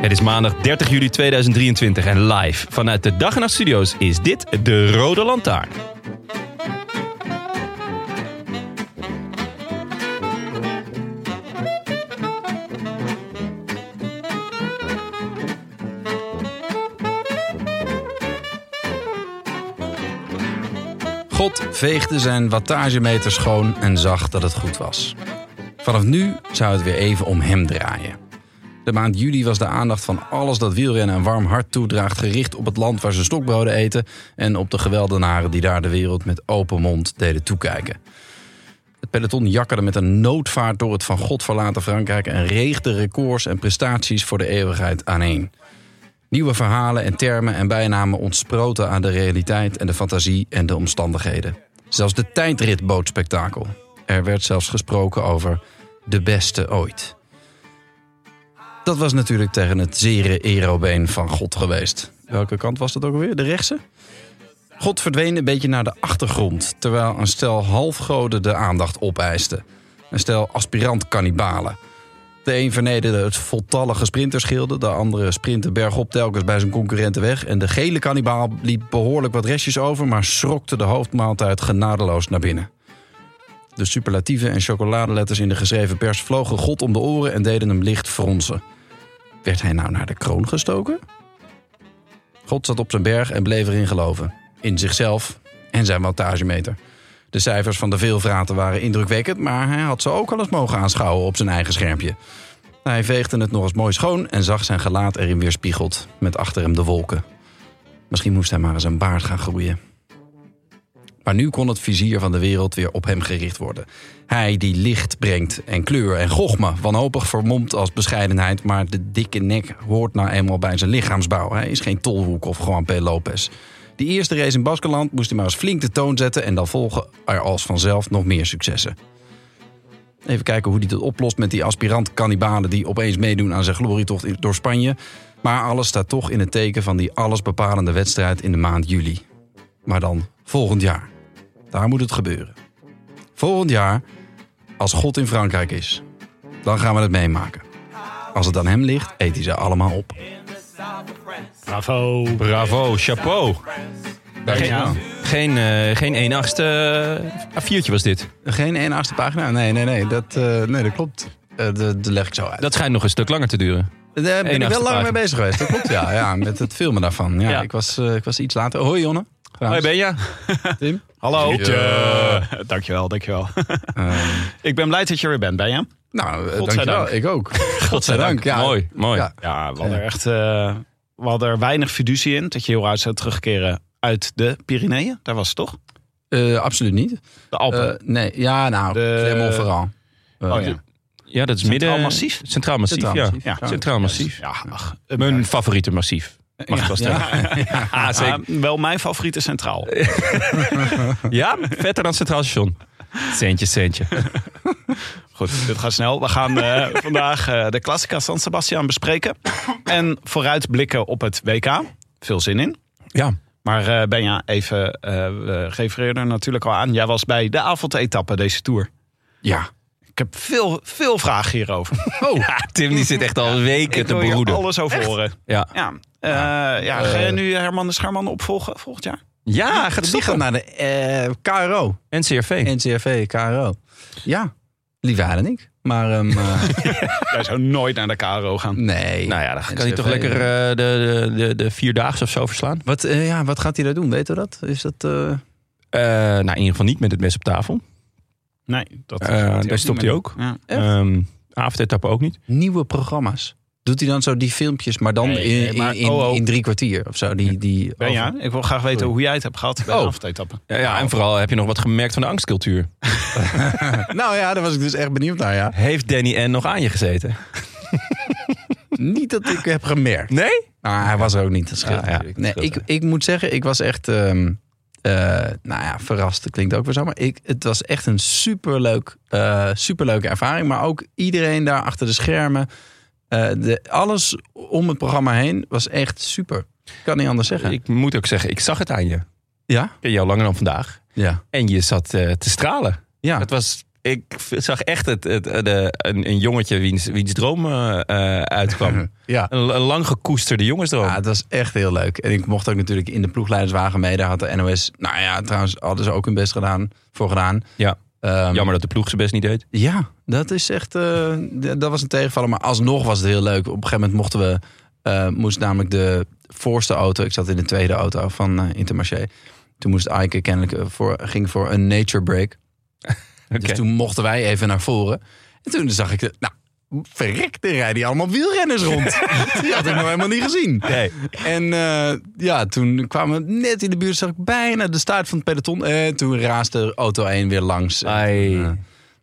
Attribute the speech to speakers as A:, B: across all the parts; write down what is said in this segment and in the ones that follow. A: Het is maandag 30 juli 2023 en live vanuit de Dag en Nacht Studio's is dit de Rode Lantaarn.
B: God veegde zijn wattagemeter schoon en zag dat het goed was. Vanaf nu zou het weer even om hem draaien. De maand juli was de aandacht van alles dat wielrennen een warm hart toedraagt gericht op het land waar ze stokbroden eten en op de geweldenaren die daar de wereld met open mond deden toekijken. Het peloton jakkerde met een noodvaart door het van God verlaten Frankrijk en reegde records en prestaties voor de eeuwigheid aaneen. Nieuwe verhalen en termen en bijnamen ontsproten aan de realiteit en de fantasie en de omstandigheden. Zelfs de tijdrit bood spektakel. Er werd zelfs gesproken over de beste ooit. Dat was natuurlijk tegen het zere erobeen van God geweest. Welke kant was dat ook alweer? De rechtse? God verdween een beetje naar de achtergrond, terwijl een stel halfgoden de aandacht opeiste. Een stel aspirant-kannibalen. De een vernederde het voltallige sprinterschilde. De andere sprintte bergop telkens bij zijn concurrenten weg. En de gele kannibaal liep behoorlijk wat restjes over... maar schrokte de hoofdmaaltijd genadeloos naar binnen. De superlatieven en chocoladeletters in de geschreven pers vlogen God om de oren... en deden hem licht fronsen. Werd hij nou naar de kroon gestoken? God zat op zijn berg en bleef erin geloven. In zichzelf en zijn wattagemeter. De cijfers van de veelvraten waren indrukwekkend, maar hij had ze ook al eens mogen aanschouwen op zijn eigen schermpje. Hij veegde het nog eens mooi schoon en zag zijn gelaat erin weerspiegeld, met achter hem de wolken. Misschien moest hij maar eens een baard gaan groeien. Maar nu kon het vizier van de wereld weer op hem gericht worden. Hij die licht brengt en kleur en gochme, wanhopig vermomd als bescheidenheid, maar de dikke nek hoort nou eenmaal bij zijn lichaamsbouw. Hij is geen tolhoek of Juan P. Lopez. Die eerste race in Baskeland moest hij maar eens flink de toon zetten en dan volgen er als vanzelf nog meer successen. Even kijken hoe hij dat oplost met die aspirant-kannibalen die opeens meedoen aan zijn glorietocht in- door Spanje. Maar alles staat toch in het teken van die allesbepalende wedstrijd in de maand juli. Maar dan volgend jaar. Daar moet het gebeuren. Volgend jaar, als God in Frankrijk is, dan gaan we het meemaken. Als het aan hem ligt, eet hij ze allemaal op.
C: Bravo.
A: Bravo, chapeau.
B: Geen,
A: Geen, geen, eh, geen 1 8 A4'tje was dit.
B: geen 1 achtste pagina? Nee, nee, nee. Dat, eh, nee, dat klopt. Eh, dat, dat leg ik zo uit.
A: Dat schijnt nog een stuk langer te duren.
B: Daar Eh, ben ik
A: Enigste
B: wel lang mee
A: pagina.
B: bezig geweest. Dat klopt, ja. ja met het filmen daarvan. Ja,
A: Ja.
B: Ik, was, eh, ik was iets later. Hoi, Jonne.
A: Hoi
B: Trouwens.
A: Benja.
B: Tim.
C: Hallo. Eh,
B: Ja.
C: Dankjewel, dankjewel.
B: Ehm,
C: Ik ben blij dat je er weer bent, ben je?
B: nou, eh,
C: Godzijdank.
B: dankjewel. Ik ook. Godzijdank. Ja.
A: Mooi, mooi.
B: Ja.
C: Ja, we hadden er echt eh, we hadden er weinig fiducie in dat je heel uit zou terugkeren uit de Pyreneeën. Daar was het toch?
B: Eh, absoluut niet.
C: De Alpen.
B: Eh, nee, ja, nou, Eh,
C: De-
B: Clermont vooral.
C: oh, ja.
A: Ja, dat is
C: Centraal
A: midden...
C: Massief?
A: Centraal Massief,
B: Centraal
A: ja.
B: Massief,
A: ja.
B: ja.
A: Centraal Massief. Eh,
C: Ja, ach,
A: Mijn favoriete massief. Mag ik vaststellen. Ah,
C: Ah,
A: zeker.
C: wel mijn favoriete centraal.
A: Ja, vetter dan Centraal Station. Centje, centje.
C: Goed, dit gaat snel. We gaan eh, vandaag eh, de Classica San Sebastian bespreken. En vooruitblikken op het WK. Veel zin in.
A: Ja.
C: Maar eh Benja, even, eh we refereerden er natuurlijk al aan. Jij was bij de avondetappe deze Tour.
B: Ja. Oh.
C: Ik heb veel, veel vragen hierover.
A: Ja, Tim die zit echt al weken
C: Ik
A: te
C: wil hier
A: broeden.
C: alles over horen.
A: Ja.
C: Ja. Eh, ja, ga je nu Herman de Scherman opvolgen volgend jaar?
A: ja, gaat
B: Die gaat
A: stoppen.
B: naar de eh, KRO.
A: NCRV.
B: NCRV, KRO. Ja, liever haar dan ik. Maar ehm, eh,
C: Jij zou nooit naar de KRO gaan.
B: nee.
A: Nou ja, dan kan hij
B: NCV.
A: toch lekker eh, de, de, de, de vierdaagse of zo verslaan.
B: Wat, eh, ja, wat gaat hij daar doen? Weten we dat? Is dat eh,
A: Eh, nou, in ieder geval niet met het mes op tafel.
C: Nee, dat
A: Eh, daar stopt hij ook.
C: Ja.
B: Echt?
A: Ehm avondetappe ook niet.
B: nieuwe programma's? Doet hij dan zo die filmpjes, maar dan
C: Nee,
B: in,
C: nee, maar-
B: in, in,
C: oh, oh.
B: in drie kwartier of zo? Die, die,
C: Ben, ja,
B: over-
C: ik wil graag weten hoe jij het hebt gehad bij
A: Oh.
C: de aftappen.
A: Ja, ja, en vooral heb je nog wat gemerkt van de angstcultuur.
B: Nou ja, daar was ik dus echt benieuwd naar, ja.
A: Heeft Danny N nog aan je gezeten?
B: Niet dat ik heb gemerkt.
A: Nee?
B: Maar hij was er ook niet. Dat scheelt
A: Ja, ja,
B: natuurlijk.
A: dat
B: Nee,
A: scheelt,
B: ik, ik moet zeggen, ik was echt... ehm, eh, nou ja, verrast dat klinkt ook weer zo. Maar ik, het was echt een superleuk, eh, superleuke ervaring. Maar ook iedereen daar achter de schermen. eh, de, alles om het programma heen was echt super. Ik kan niet anders zeggen.
A: Ik moet ook zeggen, ik zag het aan je. Ik
B: ja?
A: ken jou langer dan vandaag.
B: Ja.
A: En je zat eh, te stralen.
B: Ja.
A: Het was, ik v- zag echt het, het, eh, de, een, een jongetje wiens, wiens droom eh, eh, uitkwam.
B: Ja.
A: Een, een lang gekoesterde jongensdroom.
B: Ja, het was echt heel leuk. En ik mocht ook natuurlijk in de ploegleiderswagen mee. Daar had de NOS, nou ja, trouwens hadden ze ook hun best gedaan, voor gedaan.
A: Ja.
B: Ehm,
A: Jammer dat de ploeg zijn best niet deed.
B: Ja, dat is echt. eh, d- dat was een tegenvaller. Maar alsnog was het heel leuk. Op een gegeven moment mochten we. eh, moest namelijk de voorste auto. Ik zat in de tweede auto van eh, Intermarché. Toen moest Ike kennelijk eh, voor, ging voor een nature break.
A: Oké.
B: Dus toen mochten wij even naar voren. En toen zag ik. de- Nou, verrek, er rijden hier allemaal wielrenners rond. Die had ik nog helemaal niet gezien.
A: Nee.
B: En eh, ja, toen kwamen we net in de buurt. Zag ik bijna de staart van het peloton. En toen raasde de auto 1 weer langs.
A: Ai.
B: Eh,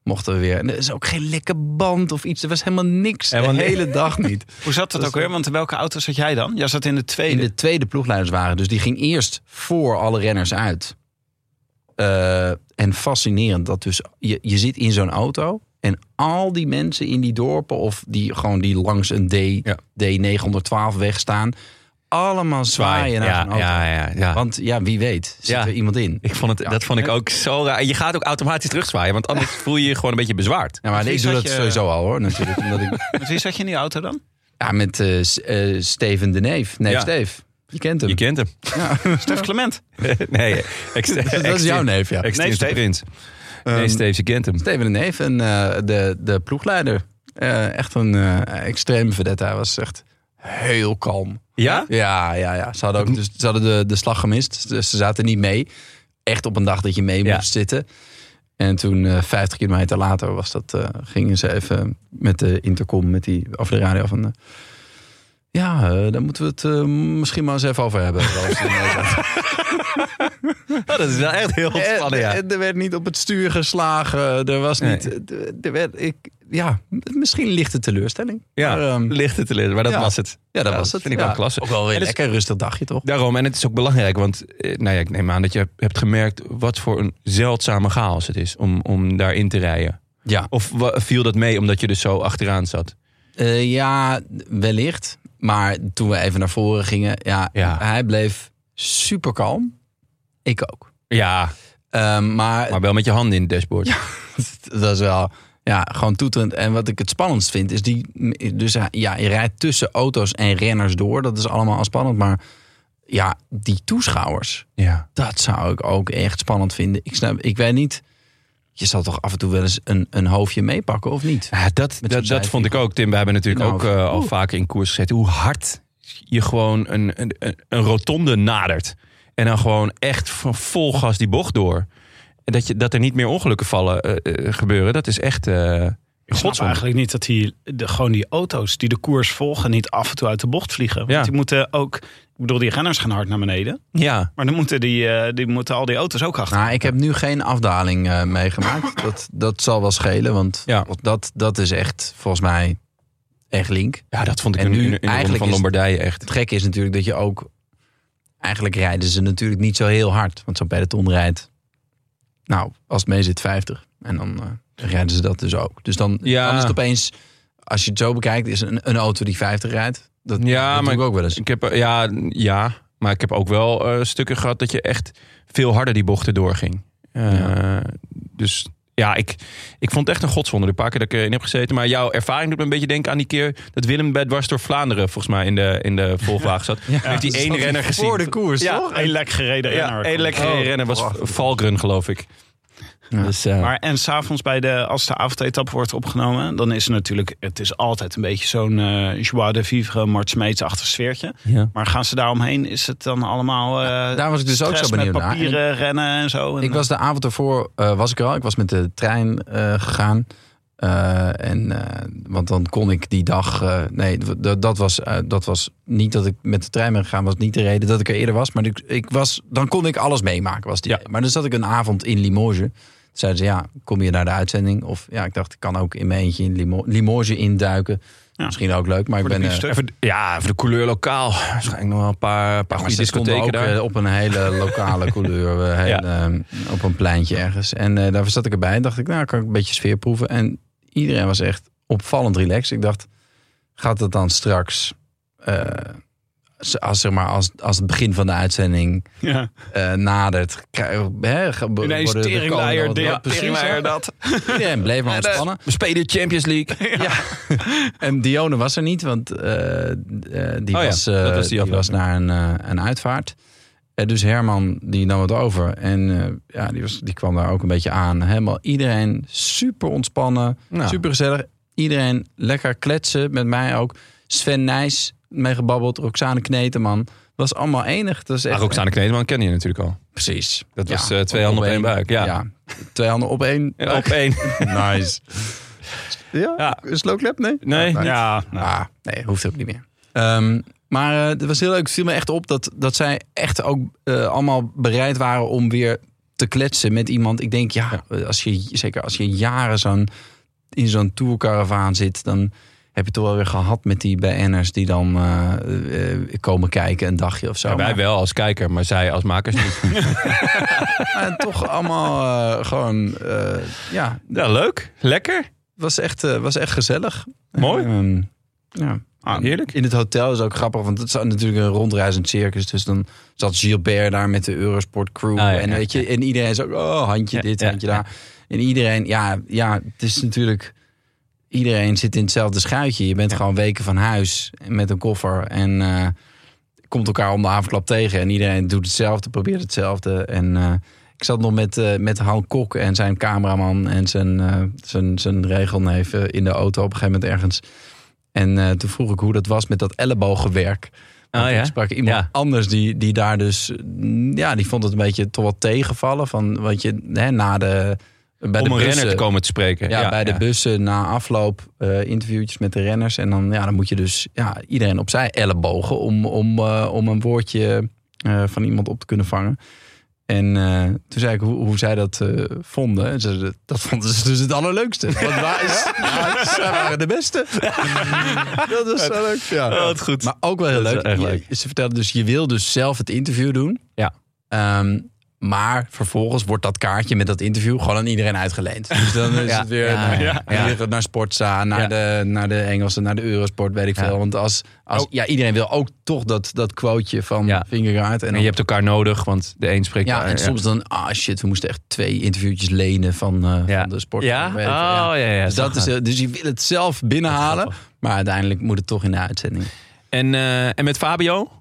B: mochten we weer. En er is ook geen lekke band of iets. Er was helemaal niks.
A: Helemaal
B: de
A: ni-
B: hele dag niet.
C: Hoe zat dat ook weer? Want in welke auto zat jij dan? Jij zat in de
B: In
C: tweede.
B: de tweede ploegleiders waren. Dus die ging eerst voor alle renners uit. Eh, en fascinerend dat dus je, je zit in zo'n auto. En al die mensen in die dorpen of die gewoon die langs een D,
A: Ja.
B: D912 weg staan. Allemaal zwaaien naar
A: ja,
B: zo'n auto.
A: ja, ja, ja.
B: Want ja, wie weet zit
A: Ja.
B: er iemand in.
A: Ik vond het,
B: Ja.
A: Dat vond ik ook zo raar. En je gaat ook automatisch terugzwaaien, want anders voel je je gewoon een beetje bezwaard. Dus
B: Ja, maar
C: Misschien
B: ik doe
C: zat
B: dat
C: je-
B: sowieso al hoor. Natuurlijk, omdat ik,
C: Met wie zat je in die auto dan?
B: ja, met eh, S- eh, Steven de Neef. Nee,
A: Ja.
B: Steve. Je kent hem.
A: Je kent hem.
C: Stef Clement.
A: nee, ex,
B: Dat is jouw neef, ja.
A: Extreemste
C: Nee, Steve.
A: prins.
B: Ehm,
A: nee, Steve, je kent hem.
B: Steven de Neef en eh, de, de ploegleider. Eh, echt een eh extreme vedette. Hij was echt heel kalm.
A: Ja?
B: Ja, ja, ja. Ze hadden, ook, dus, ze hadden de, de slag gemist. Dus ze zaten niet mee. Echt op een dag dat je mee
A: Ja.
B: moest zitten. En toen, eh 50 kilometer later, was dat, eh, gingen ze even met de intercom, met die, of de radio van... eh, ja, eh, daar moeten we het eh, misschien maar eens even over hebben. Zoals ze ineens zaten.
A: Oh, dat is wel echt heel ontspannen, ja.
B: Eh, eh, Er werd niet op het stuur geslagen. Er was
A: Nee.
B: niet. eh, Er werd, ik, ja, misschien lichte teleurstelling.
A: ja.
B: Maar, ehm,
A: Licht het te leren, maar dat
B: ja.
A: was het.
B: ja, dat
A: Ja,
B: was
A: dat
B: het.
A: vind ik wel
B: Ja.
A: klasse.
B: Ook wel weer
A: En dat is-
B: lekker rustig dagje, toch?
A: Daarom, en het is ook belangrijk, want eh, nou ja, ik neem aan dat je hebt gemerkt wat voor een zeldzame chaos het is om, om daarin te rijden.
B: Ja,
A: Of wa- viel dat mee omdat je dus zo achteraan zat?
B: Eh, ja wellicht. Maar toen we even naar voren gingen, ja,
A: Ja.
B: hij bleef super kalm. Ik ook.
A: Ja,
B: Eh, maar
A: maar wel met je handen in het dashboard.
B: dat is wel ja, gewoon toeterend. En wat ik het spannendst vind, is die. Dus ja, je rijdt tussen auto's en renners door. Dat is allemaal al spannend. Maar ja, die toeschouwers,
A: Ja.
B: dat zou ik ook echt spannend vinden. Ik, snap, ik weet niet. Je zal toch af en toe wel eens een, een hoofdje meepakken, of niet?
A: Ja, dat,
B: zo'n
A: dat, dat
B: zijvlieg.
A: vond ik ook, Tim. We hebben natuurlijk
B: Nou,
A: ook eh, al
B: oeh.
A: vaker in koers gezeten hoe hard je gewoon een, een, een- een rotonde nadert. En dan gewoon echt van vol gas die bocht door. En dat, je, dat er niet meer ongelukken vallen, eh, eh, gebeuren, dat is echt eh
C: Ik snap
A: godswonder.
C: eigenlijk niet dat die, de, gewoon die auto's die de koers volgen niet af en toe uit de bocht vliegen. Want
A: Ja.
C: die moeten ook, ik bedoel die renners gaan hard naar beneden.
A: Ja,
C: Maar dan moeten, die, eh, die moeten al die auto's ook achter.
B: Nou, ik heb nu geen afdaling eh, meegemaakt. Dat, dat zal wel schelen, want
A: Ja.
B: dat, dat is echt, volgens mij, echt link.
A: ja, dat vond ik
B: En nu
A: in, in, in de Ronde
B: eigenlijk
A: van
B: is-
A: Lombardije echt.
B: Het gekke is natuurlijk dat je ook... Eigenlijk rijden ze natuurlijk niet zo heel hard. Want zo'n peloton rijdt... Nou, als het mee zit 50. En dan eh, rijden ze dat dus ook. Dus dan,
A: Ja.
B: dan is het opeens... Als je het zo bekijkt, is een, een auto die 50 rijdt... Dat,
A: Ja,
B: dat
A: maar-
B: doe ik ook wel eens.
A: Ik heb, eh, ja, ja, maar ik heb ook wel eh, stukken gehad dat je echt veel harder die bochten doorging. Eh, Dus ja, ik, ik vond het echt een godswonder de paar keer dat ik erin heb gezeten. Maar jouw ervaring doet me een beetje denken aan die keer dat Willem bij Dwars door Vlaanderen volgens mij in de, in de volgwagen zat. heeft die één renner gezien.
B: Voor de koers,
A: Ja,
B: Nou, toch?
C: Eén lek gereden
A: ja,
C: renner.
A: één lekker
B: Oh,
A: renner was
B: prachtig.
A: Valgren geloof ik. Dus, eh,
C: Maar en s'avonds bij de, als de avondetap wordt opgenomen, dan is het natuurlijk, het is altijd een beetje zo'n eh joie de vivre, Mart Smeets-achtig sfeertje.
A: ja.
C: Maar gaan ze daaromheen, is het dan allemaal eh
B: Daar was ik dus ook
C: stress
B: zo benieuwd
C: met
B: naar.
C: papieren rennen en zo? En,
B: Ik was de avond ervoor, eh, was ik er al. Ik was met de trein eh, gegaan. Eh, en, eh, want dan kon ik die dag... eh, nee, d- d- dat was, eh, dat was niet dat ik met de trein ben gegaan. was niet de reden dat ik er eerder was. Maar ik, ik was, dan kon ik alles meemaken. Was die,
A: Ja.
B: Maar dan zat ik een avond in Limoges. Toen zeiden ze, ja, kom je naar de uitzending? Of ja, ik dacht, ik kan ook in mijn eentje in Limo- Limoges induiken.
C: Ja.
B: Misschien ook leuk, maar ik
C: Voor de
B: ben... eh,
C: biefstuk.
A: Even, ja, voor de couleur lokaal. Waarschijnlijk nog wel een paar, paar
B: Maar
A: goede
B: ze stonden
A: discotheken
B: ook
A: daar.
B: eh, op een hele lokale couleur. eh, heel,
A: Ja.
B: eh, op een pleintje ergens. En eh, daar zat ik erbij en dacht ik, nou kan ik een beetje sfeer proeven. En iedereen was echt opvallend relaxed. Ik dacht, gaat het dan straks... eh, z- als, zeg maar, als, als het begin van de uitzending
C: ja.
B: eh, nadert... krijg- hè, ge- worden de
C: Ineens
B: komende-
C: teringleier, dit,
B: Ja, precies.
C: teringleijer, dat.
B: Iedereen bleef maar eh, ontspannen.
A: We spelen de Champions League.
B: En Dione was er niet, want eh, eh, die,
A: Oh ja,
B: was, eh,
A: dat was die
B: die, was
A: aflevering.
B: naar een, eh, een uitvaart. Eh, dus Herman die nam het over. En eh, ja, die, was, die kwam daar ook een beetje aan. Helemaal iedereen super ontspannen,
A: Nou.
B: super gezellig. Iedereen lekker kletsen, met mij ook. Sven Nijs mee gebabbeld, Roxane Kneteman. Dat was allemaal enig. Dat was echt,
A: Maar Ah, Roxane Kneteman ken je natuurlijk al.
B: Precies.
A: Dat was, eh, twee handen op één buik, ja.
B: Twee handen op één.
A: Op één.
B: Nice. ja?
A: Ja.
B: Een slow clap, nee?
A: Nee.
C: Ja, nou,
B: Ah, nee, hoeft ook niet meer. Ehm, maar eh, het was heel leuk. Het viel me echt op dat, dat zij echt ook eh, allemaal bereid waren om weer te kletsen met iemand. Ik denk, ja, eh, Als je, zeker als je jaren zo'n, in zo'n tourcaravaan zit, dan heb je toch wel weer gehad met die BN'ers die dan eh, eh, komen kijken een dagje of zo.
A: Ja, wij
B: Maar-
A: wel als kijker, maar zij als makers niet.
B: maar toch allemaal eh, gewoon, eh, ja,
A: Ja, leuk. Lekker.
B: was echt, eh, was echt gezellig.
A: Mooi. Ah,
B: Ehm, ja.
A: Heerlijk.
B: In het hotel is ook grappig, want het is natuurlijk een rondreizend circus. Dus dan zat Gilbert daar met de Eurosport crew.
A: Ah, ja,
B: en,
A: ja,
B: weet je, en iedereen is ook, oh, handje
A: Ja,
B: dit,
A: ja,
B: handje
A: ja.
B: daar. En iedereen, ja, ja, het is natuurlijk... Iedereen zit in hetzelfde schuitje. Je bent gewoon weken van huis met een koffer. En eh, komt elkaar om de avondklap tegen. En iedereen doet hetzelfde, probeert hetzelfde. En eh, ik zat nog met, eh met Han Kok en zijn cameraman en zijn, eh, zijn, zijn regelneef eh, in de auto op een gegeven moment ergens. En eh, toen vroeg ik hoe dat was met dat ellebogenwerk. Want
A: Oh ja?
B: Ik sprak iemand
A: Ja.
B: anders die, die daar dus... mm, Ja, die vond het een beetje toch wel tegenvallen. Van, want je, hè, na de... Bij
A: Om
B: de
A: een
B: bussen,
A: renner te komen te spreken.
B: ja, bij de bussen na afloop eh, interviewtjes met de renners. En dan, ja, dan moet je dus ja, iedereen opzij ellebogen om, om, eh, om een woordje eh, van iemand op te kunnen vangen. En eh, toen zei ik hoe, hoe zij dat eh, vonden. En ze, zeiden, dat vonden ze dus het allerleukste. Want wij, ja, zij waren de beste. dat was zo leuk. Ja.
A: Oh, wat goed.
B: Maar ook wel heel
A: Dat is
B: leuk.
A: echt
B: Je-
A: leuk.
B: Ze vertelde dus, je wil dus zelf het interview doen.
A: Ja.
B: Ehm, maar vervolgens wordt dat kaartje met dat interview gewoon aan iedereen uitgeleend. Dus dan is
A: Ja.
B: het weer
A: Ja,
B: naar,
A: ja,
B: weer naar Sportza, naar,
A: Ja.
B: de, naar de Engelsen, naar de Eurosport, weet ik
A: Ja.
B: veel. Want als, als, ja, iedereen wil ook toch dat, dat quoteje van
A: Ja.
B: Vingegaard. En,
A: En
B: dan-
A: je hebt elkaar nodig, want de een spreekt...
B: ja,
A: de-
B: en soms dan, ah shit, we moesten echt twee interviewtjes lenen van, eh,
A: Ja.
B: van de sport.
A: Ja?
B: weet ik veel, ja.
A: Oh, ja, ja.
B: Dus,
A: zo
B: dat is,
A: gaat het.
B: heel- dus je wil het zelf binnenhalen, maar uiteindelijk moet het toch in de uitzending.
A: En, eh, en met Fabio?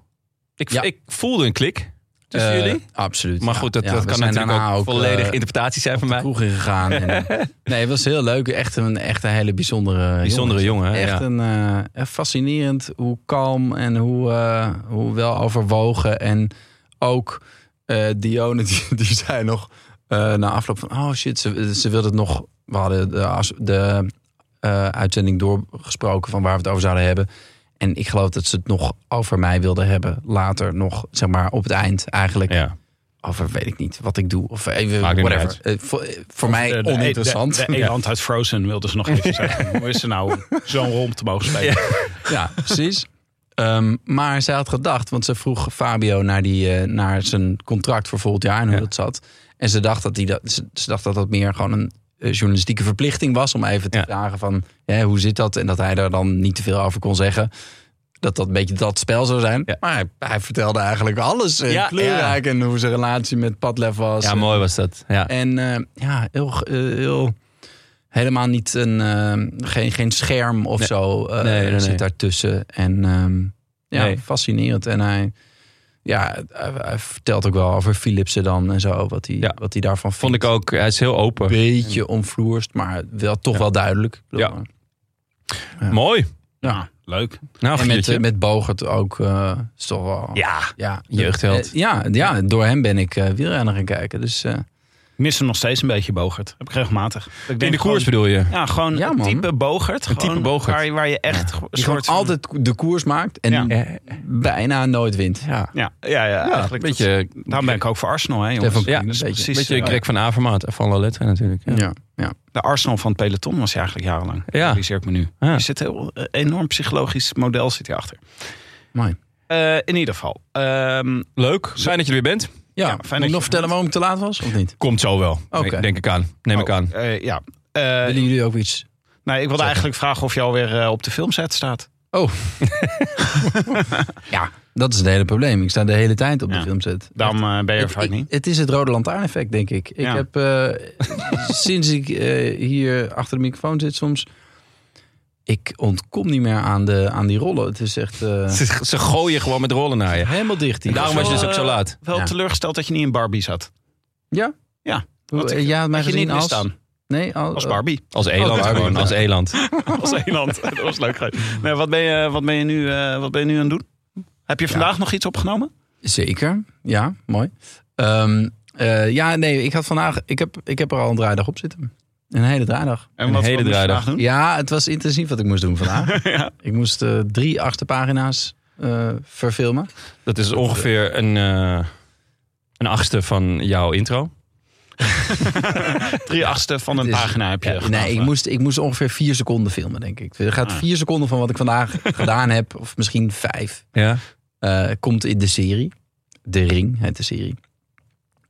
A: Ik,
B: Ja.
A: ik voelde een klik tussen
B: Eh,
A: jullie.
B: Absoluut.
A: Maar
B: ja.
A: goed, dat,
B: Ja,
A: dat
B: we
A: kan
B: zijn
A: natuurlijk ook,
B: daarna
A: volledig
B: eh,
A: interpretatie zijn van
B: de
A: mij.
B: kroeg in gegaan. en, eh, nee, het was heel leuk. Echt een, echt een hele bijzondere,
A: Bijzondere jongen. hè?
B: Echt
A: ja.
B: een eh, echt fascinerend hoe kalm en hoe, eh, hoe wel overwogen. En ook eh Dione, die, die zei nog eh, na afloop van... Oh shit, ze, ze wilde het nog... We hadden de, as- de eh, uitzending doorgesproken van waar we het over zouden hebben. En ik geloof dat ze het nog over mij wilden hebben. Later nog, zeg maar, op het eind eigenlijk
A: Ja.
B: over eh, weet ik niet wat ik doe of even
A: Maakt niet
B: whatever.
A: uit.
B: Eh, voor eh, voor mij
C: de- de-
B: oninteressant.
C: De, de eland uit Frozen wilde ze nog even zeggen. Hoe is ze nou zo'n rol om te mogen spelen?
B: ja, precies. Ehm, maar zij had gedacht, want ze vroeg Fabio naar, die, eh, naar zijn contract voor volgend jaar en hoe
A: Ja.
B: dat zat. En ze dacht dat, die dat, ze, ze dacht dat dat meer gewoon een eh, journalistieke verplichting was om even te
A: Ja.
B: vragen van hè, hoe zit dat? En dat hij daar dan niet te veel over kon zeggen. Dat dat een beetje dat spel zou zijn.
A: Ja.
B: Maar hij, hij vertelde eigenlijk alles. eh,
A: Ja,
B: kleurrijk en hoe zijn relatie met Padlef was.
A: ja,
B: En-
A: mooi was dat. Ja.
B: En eh, ja, heel, eh, heel, helemaal niet een, eh, geen, geen scherm of
A: Nee.
B: zo eh,
A: Nee, nee, nee.
B: zit daartussen. En ehm, ja,
A: Nee.
B: fascinerend. En hij ja, hij, hij vertelt ook wel over Philipsen dan en zo. Wat hij,
A: Ja.
B: wat hij daarvan vindt.
A: Vond ik ook, hij is heel open.
B: beetje omvloerst, maar wel, toch wel duidelijk. eh,
A: Ja. Mooi.
B: ja.
C: Leuk.
A: Nou,
B: En met,
A: Giertje.
B: eh, met Bogert ook. eh, is toch wel,
C: Ja,
B: ja,
A: jeugdheld.
B: Eh, ja, ja, door hem ben ik eh wielrenner gaan kijken. Dus eh,
C: missen nog steeds een beetje Bogert. Heb ik regelmatig. Ik denk
A: in de koers
C: gewoon-
A: bedoel je?
C: Ja, gewoon
B: Ja,
C: een
B: man.
C: type Bogert. Een
A: type Bogert.
C: Waar, je- waar je echt een
B: die
C: soort
B: gewoon
C: van-
B: altijd de koers maakt en
C: Ja.
B: eh, bijna nooit wint. Ja.
C: Ja, ja, ja,
A: Ja,
C: eigenlijk.
A: een
C: Beetje,
A: beetje,
C: daarom ben ik ook voor Arsenal, hè, jongens.
B: Stefan Kuhn,
C: Ja,
B: een
C: dat is
B: beetje-
C: precies.
A: beetje
C: eh,
A: Greg van Avermaat en Van La Lettre natuurlijk. Ja.
B: Ja.
C: de Arsenal van het peloton was hij eigenlijk jarenlang.
A: Ja.
C: Realiseer ik me nu.
A: Ja.
C: Er zit een heel eh, enorm psychologisch model zit hierachter.
B: Mooi.
C: Eh in ieder geval. Ehm,
A: Leuk, fijn dat je er weer bent.
B: Ja,
C: Ja, fijn
B: moet
C: dat
B: ik
C: je-
B: nog vertellen waarom ik te laat was of niet?
A: Komt zo wel,
B: Oké.
A: denk ik aan. Neem ik
C: oh,
A: aan.
C: eh, ja. Eh,
B: Willen jullie ook iets?
C: nee, ik wilde eigenlijk vragen of je alweer eh, op de filmset staat.
B: Oh. ja, dat is het hele probleem. Ik sta de hele tijd op de
C: Ja.
B: filmset.
C: Daarom eh, ben je er
B: Het,
C: vaak
B: ik-
C: niet.
B: het is het rode lantaarn-effect, denk ik. Ik
C: Ja.
B: heb eh, sinds ik eh, hier achter de microfoon zit soms. Ik ontkom niet meer aan, de, aan die rollen. Het is echt eh,
A: Ze, ze gooien gewoon met rollen naar je.
B: helemaal dicht. Hier.
A: Nou Daarom was je dus ook zo laat.
C: Wel
B: Ja.
C: teleurgesteld dat je niet in Barbie zat.
B: Ja?
C: Ja.
B: Hoe- eh, jij had mij
C: Dat je niet
B: gezien als...
C: misstaan.
B: Nee, al-
C: Als Barbie.
A: Als eland
B: Oh, daar
A: gewoon,
B: ben ik.
A: als eland.
C: Als Nederland. Dat was leuk. geweest. Nee, wat, ben je, wat, ben je nu, eh, wat ben je nu aan het doen? Heb je vandaag nog iets opgenomen?
B: Zeker, ja, mooi. Ehm, eh, ja, nee, ik had vandaag, ik heb, ik heb er al een draaidag op zitten. Een hele draaidag.
C: En
A: Een
C: wat
A: hele
C: wat moest je
A: draaidag.
C: vandaag doen?
B: Ja, het was intensief wat ik moest doen vandaag.
C: Ja.
B: Ik moest eh, drie achterpagina's eh, verfilmen.
A: Dat is ongeveer een, eh, een achtste van jouw intro.
C: Drie achtste van een
B: Het is-
C: pagina heb je. gedaan
B: nee, ik
C: vandaag.
B: moest, ik moest ongeveer vier seconden filmen, denk ik. Er gaat
C: Ah.
B: vier seconden van wat ik vandaag gedaan heb, of misschien vijf,
A: Ja.
B: eh, komt in de serie. De Ring heet de serie.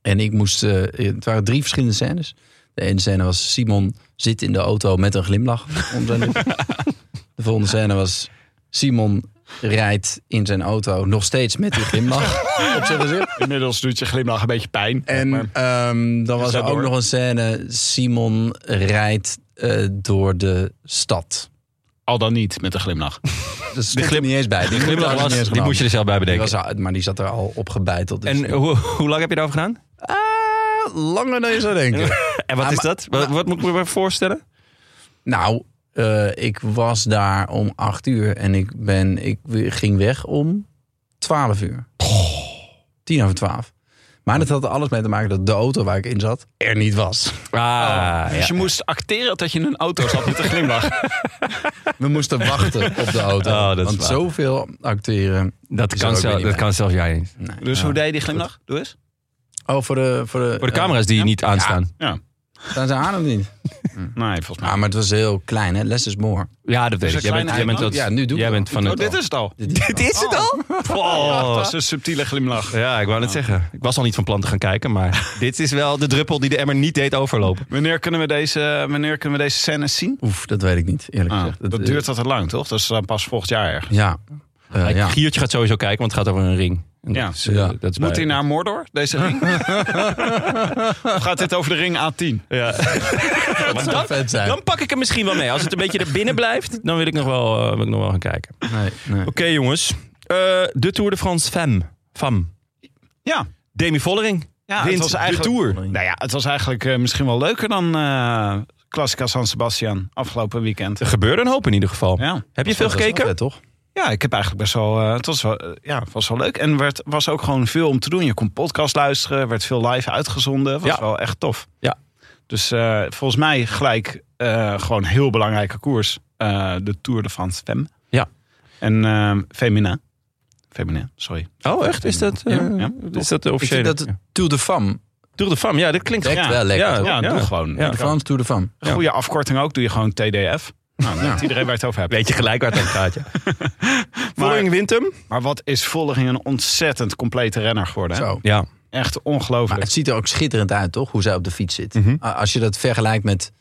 B: En ik moest, eh, het waren drie verschillende scènes. De ene scène was Simon zit in de auto met een glimlach. Om zijn lippen. de volgende scène was Simon rijdt in zijn auto nog steeds met die glimlach op zijn gezicht.
C: Inmiddels doet je glimlach een beetje pijn.
B: En
C: maar
B: ehm, dan was
C: Ga
B: er ook
C: door.
B: nog een scène. Simon rijdt eh, door de stad.
C: al dan niet met een glimlach.
B: Dat stond er niet eens bij. Die
A: Glimlach
B: was er
A: was-
B: niet eens
A: die
B: genomen.
A: moest je er zelf bij
B: Die
A: bedenken.
B: was al- maar die zat er al op gebeiteld. dus-
A: En hoe, hoe lang heb je daarover gedaan?
B: Ah, langer dan je zou denken.
A: En wat
B: Ah,
A: is
B: maar-
A: dat? Wat, wat moet ik me voorstellen?
B: nou, eh, ik was daar om acht uur en ik, ben, ik ging weg om twaalf uur.
A: Oh.
B: Tien over twaalf. Maar dat had er alles mee te maken dat de auto waar ik in zat er niet was.
A: Ah,
C: Dus je moest acteren dat je in een auto zat met een glimlach.
B: We moesten wachten op de auto.
A: Oh, dat is
B: want
A: waar.
B: zoveel acteren.
A: dat,
B: is
A: kan
B: er ook
A: zelf-
B: weer niet
A: dat
B: bij.
A: kan zelfs jij niet.
C: Dus hoe deed je die glimlach? Doe eens.
B: Oh, voor de, voor de,
A: Voor de camera's die niet aanstaan.
B: eh, staan ze aan of niet?
C: Nee, volgens mij.
B: Ah, maar het was heel klein, hè? Less is more.
A: Ja, dat weet ik.
C: een
A: Jij bent,
C: kleine
A: jij bent
C: eiland.
A: dat,
B: Ja, nu doe ik
A: jij
B: het
A: bent
B: al.
A: van
C: Oh, dit is het al.
A: Dit is het al?
C: Oh, dat is een subtiele glimlach.
A: Ja, ik wou net zeggen. Ik was al niet van plan te gaan kijken, maar dit is wel de druppel die de emmer niet deed overlopen.
C: Wanneer kunnen we deze, wanneer kunnen we deze scènes zien?
B: Oef, dat weet ik niet, eerlijk
C: Ah,
B: gezegd.
C: dat,
B: eh,
C: duurt dat te lang, toch? Dat is dan pas volgend jaar erg.
B: Ja. Eh,
A: Maar
B: ja.
A: Giertje gaat sowieso kijken, want het gaat over een ring. En
C: Ja.
A: Dat is, eh,
B: Ja.
A: dat is
C: Moet
A: bij-
C: hij naar Mordor, deze ring? of gaat dit over de ring A10?
A: Ja.
B: Dat zou vet zijn.
A: Dan pak ik hem misschien wel mee. Als het een beetje erbinnen blijft, dan wil ik nog wel, eh, wil ik nog wel gaan kijken. Oké,
B: Nee, nee.
A: jongens. Eh, de Tour de France Femme. Femme.
C: Ja.
A: Demi Vollering.
C: Ja,
A: wint
C: het was eigenlijk,
A: de Tour.
C: Nou ja, het was eigenlijk eh, misschien wel leuker dan eh Classica San Sebastian afgelopen weekend.
A: Er gebeurde een hoop in ieder geval.
C: Ja.
A: Heb je veel
B: Dat is wel
A: gekeken?
B: vet, toch?
C: Ja, ik heb eigenlijk best wel. eh, het was wel, eh, ja, het was wel leuk. En werd, was ook gewoon veel om te doen. Je kon podcast luisteren, werd veel live uitgezonden. Was
A: Ja.
C: wel echt tof.
A: Ja.
C: Dus eh, volgens mij gelijk eh, gewoon een heel belangrijke koers. Eh, de Tour de France Femme.
A: Ja.
C: En eh Femina. Femina, sorry.
A: Oh, echt? Is dat, eh,
C: Ja, ja.
A: is dat de
B: Ik vind
A: officiële?
B: dat Tour de Femme.
A: Tour de Femme, ja, dit klinkt
B: Echt
C: Ja.
B: wel lekker.
A: Ja,
B: toch?
C: Ja,
A: Oh, ja.
C: doe gewoon.
A: Ja.
B: De Frans Tour de Femme.
C: Een goede afkorting ook. Doe je gewoon TDF. Nou, dan weet iedereen waar je het over hebt.
A: Weet je gelijk waar het over gaat, ja. Vollering wint hem.
C: Maar wat is Vollering een ontzettend complete renner geworden. Hè?
B: Zo.
A: Ja.
C: Echt
B: Maar
C: ongelooflijk.
B: het ziet er ook schitterend uit, toch? Hoe zij op de fiets zit. A- Als je dat vergelijkt met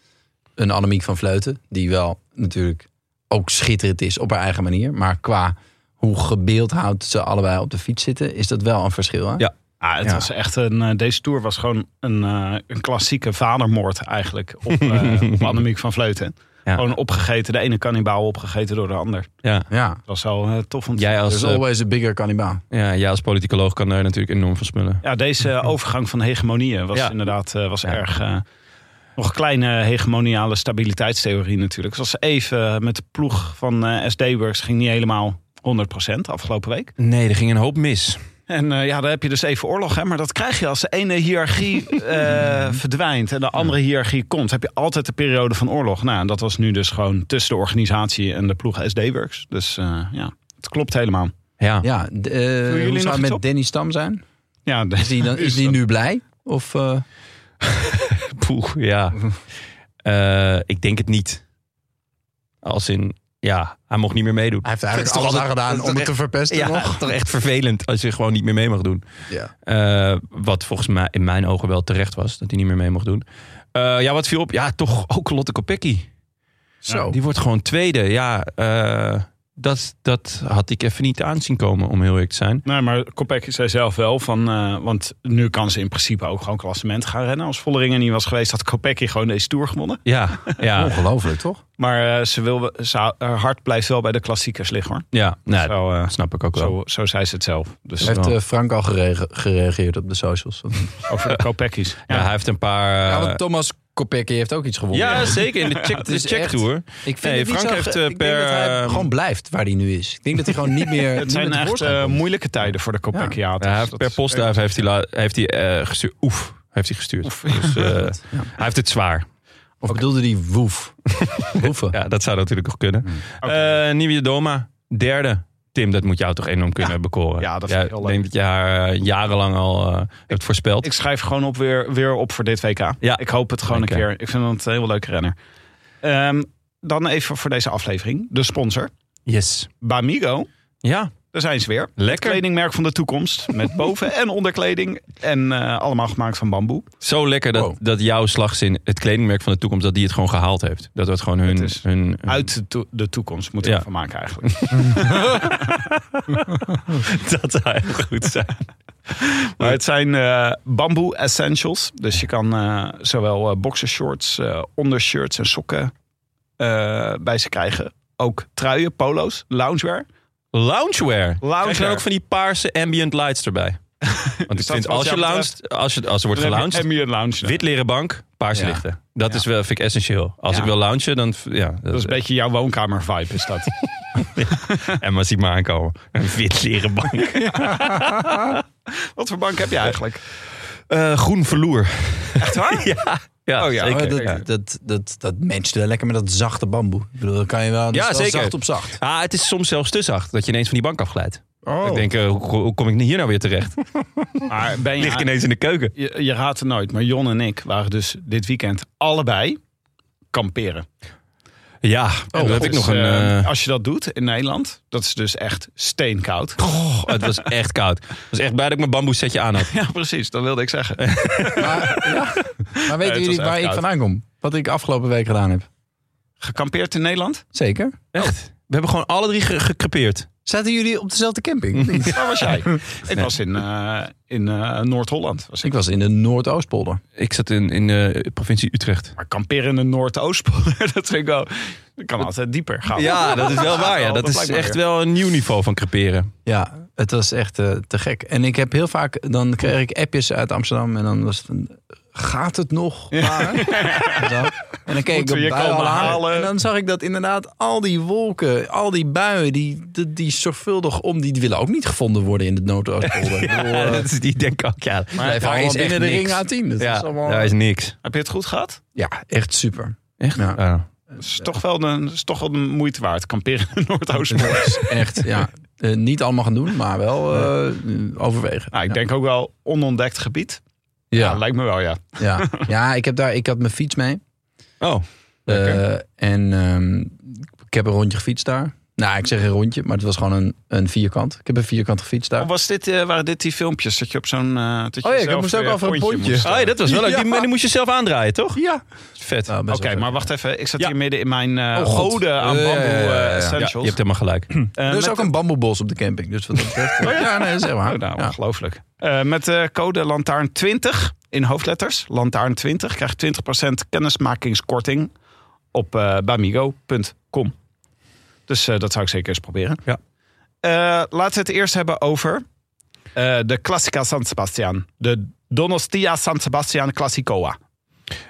B: een Annemiek van Vleuten. Die wel natuurlijk ook schitterend is op haar eigen manier. Maar qua hoe gebeeldhouwd ze allebei op de fiets zitten. Is dat wel een verschil, hè?
A: Ja.
C: Ah, het
B: Ja.
C: was echt een, eh, deze tour was gewoon een, eh, een klassieke vadermoord eigenlijk op, eh, op Annemiek van Vleuten.
A: Ja.
C: Gewoon opgegeten. De ene kannibaal opgegeten door de ander.
A: Ja.
B: Ja.
C: Dat was wel eh, tof om te
A: Jij, als,
B: There's
A: eh,
B: always a bigger cannibal.
A: ja, jij als politicoloog kan daar natuurlijk enorm van smullen.
C: Ja, deze overgang van hegemonieën was
A: Ja.
C: inderdaad eh, was
A: Ja.
C: erg. eh, nog een kleine hegemoniale stabiliteitstheorie natuurlijk. Zoals ze even eh, met de ploeg van eh SD-Works ging niet helemaal 100% afgelopen week.
A: Nee, er ging een hoop mis.
C: En eh, ja, daar heb je dus even oorlog. Hè? Maar dat krijg je als de ene hiërarchie eh, verdwijnt en de andere hiërarchie komt. Heb je altijd de periode van oorlog. Nou, en dat was nu dus gewoon tussen de organisatie en de ploeg SD-Works. Dus eh, ja, het klopt helemaal.
A: Ja.
B: Ja, d- eh,
C: nog
B: hoe zou
C: iets
B: het met
C: op?
B: Danny Stam zijn?
C: Ja, de-
B: Is die, dan, is die nu blij? Of eh,
A: Poeh, ja. Eh, ik denk het niet. Als in, ja, hij mocht niet meer meedoen.
B: hij heeft
A: Dat is
B: eigenlijk
A: toch
B: alles aan
A: altijd-
B: gedaan
A: dat is
B: om het
A: toch
B: te verpesten
A: Ja,
B: nog?
A: toch echt vervelend als je gewoon niet meer mee mag doen.
B: Ja.
A: Eh, wat volgens mij in mijn ogen wel terecht was, dat hij niet meer mee mocht doen. Eh, ja, wat viel op? Ja, toch ook Lotte Kopecky.
B: Zo.
A: Die wordt gewoon tweede. Ja, eh, dat, dat had ik even niet aan zien komen, om heel eerlijk te zijn.
C: Nee, maar Kopeck zei zelf wel van... eh, want nu kan ze in principe ook gewoon klassement gaan rennen. Als Volleringen niet was geweest, had Kopecky gewoon deze Tour gewonnen.
A: Ja, ja,
B: Ongelooflijk, toch?
C: Maar eh, ze wil, we- ze, haar hart blijft wel bij de klassiekers liggen, hoor.
A: ja. Nou,
C: Zo, eh,
A: dat snap ik ook wel.
C: zo, zo zei ze het zelf. Dus
B: Heeft
A: wel.
B: eh, Frank al gerege- gereageerd op de socials?
C: eh, over de Kopecki's.
A: eh, Ja, hij heeft een paar...
B: Ja,
A: eh,
B: want Thomas Kopecky heeft ook iets gewonnen.
A: ja, zeker. In de check,
B: Het is
A: de check
B: echt-
A: tour.
B: Ik vind
A: Nee,
B: het niet
A: Frank
B: zo-
A: heeft, eh,
B: ik denk dat hij
A: per-
B: gewoon blijft waar hij nu is. Ik denk dat hij gewoon niet meer...
C: Het zijn echt eh, moeilijke tijden voor de Kopeckiaten.
A: Ja, hij heeft per postduif heeft hij, la- heeft hij eh, gestuurd. Oef, heeft hij gestuurd. Dus, eh, Hij heeft het zwaar.
B: Of bedoelde die woef? Woeven.
A: eh, Ja, dat zou natuurlijk nog kunnen. Eh Nieuwe Doma, derde. Tim, dat moet jou toch enorm kunnen bekoren.
C: Ja, dat
A: Jij
C: vind ik heel leuk.
A: denkt dat je haar eh, jarenlang al eh, hebt voorspeld.
C: Ik schrijf gewoon op weer, weer op voor dit WK.
A: Ja.
C: Ik hoop het gewoon
A: Lekker.
C: een keer. Ik vind het een heel leuke renner. Ehm, dan even voor deze aflevering. De sponsor.
A: yes.
C: Bamigo.
A: Ja,
C: Daar zijn ze weer.
A: lekker.
C: Kledingmerk van de toekomst. Met boven- en onderkleding. En eh, allemaal gemaakt van bamboe.
A: Zo lekker dat,
B: Wow.
A: dat jouw slagzin, het kledingmerk van de toekomst, dat die het gewoon gehaald heeft. Dat het gewoon hun...
C: Het is
A: hun, hun-
C: Uit de, to- de toekomst moeten we
A: Ja.
C: van maken eigenlijk.
A: dat zou echt goed zijn.
C: Maar het zijn eh bamboe essentials. Dus je kan eh, zowel eh boxershorts, eh, ondershirts en sokken eh, bij ze krijgen. Ook truien, polo's, loungewear.
A: Loungewear.
C: Loungewear. Dus
A: Krijg je dan ook van die paarse ambient lights erbij? Want ik
C: dat
A: vind
C: wat
A: als je
C: jou
A: lounge, als, je, als er wordt gelaunched,
C: Ambient lounge.
A: wit leren bank, paarse
C: Ja.
A: lichten. Dat
C: Ja.
A: is wel, vind ik essentieel. Als
C: Ja.
A: ik wil loungen, dan... v- Ja,
C: Dat is een beetje jouw woonkamer vibe is dat.
A: En maar ziet me aankomen. Een wit leren bank.
C: Wat voor bank heb je eigenlijk?
A: Eh, groen verloer.
C: Echt waar?
A: ja. Ja,
C: Oh ja,
A: zeker.
B: Oh,
A: ja.
B: dat, dat, dat, dat matcht wel lekker met dat zachte bamboe. Ik bedoel, dan kan je wel, dat is
A: Ja,
B: wel
A: zeker.
B: zacht op zacht.
A: Ah, het is soms zelfs te zacht dat je ineens van die bank afglijdt.
B: Oh.
A: Ik denk, eh, hoe, hoe kom ik hier nou weer terecht?
C: Maar ben
A: Lig ik
C: je,
A: ineens in de keuken.
C: je, je raadt het nooit. Maar Jon en ik waren dus dit weekend allebei kamperen.
A: Ja, oh, heb ik
C: Dus,
A: nog een...
C: eh,
A: eh,
C: Als je dat doet in Nederland, dat is dus echt steenkoud.
A: oh, het was echt koud. Het was echt blij dat ik mijn bamboe setje aan had.
C: Ja, precies. Dat wilde ik zeggen.
B: Maar, ja.
C: was
B: maar weten jullie
C: echt
B: waar ik
C: koud.
B: vandaan kom? Wat ik afgelopen week gedaan heb?
C: Gekampeerd in Nederland?
B: Zeker.
A: Echt. We hebben gewoon alle drie ge- gekrepeerd.
B: Zaten jullie op dezelfde camping?
C: Waar was jij? Ik was in, eh, in eh, Noord-Holland. Was ik.
B: ik was in de Noordoostpolder.
A: Ik zat in, in de provincie Utrecht.
C: Maar kamperen in de Noordoostpolder, dat vind ik wel... Dat kan altijd dieper gaan.
A: Ja, dat is Ah, wel waar. Ja. Dat is
C: blijkt maar
A: echt
C: weer.
A: wel een nieuw niveau van creperen.
B: Ja, het was echt eh, te gek. En ik heb heel vaak, dan kreeg ik appjes uit Amsterdam en dan was het een, gaat het nog? Maar, en dan- en dan keek
C: Moeten we
B: ik
C: je
B: op buien
C: komen
B: al aan.
C: halen?
B: En dan zag ik dat inderdaad al die wolken, al die buien, die, die, die zorgvuldig om, die willen ook niet gevonden worden in het Noordoostpolder. Ik bedoel, eh,
A: dat is, die denk ik ook, ja.
B: blijven
A: daar
B: allemaal
A: Oh. is echt
B: binnen de ring
A: niks.
B: A10. Dat
A: ja,
B: is allemaal,
A: daar is niks.
C: Heb je het goed gehad?
B: ja, echt super.
A: Echt?
B: Ja.
A: Ja.
C: Dat is, toch wel de, dat is toch wel de moeite waard, kamperen in de Noordoostpolder.
B: Echt, ja. Eh, niet allemaal gaan doen, maar wel eh, overwegen.
C: Nou, ik
B: Ja.
C: denk ook wel onontdekt gebied. Ja,
B: ja.
C: lijkt me wel, ja.
B: Ja, ja ik, heb daar, ik had mijn fiets mee.
A: Oh,
B: Eh, en ehm, ik heb een rondje gefietst daar. Nou, ik zeg een rondje, maar het was gewoon een, een vierkant. Ik heb een vierkant gefietst daar.
C: Of Was dit, eh, waren dit die filmpjes dat je op zo'n... eh, dat je
B: Oh ja, ik
C: zelf
B: moest ook
C: weer
B: over een Ah, pontje.
C: moest, eh,
A: oh ja, dat was wel leuk. Die,
B: Ja.
A: maar die moest je zelf aandraaien, toch?
B: Ja.
A: Vet.
B: Nou,
C: Oké,
B: best wel vet.
C: maar wacht even. Ik zat
A: Ja.
C: hier midden in mijn eh
B: Oh, God.
C: gode aan
B: Eh,
C: bamboe
B: ja, ja, ja, ja.
C: eh,
A: Ja,
C: essentials.
A: je hebt helemaal gelijk.
C: Eh,
B: Er is
C: met-
B: ook een bamboebos op de camping. Dus wat dat betreft. ja, nee, zeg maar.
C: Oh, nou,
B: Ja.
C: ongelooflijk. Eh, met eh, code Lantaarn20 in hoofdletters. Lantaarn20 krijgt 20% kennismakingskorting op eh bamigo.com. Dus eh, dat zou ik zeker eens proberen.
A: Ja.
C: Eh, laten we het eerst hebben over eh, de Classica San Sebastian. De Donostia San Sebastian Classicoa.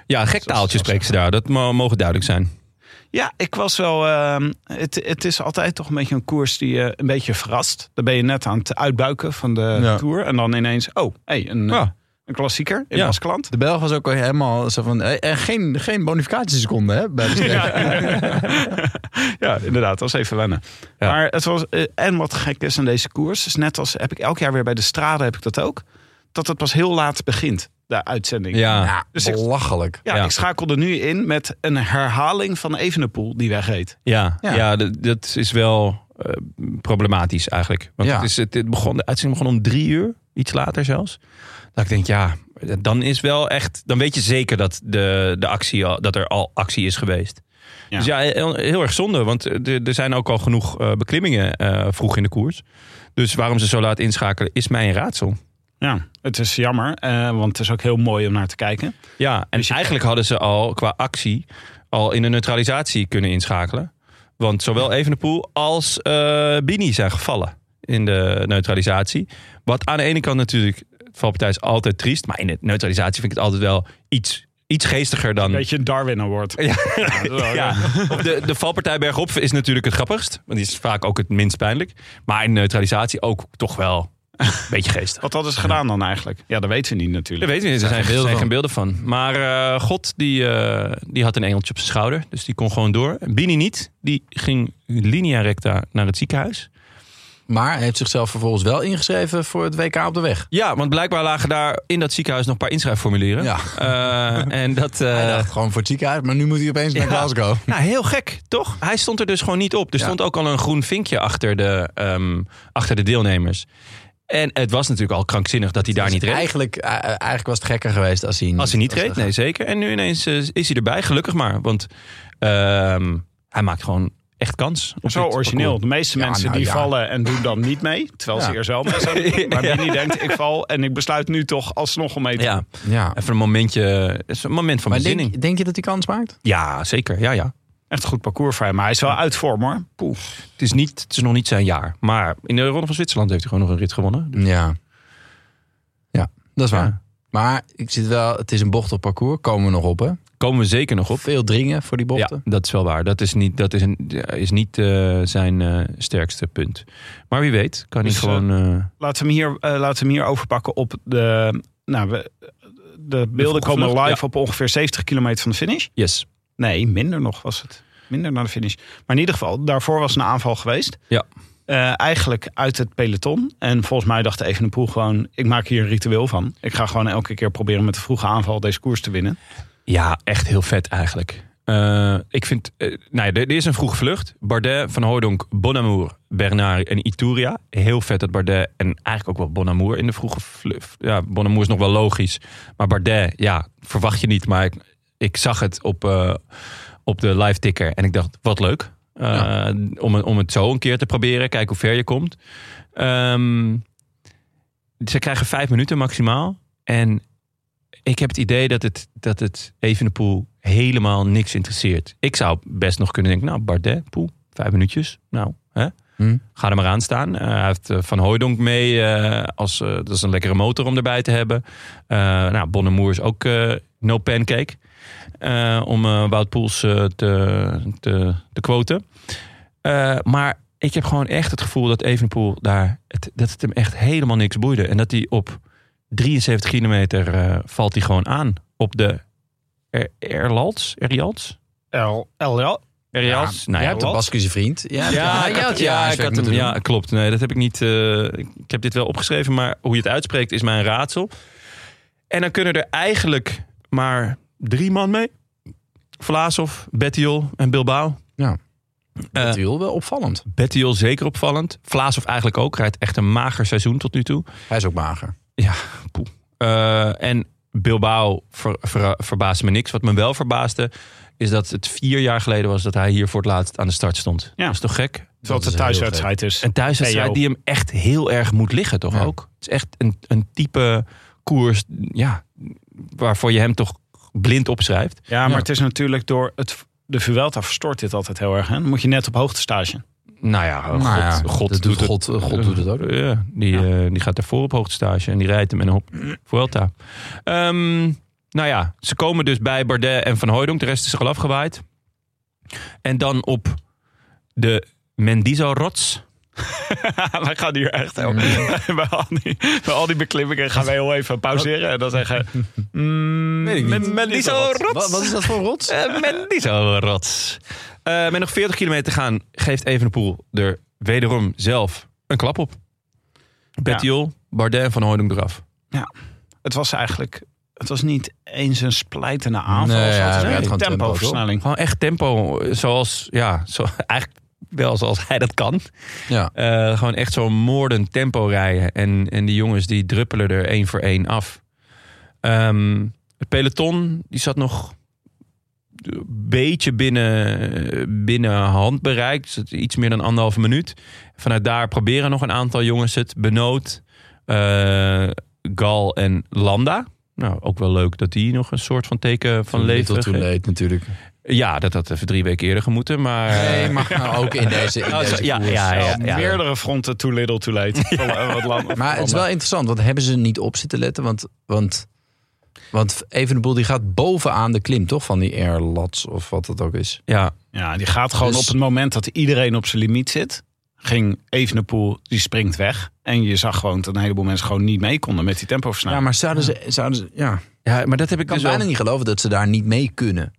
A: Ja, gek taaltje spreken ze daar. Dat mo- mogen duidelijk zijn.
C: Ja, ik was wel. ehm, het, het is altijd toch een beetje een koers die je een beetje verrast. Dan ben je net aan het uitbuiken van de
B: Ja.
C: tour. En dan ineens, oh, hey, een, eh,
A: Ja.
C: een klassieker in
A: Ja.
C: Baskeland.
B: De Belg was ook al helemaal zo van... eh, eh, geen, geen bonificatieseconde, hè? Bij de streep.
C: Ja, inderdaad, dat was even wennen.
A: Ja.
C: Maar het was, eh, en wat gek is aan deze koers, is net als heb ik elk jaar weer bij de strade heb ik dat ook. Dat het pas heel laat begint, de uitzending.
A: Ja,
B: Ja,
C: Dus ik-
B: belachelijk.
C: Ja,
A: Ja.
C: ik schakelde nu in met een herhaling van Evenepoel die wegreed.
A: ja,
B: Ja.
A: ja. dat, dat is wel eh, problematisch eigenlijk. Want
B: Ja.
A: het is, het, het begon, de uitzending begon om drie uur, iets later zelfs. Dat ik denk, ja, dan is wel echt... Dan weet je zeker dat, de, de actie al, dat er al actie is geweest.
C: Ja.
A: Dus ja, heel, heel erg zonde. Want eh, er er zijn ook al genoeg eh, beklimmingen eh, vroeg in de koers. Dus waarom ze zo laat inschakelen, is mij een raadsel.
C: Ja, het is jammer, eh, want het is ook heel mooi om naar te kijken.
A: Ja, en
C: Dus
A: eigenlijk hadden ze al qua actie al in een neutralisatie kunnen inschakelen. Want zowel Evenepoel als eh, Bini zijn gevallen in de neutralisatie. Wat aan de ene kant natuurlijk, het valpartij is altijd triest. Maar in de neutralisatie vind ik het altijd wel iets, iets geestiger dan...
C: Beetje een Darwin Award.
A: Ja.
C: dat is wel-
A: Ja, op de, de valpartij bergop is natuurlijk het grappigst. Want die is vaak ook het minst pijnlijk. Maar in neutralisatie ook toch wel een beetje geestig.
C: Wat hadden ze gedaan dan eigenlijk? Ja, dat weten we niet
A: Dat
C: natuurlijk.
A: weten we niet. Er zijn,
B: geen
A: er zijn geen
B: beelden
A: beelden van. Maar eh, God, die, eh, die had een engeltje op zijn schouder. Dus die kon gewoon door. Bini niet. Die ging linea recta naar het ziekenhuis.
B: Maar hij heeft zichzelf vervolgens wel ingeschreven voor het WK op de weg.
A: Ja, want blijkbaar lagen daar in dat ziekenhuis nog een paar inschrijfformulieren.
B: Ja.
A: Eh, en dat... eh,
B: Hij dacht gewoon voor het ziekenhuis, maar nu moet hij opeens naar Glasgow.
A: nou, heel gek, toch? Hij stond er dus gewoon niet op. Er
B: Ja.
A: stond ook al een groen vinkje achter de, ehm, achter de deelnemers. En het was natuurlijk al krankzinnig dat hij daar niet reed.
B: Eigenlijk, eh, eh, eigenlijk was het gekker geweest als hij niet,
A: Als hij niet
B: als
A: reed, nee zeker. En nu ineens eh, is hij erbij, gelukkig maar. Want ehm, hij maakt gewoon echt kans. op
C: Zo
A: dit
C: origineel.
A: parcours.
C: De meeste
B: Ja,
C: mensen
B: nou
C: die
B: ja.
C: vallen en doen dan niet mee. Terwijl ze
B: Ja.
C: eerst wel mee zouden. Maar Bini denkt, ik val en ik besluit nu toch alsnog om mee te
A: Ja,
B: Ja.
A: even een momentje. het is een moment van
B: Maar
A: bezinning.
B: denk, denk je dat hij kans maakt?
A: Ja, zeker. Ja, ja.
C: Echt een goed parcours voor hem. Maar hij is wel uit vorm hoor.
A: Het, is niet, het is nog niet zijn jaar. Maar in de Ronde van Zwitserland heeft hij gewoon nog een rit gewonnen. Dus
B: Ja. Ja, dat is
A: Ja.
B: waar. Maar ik zit wel, het is een bochtig parcours. Komen we nog op, hè?
A: Komen we zeker nog op.
B: Veel dringen voor die
A: Ja,
B: bochten.
A: dat is wel waar. Dat is niet, dat is een, is niet eh, zijn eh, sterkste punt. Maar wie weet, kan
C: Dus,
A: hij gewoon... eh,
C: Laten we hem hier, eh, laten we hem hier overpakken op de... Nou, we, de beelden
A: vroege
C: komen
A: vlucht,
C: live op ongeveer 70 kilometer van de finish.
A: yes.
C: Nee, minder nog was het. Minder naar de finish. Maar in ieder geval, daarvoor was een aanval geweest.
A: Ja.
C: Eh, eigenlijk uit het peloton. En volgens mij dacht Evenepoel gewoon... ik maak hier een ritueel van. Ik ga gewoon elke keer proberen met de vroege aanval deze koers te winnen.
A: Ja, echt heel vet eigenlijk. Eh, ik vind, eh, nou ja, er, er is een vroege vlucht. Bardet, Van Hooydonk, Bonamour, Bernard en Ituria. Heel vet dat Bardet en eigenlijk ook wel Bonamour in de vroege vlucht. Ja, Bonamour is nog wel logisch. Maar Bardet, ja, verwacht je niet. Maar ik, ik zag het op, eh, op de live ticker en ik dacht, wat leuk. Eh, om, het- om het zo een keer te proberen. Kijken hoe ver je komt. Ehm, ze krijgen vijf minuten maximaal. En ik heb het idee dat het, dat het Evenepoel helemaal niks interesseert. Ik zou best nog kunnen denken, nou, Bardet, Poel, vijf minuutjes. Nou, hè?
B: Hm.
A: ga er maar aan staan. Eh, hij heeft eh, Van Hooydonk mee. eh, als, eh, dat is een lekkere motor om erbij te hebben. Eh nou, Bonnemoer is ook eh, no pancake. eh, om eh, Wout Poels eh, te, te, te quoten. Eh, maar ik heb gewoon echt het gevoel dat Evenepoel daar... Het, dat het hem echt helemaal niks boeide. En dat hij op 73 kilometer eh, valt hij gewoon aan op de Er- Erlalds? Erjalds?
C: El, el, el.
A: Erjalds?
B: Jij hebt een
A: Nou wat?
B: Baskische vriend. Ja,
A: Ja,
B: jij
A: ik had, ja, ik had hem, ja, klopt. Nee, dat heb ik niet. eh, ik ik heb dit wel opgeschreven, maar hoe je het uitspreekt is mijn raadsel. En dan kunnen er eigenlijk maar drie man mee: Vlaasov, Bettiol en Bilbao. eh,
B: Dat is wel opvallend.
A: Bettiol zeker opvallend. Vlaasov eigenlijk ook. Rijdt echt een mager seizoen tot nu toe.
B: Hij is ook mager.
A: Oh, Eh, en Bilbao ver, ver- verbaasde me niks. Wat me wel verbaasde, is dat het vier jaar geleden was dat hij hier voor het laatst aan de start stond.
C: Ja.
A: Dat is toch gek?
C: Terwijl het
B: is
C: de thuiswedstrijd is.
A: Een thuiswedstrijd
C: Theo.
A: die hem echt heel erg moet liggen, toch
B: Ja.
A: ook? Het is echt een, een type koers ja, waarvoor je hem toch blind opschrijft.
C: Ja, maar
B: Ja.
C: het is natuurlijk door het de Vuelta verstoort dit altijd heel erg. Hè? Dan moet je net op hoogte stage.
A: Nou ja, God,
B: Nou ja,
A: God,
B: dat
A: doet
B: doet
A: het,
B: God, eh, God doet het ook.
A: Ja, die, eh, die gaat daarvoor op hoogtestage en die rijdt hem en op Vuelta. Ehm, nou ja, ze komen dus bij Bardet en Van Hooydonk. De rest is er al afgewaaid. En dan op de Mendizo-rots.
C: wij gaan hier echt heel... bij, al die, bij al die beklimmingen gaan wij heel even pauzeren. En dan zeggen... Mm,
B: Weet ik niet.
C: men- men-
B: Wat, wat is dat voor rots?
A: Eh, Mendizo-rots. Eh, met nog 40 kilometer te gaan geeft Evenepoel er wederom zelf een klap op. Bettiol, Bardet en Van Hooydonk eraf.
C: Het was eigenlijk... Het was niet eens een splijtende aanval.
B: Nee,
C: zoals
B: ja,
C: het
B: hij
C: heet.
B: had gewoon tempo,
C: tempoversnelling.
A: Gewoon echt tempo, eh, zoals, ja, zo, eigenlijk wel zoals hij dat kan.
B: Ja.
A: Eh, gewoon echt zo'n moordend tempo rijden. En, en die jongens die druppelen er één voor één af. Ehm, het peloton, die zat nog een beetje binnen, binnen handbereik. Dus het- iets meer dan anderhalve minuut. Vanuit daar proberen nog een aantal jongens het. Benoot, eh, Gal en Landa. Nou, ook wel leuk dat die nog een soort van teken van leven...
B: Toen
A: ge-
B: leed natuurlijk.
A: ja, dat had even drie weken eerder gemoeten, maar...
B: Nee, maar nou ook in deze, in
A: Oh,
B: deze
A: zo- ja,
B: koers.
A: ja, ja.
C: Meerdere fronten too little too late. Wat land-
B: Maar het is wel interessant, want hebben ze niet op zitten letten? Want, want, want Evenepoel die gaat bovenaan de klim, toch? Van die airlats of wat dat ook is.
A: Ja,
C: Ja, die gaat gewoon
B: Dus-
C: op het moment dat iedereen op zijn limiet zit. Ging Evenepoel, die springt weg. En je zag gewoon dat een heleboel mensen gewoon niet mee konden met die
B: Ja,
C: tempoversnelling.
B: maar zouden ze... Zouden ze ja.
A: ja maar dat heb ik
B: Ik kan
A: dus
B: bijna
A: wel...
B: niet geloven dat ze daar niet mee kunnen.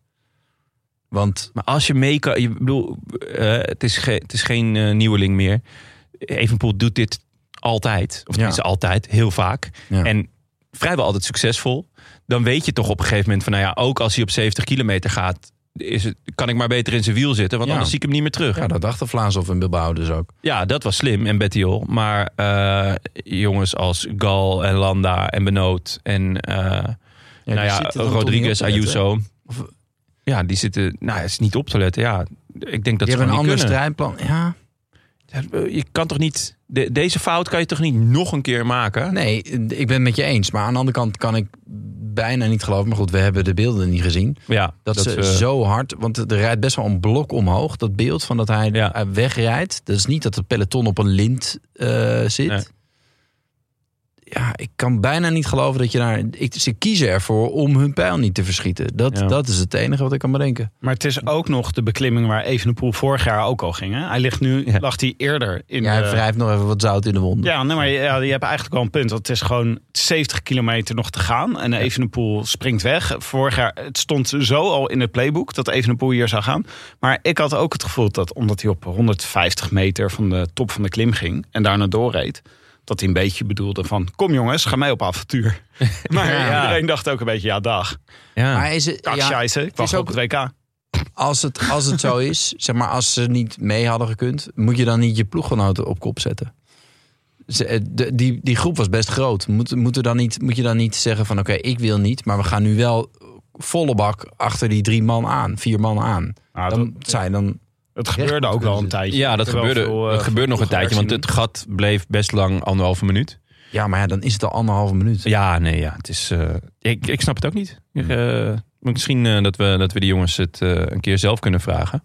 B: Want
A: Maar als je mee kan... Ik bedoel, eh, het, is ge- het is geen eh, nieuweling meer. Evenpoel doet dit altijd. Of tenminste altijd, heel vaak.
B: Ja.
A: En vrijwel altijd succesvol. Dan weet je toch op een gegeven moment van... Nou ja, ook als hij op 70 kilometer gaat... Is het, kan ik maar beter in zijn wiel zitten, want
B: Ja.
A: anders zie ik hem niet meer terug.
B: ja, dat dachten Vlaamshof en Bilbao dus ook.
A: Ja, dat was slim en Bettiol. Maar eh, jongens als Gal en Landa en Benoot en eh,
B: die
A: nou ja,
B: zitten dan toch niet op
A: Rodriguez,
B: te letten,
A: Ayuso.
B: Of-
A: ja, die zitten, nou, het is niet op te letten. Ja, ik denk
B: Die
A: dat ze
B: hebben een
A: gewoon
B: ander
A: niet kunnen.
B: strijdplan. Ja,
A: Je kan toch niet, de- deze fout kan je toch niet nog een keer maken?
B: nee, ik ben het met je eens. Maar aan de andere kant kan ik bijna niet geloven. Maar goed, we hebben de beelden niet gezien.
A: Ja,
B: Dat, ze, zo hard, want er rijdt best wel een blok omhoog. Dat beeld van dat hij
A: Ja.
B: hij wegrijdt. Dat is niet dat het peloton op een lint eh, zit.
A: Nee.
B: Ja, ik kan bijna niet geloven dat je daar... Ik, ze kiezen ervoor om hun pijl niet te verschieten. Dat,
A: Ja.
B: dat is het enige wat ik kan bedenken.
C: Maar het is ook nog de beklimming waar Evenepoel vorig jaar ook al ging. Hè? Hij ligt nu,
A: Ja.
C: lag hij eerder in
B: Ja, hij
C: de...
B: wrijft nog even wat zout in de wonden.
C: Ja, nee, maar je- ja, je hebt eigenlijk wel een punt. Want het is gewoon 70 kilometer nog te gaan. En Evenepoel springt weg. Vorig jaar, het stond zo al in het playbook dat Evenepoel hier zou gaan. Maar ik had ook het gevoel dat omdat hij op 150 meter van de top van de klim ging. En daarna doorreed. Dat hij een beetje bedoelde van, kom jongens, ga mij op avontuur. Maar
B: Ja.
C: iedereen dacht ook een beetje, ja dag.
A: ja.
B: Maar is het,
C: Kak,
B: ja,
C: scheisse, ik
B: het is
C: wacht op
B: ook-
C: het Nou, WK.
B: als, het, als het zo is, zeg maar als ze niet mee hadden gekund... moet je dan niet je ploeggenoten op kop zetten? Ze- eh, de- die, die groep was best groot. Moet, moet, er dan niet, moet je dan niet zeggen van oké, ik wil niet... maar we gaan nu wel volle bak achter die drie man aan, vier man aan.
C: Nou,
B: Dan zijn dan...
C: Het gebeurde ook wel een tijdje.
A: ja, dat
C: Ik heb wel
A: gebeurde,
C: veel, eh,
A: dat gebeurde nog een tijdje, want
C: gezien.
A: het gat bleef best lang anderhalve minuut.
B: Ja, maar ja, dan is het al anderhalve minuut.
A: Ja, nee, ja. Het is, eh, ik, ik snap het ook niet. Eh, misschien eh, dat, we, dat we die jongens het eh, een keer zelf kunnen vragen.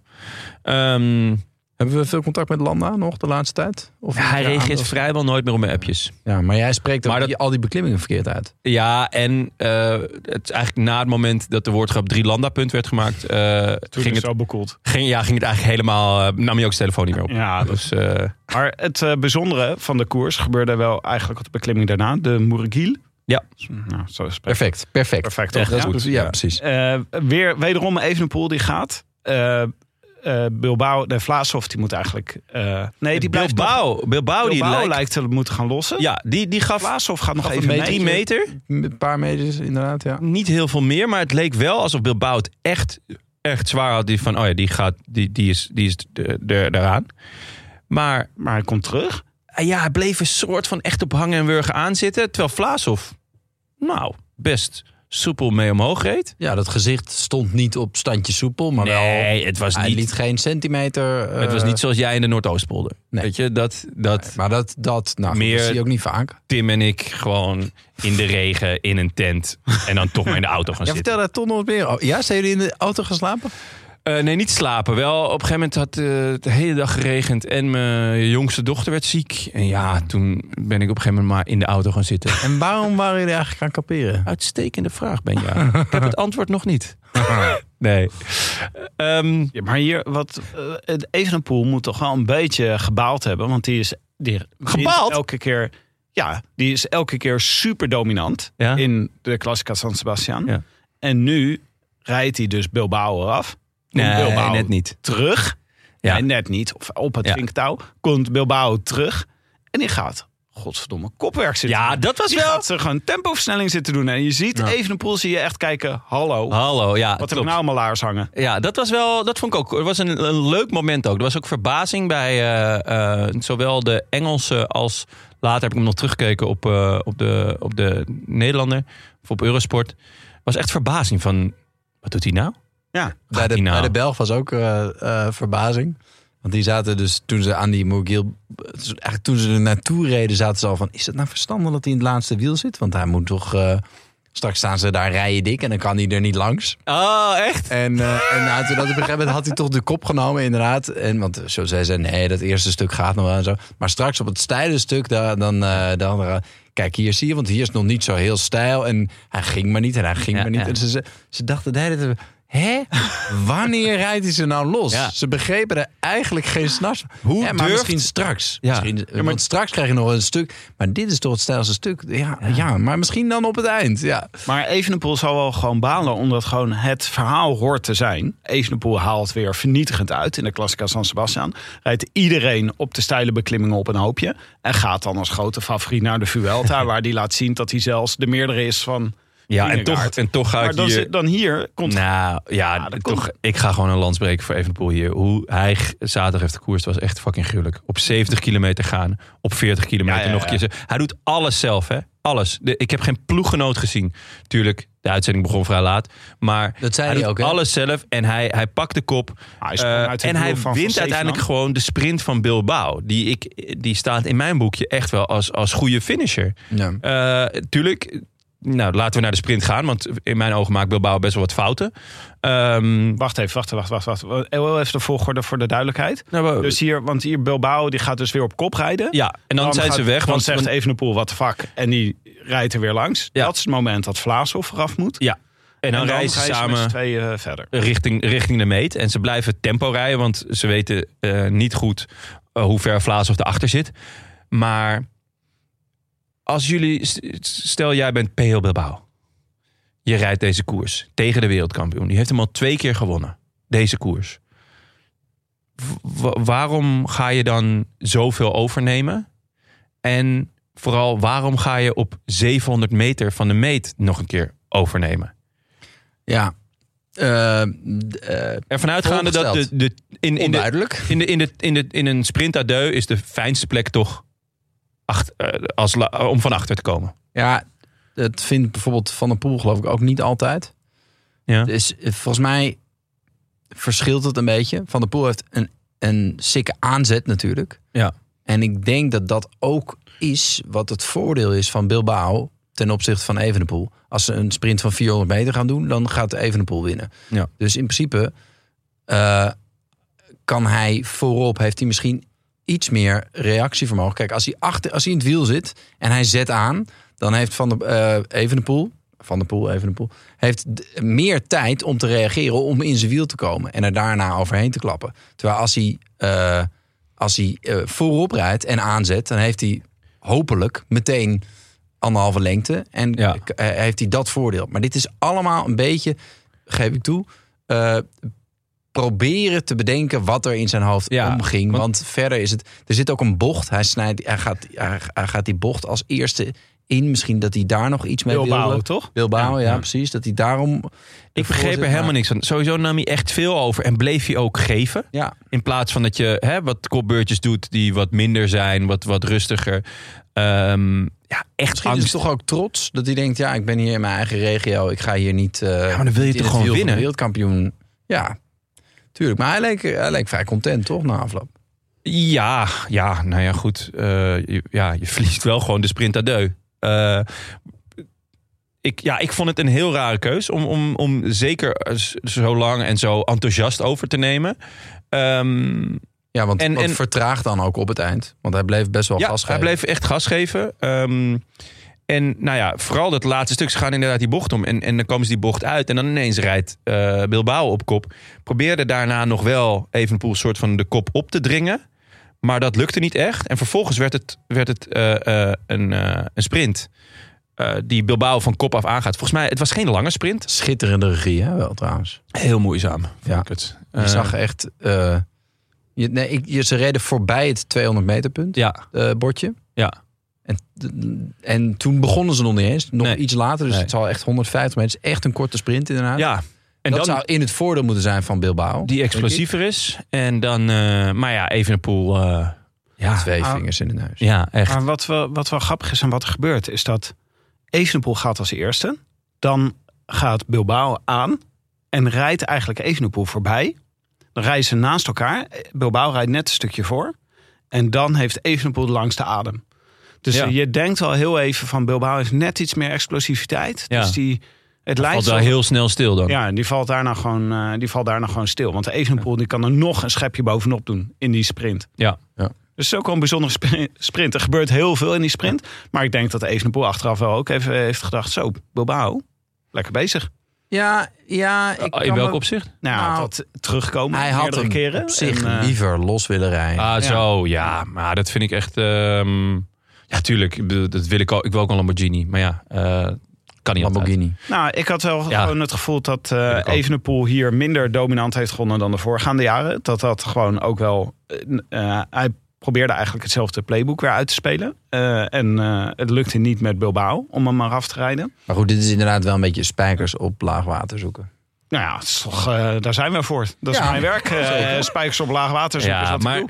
A: Ehm,
B: Hebben we veel contact met Landa nog de laatste tijd? Of
A: hij
B: Ja,
A: reageert
B: of-
A: vrijwel nooit meer op mijn appjes.
B: Ja, maar jij spreekt ook
A: Maar dat-
B: die- al die beklimmingen verkeerd uit.
A: Ja, en eh, het is eigenlijk na het moment dat de woordgrap drie landa punt werd gemaakt, eh,
C: Toen
A: ging,
C: is
A: het,
C: het al bekoeld.
A: ging, ja, ging het eigenlijk helemaal. eh, nam je ook zijn telefoon niet meer op.
C: Ja, dat
A: Dus, eh,
C: Maar het eh, bijzondere van de koers gebeurde wel eigenlijk op de beklimming daarna. De Moergil.
A: Ja.
C: Nou, zo is het
B: Perfect, perfect.
C: perfect.
B: Ja,
C: toch?
B: dat is
C: Ja.
B: goed. ja, precies.
C: Eh, weer wederom Evenepoel die gaat. Eh, eh, Bilbao, de Vlaashoff, die moet eigenlijk... eh, nee, die blijft toch-
A: Bilbao, Bilbao, die
C: Bilbao
A: lijkt,
C: lijkt, te moeten gaan lossen.
A: Ja, die, die gaf
C: Vlaashoff gaat nog
B: Gaf een
C: even
B: beetje-
C: mee.
A: drie meter.
B: Een paar meters inderdaad, ja.
A: niet heel veel meer, maar het leek wel alsof Bilbao het echt, echt zwaar had. Die van, oh ja, die, gaat, die, die is, die is de- de- eraan. Maar
C: Maar hij komt terug.
A: eh, ja, hij bleef een soort van echt op hangen en wurgen aan zitten. Terwijl Vlaashoff, nou, best soepel mee omhoog reed.
B: Ja, dat gezicht stond niet op standje soepel, maar wel...
A: Nee, het was
B: Hij liet
A: niet,
B: geen centimeter... eh,
A: het was niet zoals jij in de Noordoostpolder.
B: Nee.
A: Weet je, dat, dat
B: Maar dat, dat, nou,
A: Meer-
B: dat zie je ook niet vaak.
A: Tim en ik gewoon in de regen in een tent en dan toch maar in de auto gaan
B: Ja,
A: zitten.
B: Oh, vertel daar toch nog meer over. Ja, zijn jullie in de auto gaan slapen?
A: Eh, nee, niet slapen. Wel, op een gegeven moment had eh, het de hele dag geregend en mijn jongste dochter werd ziek. En ja, toen ben ik op een gegeven moment maar in de auto gaan zitten.
B: En waarom waren jullie eigenlijk gaan kamperen?
A: Uitstekende vraag, Benja. ik heb het antwoord nog niet. nee. Ehm,
C: Ja, maar hier, wat, eh, het Evenepoel moet toch wel een beetje gebaald hebben. Want die is, die, die is
A: Gebaald?
C: elke keer, ja, die is elke keer super dominant
A: Ja.
C: in de Classica San Sebastian.
A: Ja.
C: En nu rijdt hij dus Bilbao eraf. Komt Bilbao
A: net niet.
C: terug.
A: Ja.
C: Nee, net niet. Of op het
A: Ja.
C: vinktouw. Komt Bilbao terug. En die gaat, godverdomme, kopwerk zitten
A: Ja,
C: doen.
A: Ah, dat was
C: die
A: wel-
C: gaat ze gewoon tempoversnelling zitten doen. En je ziet Evenepoel, zie je echt kijken, hallo.
A: Hallo, ja.
C: Wat
A: Ah, klopt.
C: er nou allemaal laars hangen.
A: Ja, dat was wel, dat vond ik ook. Het was een, een leuk moment ook. Er was ook verbazing bij eh, eh, zowel de Engelse als later heb ik hem nog teruggekeken op, eh, op, de, op de Nederlander of op Eurosport. Was echt verbazing van wat doet hij nou?
C: Ja.
B: Bij de,
A: die nou?
B: bij de Belg was ook eh, eh, verbazing. Want die zaten dus toen ze aan die Mugil. Eigenlijk toen ze er naartoe reden, zaten ze al van: is het nou verstandig dat hij in het laatste wiel zit? Want hij moet toch. eh, straks staan ze daar rijen dik en dan kan hij er niet langs.
A: Oh, echt?
B: En, eh, en nou, toen had, op een gegeven moment had hij toch de kop genomen, inderdaad. En, want eh, zo zei ze: nee, dat eerste stuk gaat nog wel en zo. Maar straks op het steile stuk, daar, dan. eh, dan eh, Kijk, hier zie je, want hier is het nog niet zo heel stijl. En hij ging maar niet en hij ging
A: Ja,
B: maar niet.
A: ja.
B: En ze, ze, ze dachten de hele tijd, Hé? Wanneer rijdt hij ze nou los?
A: Ja.
B: Ze begrepen er eigenlijk geen s'nachts.
A: Hoe
B: Ja, maar
A: durft-
B: misschien straks.
A: Ja.
B: Misschien, Want straks krijg je nog een stuk. Maar dit is toch het stijlste stuk? Ja, ja. maar misschien dan op het eind. Ja.
C: Maar Evenepoel zal wel gewoon balen, omdat gewoon het verhaal hoort te zijn. Evenepoel haalt weer vernietigend uit in de Classica San Sebastian. Rijdt iedereen op de steile beklimmingen op een hoopje. En gaat dan als grote favoriet naar de Vuelta, waar die laat zien dat hij zelfs de meerdere is van...
A: Ja, en
C: Vingegaard.
A: toch, en toch ga
C: Maar
A: ik
C: dan,
A: hier...
C: zit- dan hier komt...
A: Nou ja,
C: Ja, dat
A: toch,
C: komt-
A: ik ga gewoon een land spreken voor Evenepoel hier. Hoe hij g- zaterdag heeft gekoerst was echt fucking gruwelijk. Op 70 kilometer gaan, op 40 kilometer
C: Ja, ja,
A: nog een keer. ze- Hij doet alles zelf, hè? Alles. De- ik heb geen ploeggenoot gezien. Tuurlijk, de uitzending begon vrij laat. Maar
B: Dat zei
A: hij
B: hij
A: doet
B: ook, hè?
A: alles zelf en hij, hij pakt de kop.
C: Ah, Hij sprong
A: Eh,
C: uit het
A: en
C: wiel
A: hij
C: van Van
A: wint
C: Zevenam.
A: uiteindelijk gewoon de sprint van Bilbao. Die, ik, die staat in mijn boekje echt wel als, als goede finisher.
B: Ja.
A: Eh, tuurlijk. Nou, laten we naar de sprint gaan. Want in mijn ogen maakt Bilbao best wel wat fouten. Ehm,
C: Wacht even, wacht wacht, wacht, wacht. Heel even de volgorde voor de duidelijkheid.
A: nou, we-
C: Dus hier, want hier Bilbao die gaat dus weer op kop rijden.
A: ja, en dan, zijn
C: gaat-
A: ze weg.
C: Dan
A: Want
C: zegt Evenepoel, wat fuck. En die rijdt er weer langs.
A: Ja.
C: Dat is het moment dat Vlaashoff eraf moet.
A: ja, en dan,
C: rijden
A: reizen ze
C: met z'n
A: samen
C: tweeën eh, verder.
A: richting, richting de meet. En ze blijven tempo rijden. Want ze weten eh, niet goed eh, hoe ver Vlaashoff erachter zit. Maar als jullie... st- Stel, jij bent PL Bilbao. Je rijdt deze koers tegen de wereldkampioen. Die heeft hem al twee keer gewonnen. Deze koers. Wa- waarom ga je dan zoveel overnemen? En vooral, waarom ga je op 700 meter van de meet nog een keer overnemen?
B: ja. Eh, d- eh,
A: Ervan uitgaande dat de, de, in, in, de,
B: onduidelijk.
A: in, de, in, de, in, de, in een sprint à deux is de fijnste plek toch acht, eh, als, la- om van achter te komen.
B: Ja, dat vindt bijvoorbeeld Van der Poel geloof ik ook niet altijd.
A: Ja.
B: Dus eh, volgens mij verschilt het een beetje. Van der Poel heeft een, een sikke aanzet natuurlijk.
A: Ja.
B: En ik denk dat dat ook is wat het voordeel is van Bilbao ten opzichte van Evenepoel. Als ze een sprint van 400 meter gaan doen, dan gaat Evenepoel winnen.
A: Ja.
B: Dus in principe eh, kan hij voorop, heeft hij misschien iets meer reactievermogen. Kijk, als hij, achter, als hij in het wiel zit en hij zet aan, dan heeft Van de, eh Evenepoel, Van de Poel, Evenepoel, heeft d- meer tijd om te reageren om in zijn wiel te komen en er daarna overheen te klappen. Terwijl als hij, eh, als hij eh, voorop rijdt en aanzet, dan heeft hij hopelijk meteen anderhalve lengte en
A: Ja.
B: k- eh, heeft hij dat voordeel. Maar dit is allemaal een beetje, geef ik toe, eh, proberen te bedenken wat er in zijn hoofd
A: Ja,
B: omging.
A: want-
B: Want, verder is het. Er zit ook een bocht. Hij, snijdt, hij, gaat, hij, hij gaat die bocht als eerste in. Misschien dat hij daar nog iets mee
C: Bilbao,
B: wilde.
C: toch?
B: Bilbao, ja,
A: ja.
B: precies. Dat hij daarom.
A: Ik begreep er helemaal niks van. Sowieso nam hij echt veel over en bleef hij ook geven.
B: Ja,
A: In plaats van dat je hè, wat kopbeurtjes doet die wat minder zijn, wat, wat rustiger. Ehm, ja, echt
B: misschien
A: angst.
B: is het toch ook trots dat hij denkt: ja, ik ben hier in mijn eigen regio. Ik ga hier niet. eh,
A: maar dan wil je
B: niet in
A: toch
B: het wiel
A: gewoon
B: van de
A: winnen?
B: Wereldkampioen. Ja, tuurlijk. Maar hij leek, hij leek vrij content, toch? Na afloop.
A: Ja, ja, nou ja, goed. Eh, je, ja, je verliest wel gewoon de sprint à deux. Eh, ik, ja, ik vond het een heel rare keus om, om, om zeker z- zo lang en zo enthousiast over te nemen. Ehm,
B: Ja, want,
A: En-
B: want
A: en-
B: vertraagt dan ook op het eind. Want hij bleef best wel
A: ja,
B: gas geven.
A: hij bleef echt gas geven. Ehm, en nou ja, vooral dat laatste stuk. Ze gaan inderdaad die bocht om. En, en dan komen ze die bocht uit. En dan ineens rijdt eh, Bilbao op kop. Probeerde daarna nog wel even een soort van de kop op te dringen. Maar dat lukte niet echt. En vervolgens werd het, werd het eh, eh, een, eh, een sprint. eh, die Bilbao van kop af aangaat. Volgens mij, het was geen lange sprint.
B: Schitterende regie, hè, wel trouwens.
A: Heel moeizaam.
B: Ja.
A: Ja. Ik het.
B: Je
A: Eh,
B: zag echt... eh, je, nee, ik, je, ze reden voorbij het 200 meter punt,
A: ja,
B: eh, bordje.
A: Ja.
B: En, en toen begonnen ze nog niet eens. Nog
A: Nee.
B: iets later, dus
A: Nee.
B: het zal echt 150 meter. Het is echt een korte sprint inderdaad.
A: ja. En
B: dat
A: dan
B: zou in het voordeel moeten zijn van Bilbao.
A: die explosiever is. En dan, eh, maar ja, Evenepoel. eh ja,
B: Twee
C: Ah.
B: vingers in de neus.
A: ja, echt.
C: Maar wat wel, wat wel grappig is en wat er gebeurt, is dat Evenepoel gaat als eerste. Dan gaat Bilbao aan en rijdt eigenlijk Evenepoel voorbij. Dan rijden ze naast elkaar. Bilbao rijdt net een stukje voor. En dan heeft Evenepoel de langste adem. Dus
A: Ja.
C: je denkt al heel even van Bilbao heeft net iets meer explosiviteit.
A: Ja.
C: Dus die, het
A: Valt
C: lijkt
A: wel
C: wel-
A: heel snel stil dan.
C: Ja, die valt daarna gewoon, eh, die valt daarna gewoon stil. Want Evenepoel die kan er nog een schepje bovenop doen in die sprint.
A: Ja.
B: Ja.
C: Dus het is ook wel een bijzondere spri- sprint. Er gebeurt heel veel in die sprint. Maar ik denk dat Evenepoel achteraf wel ook even heeft gedacht... zo, Bilbao, lekker bezig.
B: Ja, ja. Ik
A: Oh, in
B: kan
A: welk
B: me-
A: opzicht?
C: Nou, ja,
B: Nou,
C: dat terugkomen
B: Hij had
C: meerdere
B: hem
C: keren.
B: op zich
C: En, eh,
B: liever los willen rijden.
A: Ah, zo, ja. Maar dat vind ik echt... ehm, ja, tuurlijk. ik bedoel, Dat wil ik, al, ik wil ook een Lamborghini. Maar ja, eh, kan niet altijd.
B: Lamborghini.
C: nou, ik had wel
A: Ja.
C: gewoon het gevoel dat eh,
A: ik ook.
C: Evenepoel hier minder dominant heeft gewonnen dan de voorgaande jaren. Dat dat gewoon ook wel... eh, eh, hij probeerde eigenlijk hetzelfde playbook weer uit te spelen. Eh, en eh, het lukte niet met Bilbao om hem maar af te rijden.
B: Maar goed, dit is inderdaad wel een beetje spijkers op laag water zoeken.
C: Nou ja, het is toch, eh, daar zijn we voor. Dat is
B: Ja.
C: mijn werk. eh spijkers op laag water. zoeken is
A: Ja,
C: wat ik
A: maar,
C: doe.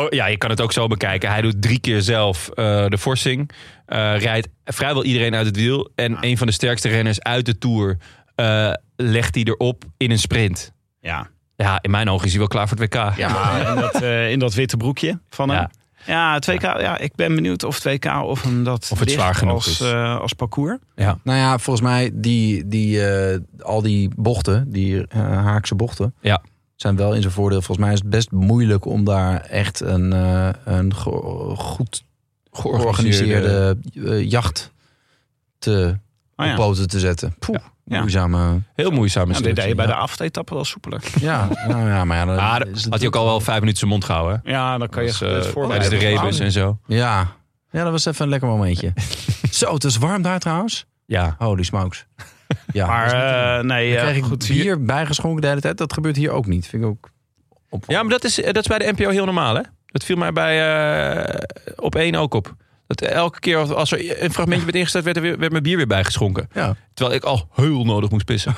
A: oh, ja, je kan het ook zo bekijken. Hij doet drie keer zelf eh, de forsing. Eh, rijdt vrijwel iedereen uit het wiel. En een van de sterkste renners uit de Tour... eh, legt hij erop in een sprint.
C: Ja.
A: Ja, in mijn ogen is hij wel klaar voor het WK.
C: Ja, in dat, eh, in dat witte broekje van hem.
A: Ja.
C: Ja. het WK, ja, ik ben benieuwd of 2K of hem dat
A: Of het
C: ligt
A: zwaar genoeg
C: als,
A: is.
C: eh, als parcours.
B: Nou ja, volgens mij die, die, eh, al die bochten, die eh, haakse bochten,
A: Ja.
B: zijn wel in zijn voordeel. Volgens mij is het best moeilijk om daar echt een, eh, een go- goed georganiseerde eh, jacht te
C: Oh, ja.
B: op poten te zetten. Poeh,
C: Ja.
B: moeizame.
A: Heel moeizaam is
C: Nou, dit deed je bij de avondetappe wel soepeler.
B: Ja, nou ja, maar ja, dan
A: Maar
B: is
A: dat
B: het-
A: had hij ook al wel vijf minuten zijn mond gehouden. hè?
C: Ja, dan kan je
A: Dus, eh,
C: het voorbereiden.
A: tijdens de rebus en zo.
B: Ja. ja, dat was even een lekker momentje. Zo, het is warm daar trouwens.
A: Ja.
B: Holy smokes. Ja,
C: Maar
B: dat is niet te doen.
C: eh, nee,
B: Dan
C: eh,
B: krijg ik
C: goed, hier,
B: bier bijgeschonken de hele tijd. Dat gebeurt hier ook niet. Vind ik ook op.
A: ja, maar dat is, eh, dat is bij de NPO heel normaal, hè? Dat viel mij bij eh, op één ook op. Dat elke keer als- als er een fragmentje werd ingesteld, werd, er weer, werd mijn bier weer bijgeschonken.
B: Ja.
A: Terwijl ik al heel nodig moest pissen.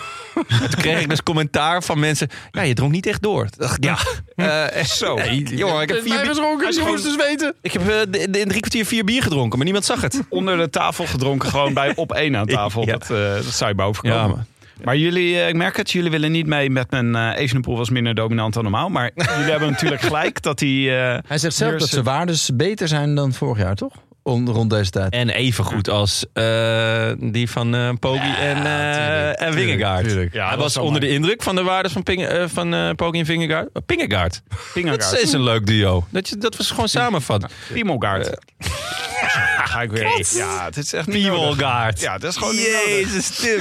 A: Toen kreeg ik dus commentaar van mensen. Ja, je dronk niet echt door. Toen dacht ik, ja, eh, echt zo. Nee, jongen, ik heb vier bier-
B: bijgeschonken. Je moest dus weten.
A: Ik heb eh, de- de- in drie kwartier vier bier gedronken, maar niemand zag het.
C: onder de tafel gedronken, gewoon bij op één aan tafel.
A: Ja.
C: Dat, eh, dat zou je boven komen.
A: Ja, man.
C: Maar jullie, eh, ik merk het, jullie willen niet mee met mijn eh Evenepoel was minder dominant dan normaal. Maar jullie hebben natuurlijk gelijk dat hij... eh,
B: Hij zegt zelf
C: Hier
B: dat
C: is
B: zijn
C: het.
B: waardes beter zijn dan vorig jaar, toch? Om, rond deze tijd.
A: En even goed als eh, die van eh Poggi en,
B: tuurlijk,
A: eh en
B: tuurlijk,
A: Wingegaard.
B: tuurlijk.
C: Ja,
A: Hij
C: dat
A: was
C: zou
A: onder
C: maar-
A: de indruk van de waardes van, Ping, eh, van eh, Poggi en Vingegaard. Oh, Pingegaard.
C: Pingergaard.
A: Dat is een leuk duo. Dat, je, dat was gewoon samenvat.
C: Piemelgaard. ga ik weer. Ja, het is echt niet nodig.
A: Piemelgaard.
C: Ja, dat is gewoon niet nodig.
A: Jezus, Tim.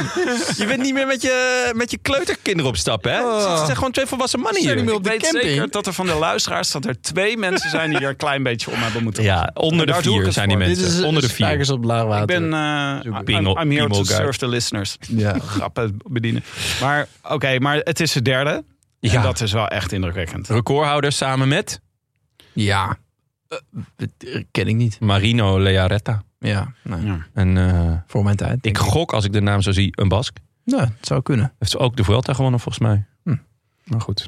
A: Je bent niet meer met je, met je kleuterkinderen op stap, hè? Het zijn gewoon twee volwassen mannen
B: Oh. Zijn
A: hier.
B: niet meer op
C: Ik
B: de
C: weet
B: camping.
C: zeker dat er van de luisteraars dat er twee mensen zijn die er een klein beetje om hebben moeten
A: Ja, onder de
C: Daar doe ik
A: vier
C: het
A: zijn die
C: voor.
A: mensen. onder de vier.
B: Spijkers op laag water.
C: Ik ben, eh I'm,
A: Piemel-
C: I'm here to
A: Piemelgaard.
C: serve the listeners.
B: Ja.
C: Grappen bedienen. Maar oké, maar het is de derde.
A: Ja.
C: En dat is wel echt indrukwekkend.
A: Recordhouder samen met
B: ja. Eh, eh, ken ik niet.
A: Marino Learetta.
B: Ja. nee.
C: Ja.
A: En eh,
B: Voor mijn tijd.
A: ik
B: denk ik.
A: gok, als ik de naam zo zie, een Bask.
B: Nou, het zou kunnen.
A: Heeft ze ook de Vuelta gewonnen, volgens mij.
B: Hm.
A: Maar goed.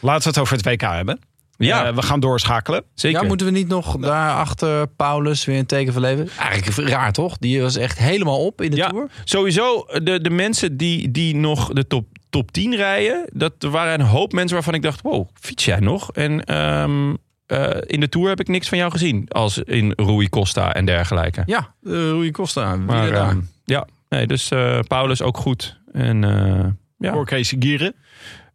C: Laten we het over het WK hebben.
A: Ja,
C: Eh, we gaan doorschakelen.
A: zeker.
B: Ja, moeten we niet nog daarachter Paulus weer een teken van leven? Eigenlijk raar, toch? Die was echt helemaal op in de
A: Ja.
B: Tour.
A: Sowieso, eh, de, de mensen die, die nog de top, top 10 rijden... dat er waren een hoop mensen waarvan ik dacht... wow, fiets jij nog? En ehm, eh, in de Tour heb ik niks van jou gezien. Als in Rui Costa en dergelijke.
B: Ja, eh Rui Costa.
A: Maar
B: Maar,
A: ehm, ja, Nee, dus eh, Paulus ook goed. En eh, ja.
C: Voor Casey Gieren.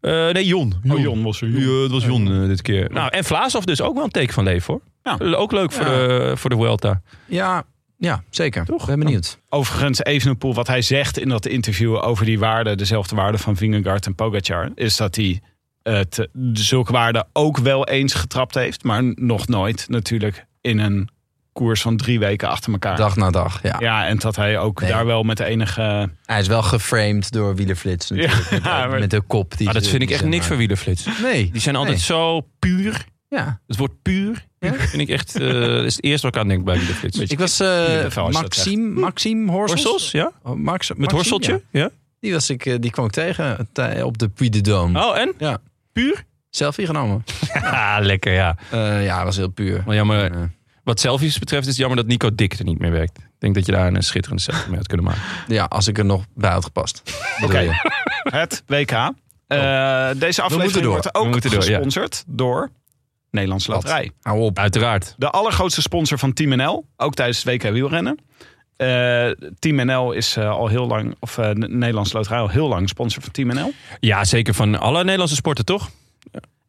A: Eh, nee, Jon.
C: Oh, Jon was er. Jon.
A: Ja, het was Jon eh, dit keer. Nou, en Vlaashoff dus ook wel een teken van leven hoor.
C: Ja.
A: Eh, Ook leuk voor,
B: Ja.
A: de, voor de Vuelta.
B: Ja, ja zeker. Toch? Ben benieuwd.
C: Overigens, Evenepoel, wat hij zegt in dat interview over die waarden, dezelfde waarden van Vingegaard en Pogacar, is dat hij het, zulke waarden ook wel eens getrapt heeft, maar nog nooit natuurlijk in een koers van drie weken achter elkaar.
B: Dag na dag, ja.
C: Ja, en dat hij ook
B: Nee.
C: daar wel met de enige...
B: Hij is wel geframed door Wielerflits
C: Ja,
B: natuurlijk. met, de-
C: maar-
B: met de kop. Die
A: Ah, dat
B: ze-
A: vind ik
B: die
A: echt
B: ze
A: niks voor
B: maken.
A: wielerflits.
B: Nee.
A: Die zijn altijd
B: Nee.
A: zo puur.
B: Ja.
A: Het woord puur
B: Ja?
A: vind ik echt eh, dat is het eerste wat ik aan denk bij wielerflits.
B: Ik was eh
C: Wielervel is dat
B: Maxime, Maxime Horsels.
A: Horsels, ja?
B: Oh, Max,
A: Hm? Met
B: Maxime, ja.
A: horsteltje? Ja.
B: Die, was ik, eh, die kwam ik tegen tij- op de Puy de Dôme.
A: Oh, en?
B: Ja.
A: Puur?
B: Selfie genomen.
A: Ah, lekker ja.
B: Eh, ja, was heel puur.
A: Wel jammer.
B: Eh,
A: Wat selfies betreft is het jammer dat Nico Dik er niet meer werkt. Ik denk dat je daar een schitterende selfie mee had kunnen maken.
B: ja, als ik er nog bij had gepast. Oké.
C: het WK. Eh, deze
B: moeten
C: aflevering
B: door.
C: wordt
A: We
C: ook
A: moeten door, ja.
C: gesponsord door Nederlands Loterij.
B: Hou op.
A: Uiteraard.
C: De allergrootste sponsor van Team NL, ook tijdens het WK wielrennen. Eh, Team NL is eh, al heel lang, of eh, N- Nederlands Loterij al heel lang sponsor van Team NL.
A: Ja, zeker van alle Nederlandse sporten, toch?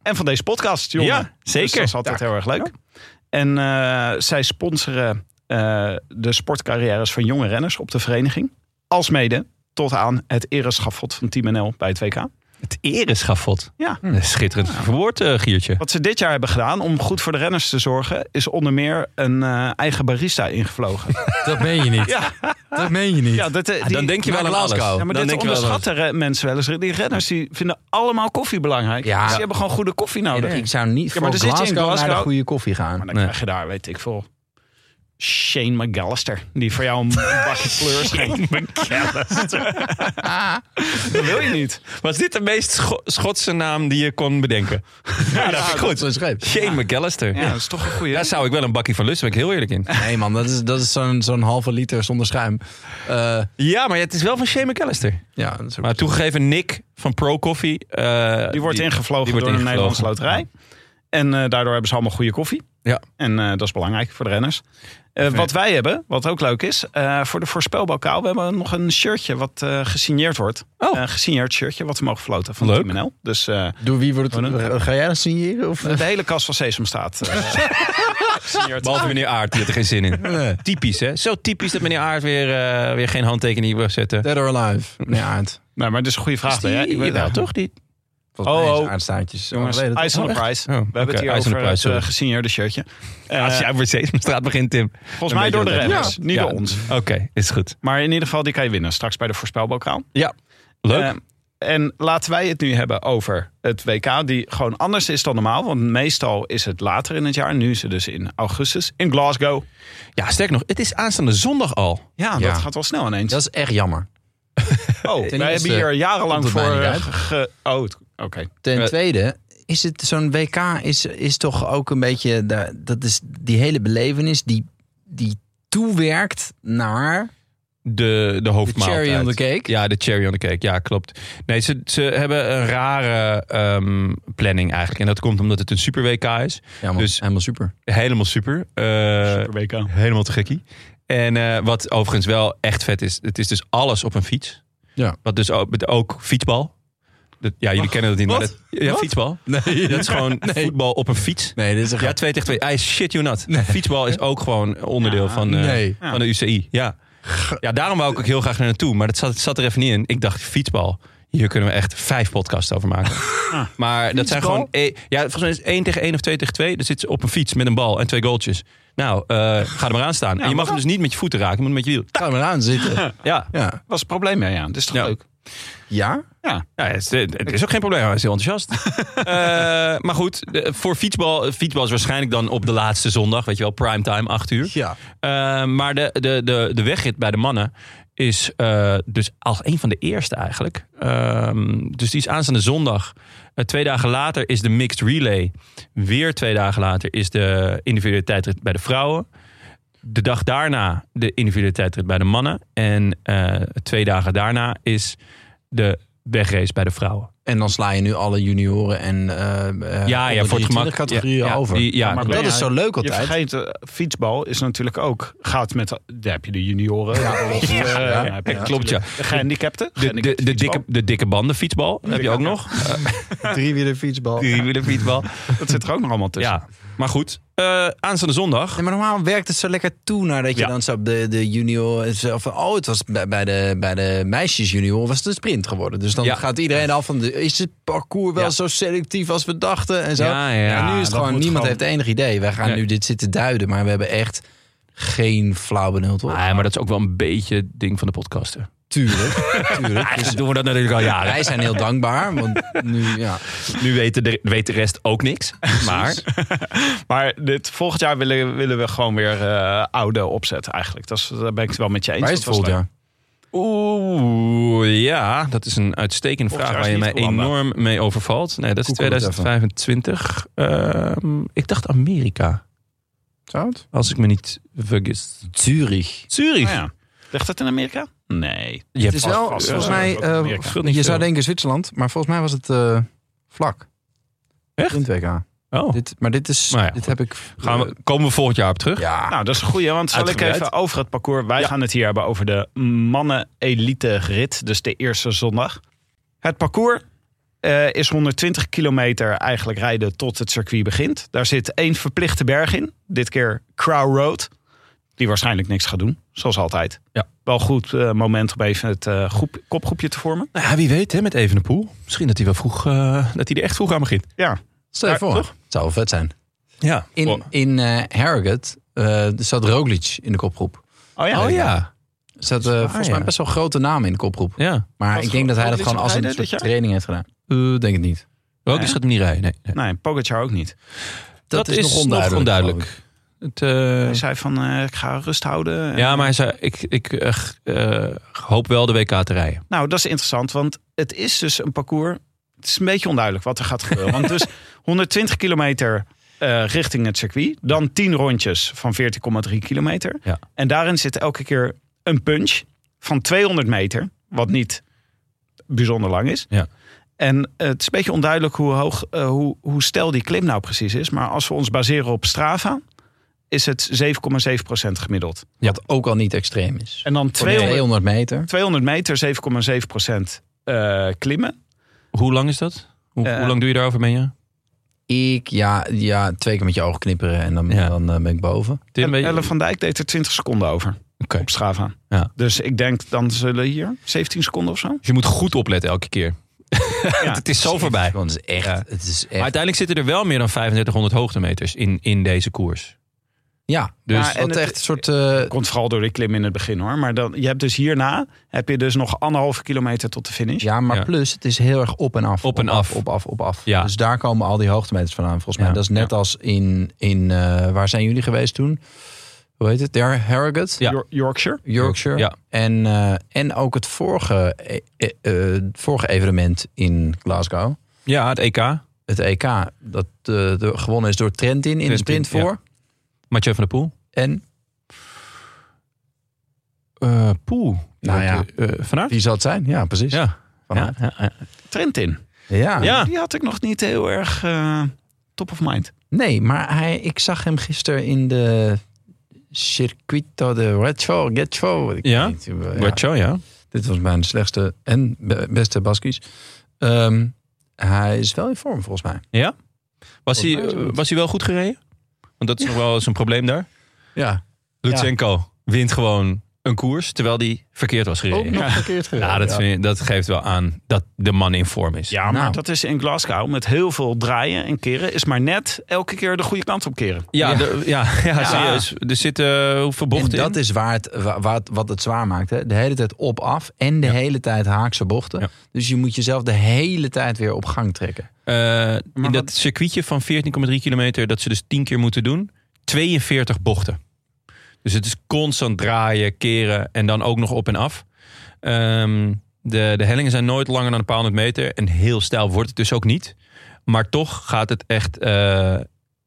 C: En van deze podcast, jongen.
A: Ja, zeker.
C: Dus dat is altijd
A: Ja.
C: heel erg leuk. En eh, zij sponsoren eh, de sportcarrières van jonge renners op de vereniging. Als mede tot aan het ereschafot van Team NL bij het WK.
A: Het ereschafot.
C: Ja.
A: Schitterend verwoord, eh, Giertje.
C: Wat ze dit jaar hebben gedaan om goed voor de renners te zorgen... is onder meer een eh, eigen barista ingevlogen.
B: Dat meen je niet. Dat meen je niet.
C: ja, dat, eh, die-
A: dan denk je wel
B: Mark
A: aan alles.
B: Laskou.
C: Ja, maar
A: Dan
C: dit
A: denk je wel
C: onderschatten re- mensen wel eens. Die renners die vinden allemaal koffie belangrijk.
B: Ja.
C: Dus die hebben gewoon goede koffie nodig.
B: Oh, Ik zou niet
C: Ja,
B: voor
C: maar dan zit je in
B: Glasgow, naar de
C: Glasgow.
B: goede koffie
C: Maar
B: gaan.
C: dan
A: Nee.
C: krijg je daar, weet ik veel... Shane McAllister, die voor jou een bakje fleurs schenkt. Dat wil je niet.
A: Was dit de meest Scho- Schotse naam die je kon bedenken? Ja, dat vind ik goed.
B: Zo'n scheep.
A: Shane McAllister.
C: Ja, dat is toch een goede.
A: Daar zou ik wel een bakkie van lusten, ben ik heel eerlijk in.
B: Nee man, dat is, dat is zo'n zo'n halve liter zonder schuim. Eh,
A: Ja, maar het is wel van Shane McAllister.
B: ja, dat is ook-
A: Maar toegegeven, Nick van Pro Coffee. eh,
C: Die wordt ingevlogen
A: die wordt
C: door de
A: ingevlogen.
C: Nederlandse loterij. En eh, daardoor hebben ze allemaal goede koffie.
A: Ja.
C: En eh, dat is belangrijk voor de renners. Eh, wat wij hebben, wat ook leuk is, eh, voor de voorspelbokaal. We hebben nog een shirtje wat eh, gesigneerd wordt.
A: Oh.
C: Een gesigneerd shirtje wat we mogen floten van
A: Leuk.
C: Team NL. Dus eh,
B: Door wie wordt het? Eh, Ga jij dat signeren? Of?
C: de hele kast van Sesamstraat. staat. eh,
A: Behalve meneer Aard, die had er geen zin in. Typisch, hè? Zo typisch dat meneer Aard weer, eh, weer geen handtekening wil zetten.
B: Dead or alive? Nee, aard.
C: nou, maar dat is een goede vraag. hè? Ik weet
A: wel,
C: het
A: nou toch? Die...
B: Volgens mij
C: Oh,
B: is
C: oh.
B: het aardstaartjes.
C: Jongens,
B: Oh, nee, dat-
C: Ice on the
B: oh, echt?
C: Prize.
A: Oh,
C: We hebben het
A: oké,
C: hier
A: Ice on the
C: over
A: Prize,
C: het
A: sorry.
C: eh, gesigneerde shirtje. Eh,
A: Als jij voor Sesamstraat begint, Tim.
C: volgens mij
A: beetje
C: door de
A: ontdekken.
C: renners, niet
A: Ja.
C: door ons.
A: Oké, is goed.
C: Maar in ieder geval, die kan je winnen straks bij de voorspelbokaal.
A: Ja, leuk.
C: Eh, en laten wij het nu hebben over het WK, die gewoon anders is dan normaal. Want meestal is het later in het jaar. Nu is het dus in augustus in Glasgow.
A: ja, sterk nog, het is aanstaande zondag al.
C: Ja,
B: Ja.
C: dat gaat wel snel ineens.
B: Dat is echt jammer.
C: oh, wij
B: eerste
C: hebben hier jarenlang
B: komt
C: voor...
B: het mij niet
C: eh,
B: uit.
C: ge- oh, het- oké.
B: Ten
A: Eh.
B: tweede is het zo'n WK is, is toch ook een beetje daar- dat is die hele belevenis die, die toewerkt naar
A: De, de
B: de
A: hoofdmaaltijd.
B: cherry on the cake.
A: Ja, de cherry on the cake. Ja, klopt. Nee, ze, ze hebben een rare ehm, planning eigenlijk. En dat komt omdat het een super WK is.
B: Ja, man,
A: Dus-
B: helemaal super.
A: Helemaal super. Eh,
C: Super WK.
A: Helemaal te gekkie. En eh, wat overigens wel echt vet is, het is dus alles op een fiets.
B: Ja.
A: Wat dus ook, met ook fietsbal. Dat, ja, jullie kennen dat niet. Maar
B: wat?
A: dat, ja,
B: Wat?
A: fietsbal.
B: Nee,
A: Dat is gewoon voetbal op een fiets.
B: nee, dit is een
A: Ja,
B: grap.
A: 2 tegen 2. I shit you not. Fietsbal is ook gewoon onderdeel van, eh,
B: nee.
A: van de UCI. Ja. ja, daarom wou ik ook heel graag naar naartoe. Maar dat zat, zat er even niet in. Ik dacht, fietsbal. Hier kunnen we echt vijf podcasts over maken. Maar dat zijn gewoon...
B: Fietsbal?
A: eh, Ja, volgens mij is het 1 tegen 1 of 2 tegen 2. Dan zit ze op een fiets met een bal en twee goaltjes. Nou, eh, ga er maar aan staan. en je mag hem dus niet met je voeten raken. Je moet met je wiel.
B: Ga maar aan zitten.
A: Ja,
B: Ja.
C: Wat is het probleem mee aan? Dat is toch
A: Ja.
C: leuk?
B: Ja?
C: Ja.
A: ja het, is, het is ook geen probleem. Hij is heel enthousiast. Eh, maar goed, de- voor fietsbal... Fietsbal is waarschijnlijk dan op de laatste zondag. Weet je wel, primetime, 8 uur.
B: Ja.
A: Eh, maar de, de, de, de wegrit bij de mannen is eh, dus als een van de eerste eigenlijk. Ehm, dus die is aanstaande zondag. Eh, twee dagen later is de mixed relay. Weer twee dagen later is de individuele tijdrit bij de vrouwen. De dag daarna de individuele tijdrit bij de mannen. En eh, twee dagen daarna is de wegrace bij de vrouwen.
B: En dan sla je nu alle junioren en eh
A: ja, voor het gemak.
B: categorieën
A: Ja, ja,
B: over.
A: die- ja,
B: maar
A: dat-
B: dat is zo leuk
C: Je
B: altijd.
C: vergeet, eh, fietsbal is natuurlijk ook... Gaat met... Daar heb je de junioren. Ja, heb je
A: Klopt, ja.
C: De gehandicapten.
A: De, de, de, dikke, de dikke banden fietsbal heb je ook nog.
B: Driewielen fietsbal.
A: Die willen fietsbal.
C: Dat zit er ook nog allemaal tussen.
A: Ja, maar goed. Eh, aanstaande zondag.
B: Nee, maar normaal werkt het zo lekker toe nadat je
A: Ja.
B: dan zo op de, de junior... Of, oh, het was bij, bij de, bij de meisjes junior was het een sprint geworden. Dus dan
A: Ja.
B: gaat iedereen al van... De, is het parcours wel
A: Ja.
B: zo selectief als we dachten? En zo.
A: Ja, ja, ja.
B: en nu is het
A: Dat
B: gewoon...
A: moet
B: Niemand
A: gewoon-
B: heeft enig idee. Wij gaan
A: Nee.
B: nu dit zitten duiden. Maar we hebben echt geen flauw benul, toch?
A: Nee, maar dat is ook wel een beetje het ding van de podcasten.
B: Tuurlijk. tuurlijk. Dus
A: Eigenlijk doen we dat natuurlijk al jaren.
B: wij zijn heel dankbaar. Want nu, ja.
A: Nu weten de, weet de rest ook niks. Maar
C: Maar dit, volgend jaar willen, willen we gewoon weer eh, oude opzet eigenlijk. Dat is, daar ben ik het wel met je eens.
B: Waar is
C: Dat
B: het
C: was
B: volgend
C: leuk.
B: jaar?
A: Oeh, ja, dat is een uitstekende
C: Volgens
A: vraag
C: jou
A: waar
C: is
A: je mij
C: niet Hollanda.
A: enorm mee overvalt. Nee, dat is
B: Google het
A: 2025. Ehm, ik dacht Amerika,
B: Zou het?
A: als ik me niet vergis.
B: Zurich.
A: Zurich.
C: Nou ja. Ligt dat in Amerika? Nee.
A: Je
B: Het
A: hebt
B: is
A: vast-
B: wel,
C: vast-
B: volgens
C: vast-
B: mij...
C: ook
B: eh,
C: Amerika.
A: Scheelt niet
B: je
A: veel.
B: zou denken Zwitserland. Maar volgens mij was het eh, vlak.
A: Echt?
B: In WK.
A: Oh.
B: Dit, maar dit is.
A: Nou ja,
B: dit
A: goed.
B: heb ik. eh,
A: Gaan we, komen we volgend jaar op terug?
B: Ja.
C: Nou, dat is een goeie, want zal ik
A: Uitgebreid.
C: even over het parcours. Wij gaan het hier hebben over de mannen-elite-rit, dus de eerste zondag. Het parcours eh, is 120 kilometer eigenlijk rijden tot het circuit begint. Daar zit één verplichte berg in, dit keer Crow Road, die waarschijnlijk niks gaat doen, zoals altijd.
A: Ja.
C: Wel goed eh, moment om even het eh, groep, kopgroepje te vormen.
A: Nou ja, wie weet, hè, met Evenepoel. Misschien dat hij wel vroeg, eh, dat hij er echt vroeg aan begint.
C: Ja,
B: Stel je
A: Ja,
B: voor.
A: toch?
B: Het zou wel vet zijn.
A: Ja.
B: In,
A: oh,
B: in eh, Harrogate eh, zat Roglic in de kopgroep.
C: oh ja.
A: oh ja.
B: Er zat eh, volgens mij
A: ja.
B: best wel grote naam in de kopgroep.
A: ja.
B: Maar
C: Was
B: ik denk dat hij dat
C: Roglic
B: gewoon als
C: op
B: een
C: rijden dit
B: soort
C: jaar?
B: training heeft gedaan. Eh, denk het niet.
A: Welke
C: Ja.
A: gaat hem niet rijden? Nee, nee.
C: Nee, Pogacar ook niet.
B: Dat, is, nog onduidelijk. geloof ik.
A: Het, eh,
C: Hij zei van, eh, ik ga rust houden.
A: ja, maar hij zei, ik, ik eh, g- eh, hoop wel de WK te rijden.
C: Nou, dat is interessant, want het is dus een parcours. Het is een beetje onduidelijk wat er gaat gebeuren. want dus 120 kilometer eh, richting het circuit, dan 10 rondjes van 14,3 kilometer.
A: Ja.
C: En daarin zit elke keer een punch van 200 meter, wat niet bijzonder lang is.
A: Ja.
C: En eh, het is een beetje onduidelijk hoe hoog, eh, hoe, hoe stijl die klim nou precies is. Maar als we ons baseren op Strava, is het 7,7% gemiddeld.
B: Wat ook al niet extreem is.
C: En dan
B: Voor de
C: 200,
B: 200 meter.
C: 200 meter 7,7% eh klimmen.
A: Hoe lang is dat? Hoe,
C: Eh,
A: hoe lang doe je daarover, Benja?
B: Ik, ja, ja, twee keer met je ogen knipperen en dan,
A: Ja.
B: dan eh, ben ik boven.
A: Tim,
C: En
A: weet je-
C: Ellen van Dijk deed er 20 seconden over
A: Oké.
C: op Strava.
A: Ja.
C: Dus ik denk dan zullen hier 17 seconden of zo. Dus
A: Dus je moet goed opletten elke keer. het is zo voorbij. Maar
B: Want het is echt,
A: Ja.
B: het is echt.
A: uiteindelijk zitten er wel meer dan 3500 hoogtemeters in, in deze koers.
B: Ja,
A: Dus-
B: dus
C: en
B: wat
C: het-
B: echt een soort eh,
C: Komt vooral door die klim in het begin hoor. Maar dan, je hebt dus hierna heb je dus nog anderhalve kilometer tot de finish.
B: Ja, maar
A: Ja.
B: plus het is heel erg op en af.
A: Op en af.
B: Op, af, op af.
A: Ja.
B: Dus daar komen al die hoogtemeters vandaan volgens mij.
A: Ja.
B: Dat is net als in, in eh, waar zijn jullie geweest toen? Hoe heet het? Daar Harrogate?
A: Ja.
C: Yor- Yorkshire.
B: Yorkshire.
A: Ja.
B: En, eh, en ook het vorige, eh, eh, eh, het vorige evenement in Glasgow.
A: Ja, het EK.
B: Het EK. Dat eh, de, gewonnen is door Trentin in de
A: Trentin,
B: sprint voor.
A: Mathieu van der Poel.
B: En
A: Eh Poel.
B: Nou ja.
A: Eh, van Aert?
B: wie zal het zijn? Ja, precies.
A: Ja.
B: Van
A: Ja,
B: Aert.
A: ja, ja.
C: Trentin.
B: ja.
A: Ja.
C: Die had ik nog niet heel erg eh, top of mind.
B: Nee, maar hij, ik zag hem gisteren in de Circuito de Retro. Getro. Ik
A: Ja?
B: weet niet, eh, ja.
A: Guacho, ja.
B: Dit was mijn slechtste en be- beste Baskies. Ehm, hij is wel in vorm volgens mij.
A: Was hij,
B: Volgens mij is het-
A: was hij wel goed gereden? Want dat is nog wel eens een probleem daar.
B: Ja.
A: Lutsenko wint gewoon een koers, terwijl hij verkeerd was gereden.
B: verkeerd gedaan.
A: Ja, dat, vind ik- dat geeft wel aan dat de man in vorm is.
C: Ja, maar
B: Nou.
C: dat is in Glasgow met heel veel draaien en keren. Is maar net elke keer de goede kant op keren.
A: Ja,
B: Ja.
A: de- ja, ja,
C: Ja.
A: serieus. Er zitten eh, hoeveel
B: En
A: bochten
B: dat
A: in?
B: is waar het, wa- waar het- wat het zwaar maakt. Hè? De hele tijd op-af en de hele tijd haakse bochten.
A: Ja.
B: Dus je moet jezelf de hele tijd weer op gang trekken.
A: Eh, in
C: wat-
A: dat circuitje van 14,3 kilometer, dat ze dus 10 keer moeten doen, 42 bochten. Dus het is constant draaien, keren en dan ook nog op en af. Ehm, de, de hellingen zijn nooit langer dan een paar honderd meter. En heel stijl wordt het dus ook niet. Maar toch gaat het echt eh,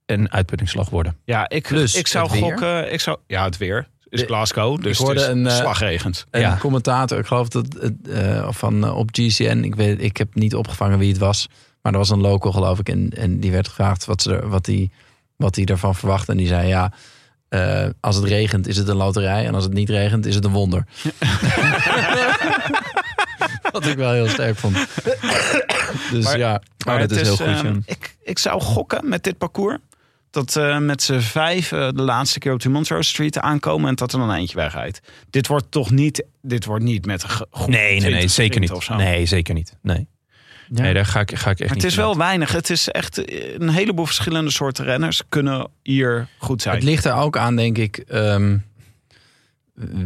A: een uitputtingsslag worden.
C: Ja, ik,
B: Plus
C: ik zou
B: het weer.
C: gokken. Ik zou, ja, het weer is
B: De-
C: Glasgow, dus
B: hoorde
C: het is
B: een, eh,
C: slagregend.
B: Een
A: Ja.
B: commentator, ik geloof dat het, eh, van eh, op GCN, ik, weet, ik heb niet opgevangen wie het was, maar er was een local geloof ik en, en die werd gevraagd wat ze er- wat die, wat die ervan verwacht en die zei ja, eh, als het regent is het een loterij en als het niet regent is het een wonder. wat ik wel heel sterk vond. Dus
C: Maar-
B: ja, maar dat is, heel goed.
C: ehm,
B: ja.
C: ik, ik zou gokken met dit parcours. Dat eh, met z'n vijf eh, de laatste keer op de Montrose Street aankomen. En dat er dan eentje wegrijdt. Dit wordt toch niet, dit wordt niet met een ge- groep
A: Nee, nee, nee,
C: 20
A: zeker
C: of
A: niet.
C: zo.
A: Nee, zeker niet. Nee,
B: Ja.
A: nee daar ga ik, ga ik echt
C: Maar
A: niet
C: het is
A: in.
C: wel weinig. Het is echt eh, een heleboel verschillende soorten renners kunnen hier goed zijn.
B: Het ligt er ook aan, denk ik, ehm,